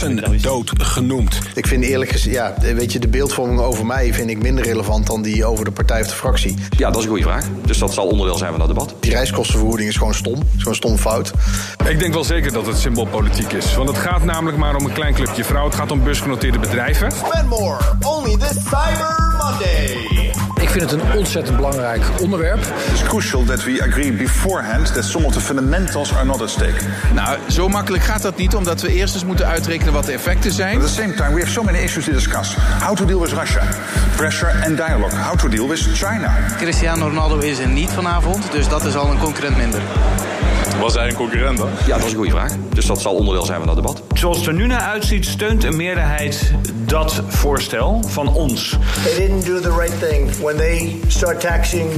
Speaker 4: hersendood genoemd.
Speaker 20: Ik vind eerlijk gezegd, ja, weet je, de beeldvorming over mij vind ik minder relevant dan die over de partij of de fractie.
Speaker 21: Ja, dat is een goede vraag. Dus dat zal onderdeel zijn van dat debat.
Speaker 20: Die reiskostenvergoeding is gewoon stom. Is gewoon stom fout.
Speaker 3: Ik denk wel zeker dat het symboolpolitiek is. Want het gaat namelijk maar om een klein clubje vrouw. Het gaat om beursgenoteerde bedrijven.
Speaker 1: Spend more, only this Cyber Monday.
Speaker 3: Ik vind het een ontzettend belangrijk onderwerp. It is crucial that we agree beforehand that some of the fundamentals are not at stake. Nou, zo makkelijk gaat dat niet, omdat we eerst eens moeten uitrekenen wat de effecten zijn. At the same time, we have so many issues to discuss. How to deal with Russia, pressure and dialogue. How to deal with China.
Speaker 22: Cristiano Ronaldo is er niet vanavond, dus dat is al een concurrent minder.
Speaker 21: Was hij een concurrent dan? Ja, dat is een goede vraag. Dus dat zal onderdeel zijn van dat debat.
Speaker 14: Zoals het er nu naar uitziet, steunt een meerderheid dat voorstel van ons.
Speaker 20: They didn't do the right thing when they start taxing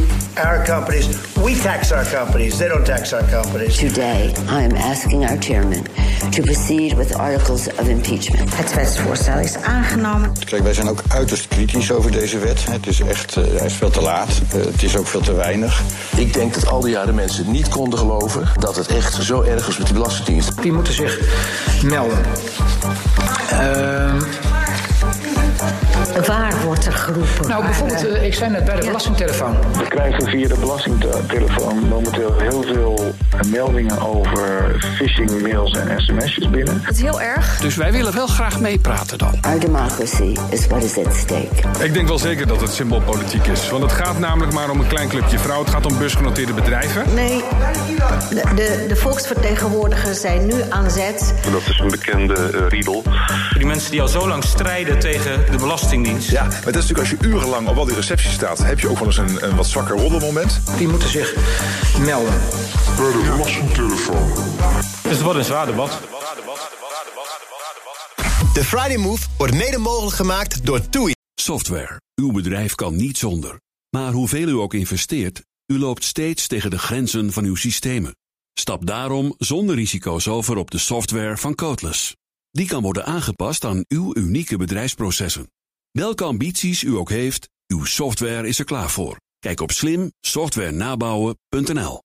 Speaker 20: our companies. We tax our companies. They don't tax our companies.
Speaker 13: Today, I am asking our chairman to proceed with articles of impeachment.
Speaker 5: Het wetsvoorstel is aangenomen.
Speaker 23: Kijk, wij zijn ook uiterst kritisch over deze wet. Het is echt, eh, hij is veel te laat. Eh, het is ook veel te weinig. Ik denk dat al die jaren mensen niet konden geloven dat het echt zo erg is met die belastingdienst.
Speaker 14: Die moeten zich melden.
Speaker 5: Ehm, Waar wordt er geroepen?
Speaker 14: Nou, bijvoorbeeld, eh, ik zei net bij de belastingtelefoon.
Speaker 24: We krijgen via de belastingtelefoon momenteel heel veel meldingen over Er phishing mails en sms'jes binnen. Het is heel erg. Dus wij willen wel graag meepraten dan.
Speaker 13: Our democracy is what is at stake.
Speaker 3: Ik denk wel zeker dat het symboolpolitiek is. Want het gaat namelijk maar om een klein clubje vrouw. Het gaat om beursgenoteerde bedrijven.
Speaker 5: Nee, de, de, de volksvertegenwoordigers zijn nu aan zet.
Speaker 3: Dat is een bekende eh, riedel.
Speaker 14: Die mensen die al zo lang strijden tegen de Belastingdienst.
Speaker 3: Ja, maar dat is natuurlijk als je urenlang op al die recepties staat, heb je ook wel eens een, een wat zwakker roddelmoment.
Speaker 14: Die moeten zich melden. Bij de belastingtelefoon. Dus het wordt een zwaar debat.
Speaker 1: De Friday Move wordt mede mogelijk gemaakt door TUI.
Speaker 24: Software. Uw bedrijf kan niet zonder. Maar hoeveel u ook investeert, u loopt steeds tegen de grenzen van uw systemen. Stap daarom zonder risico's over op de software van Codeless. Die kan worden aangepast aan uw unieke bedrijfsprocessen. Welke ambities u ook heeft, uw software is er klaar voor. Kijk op slimsoftwarenabouwen.nl.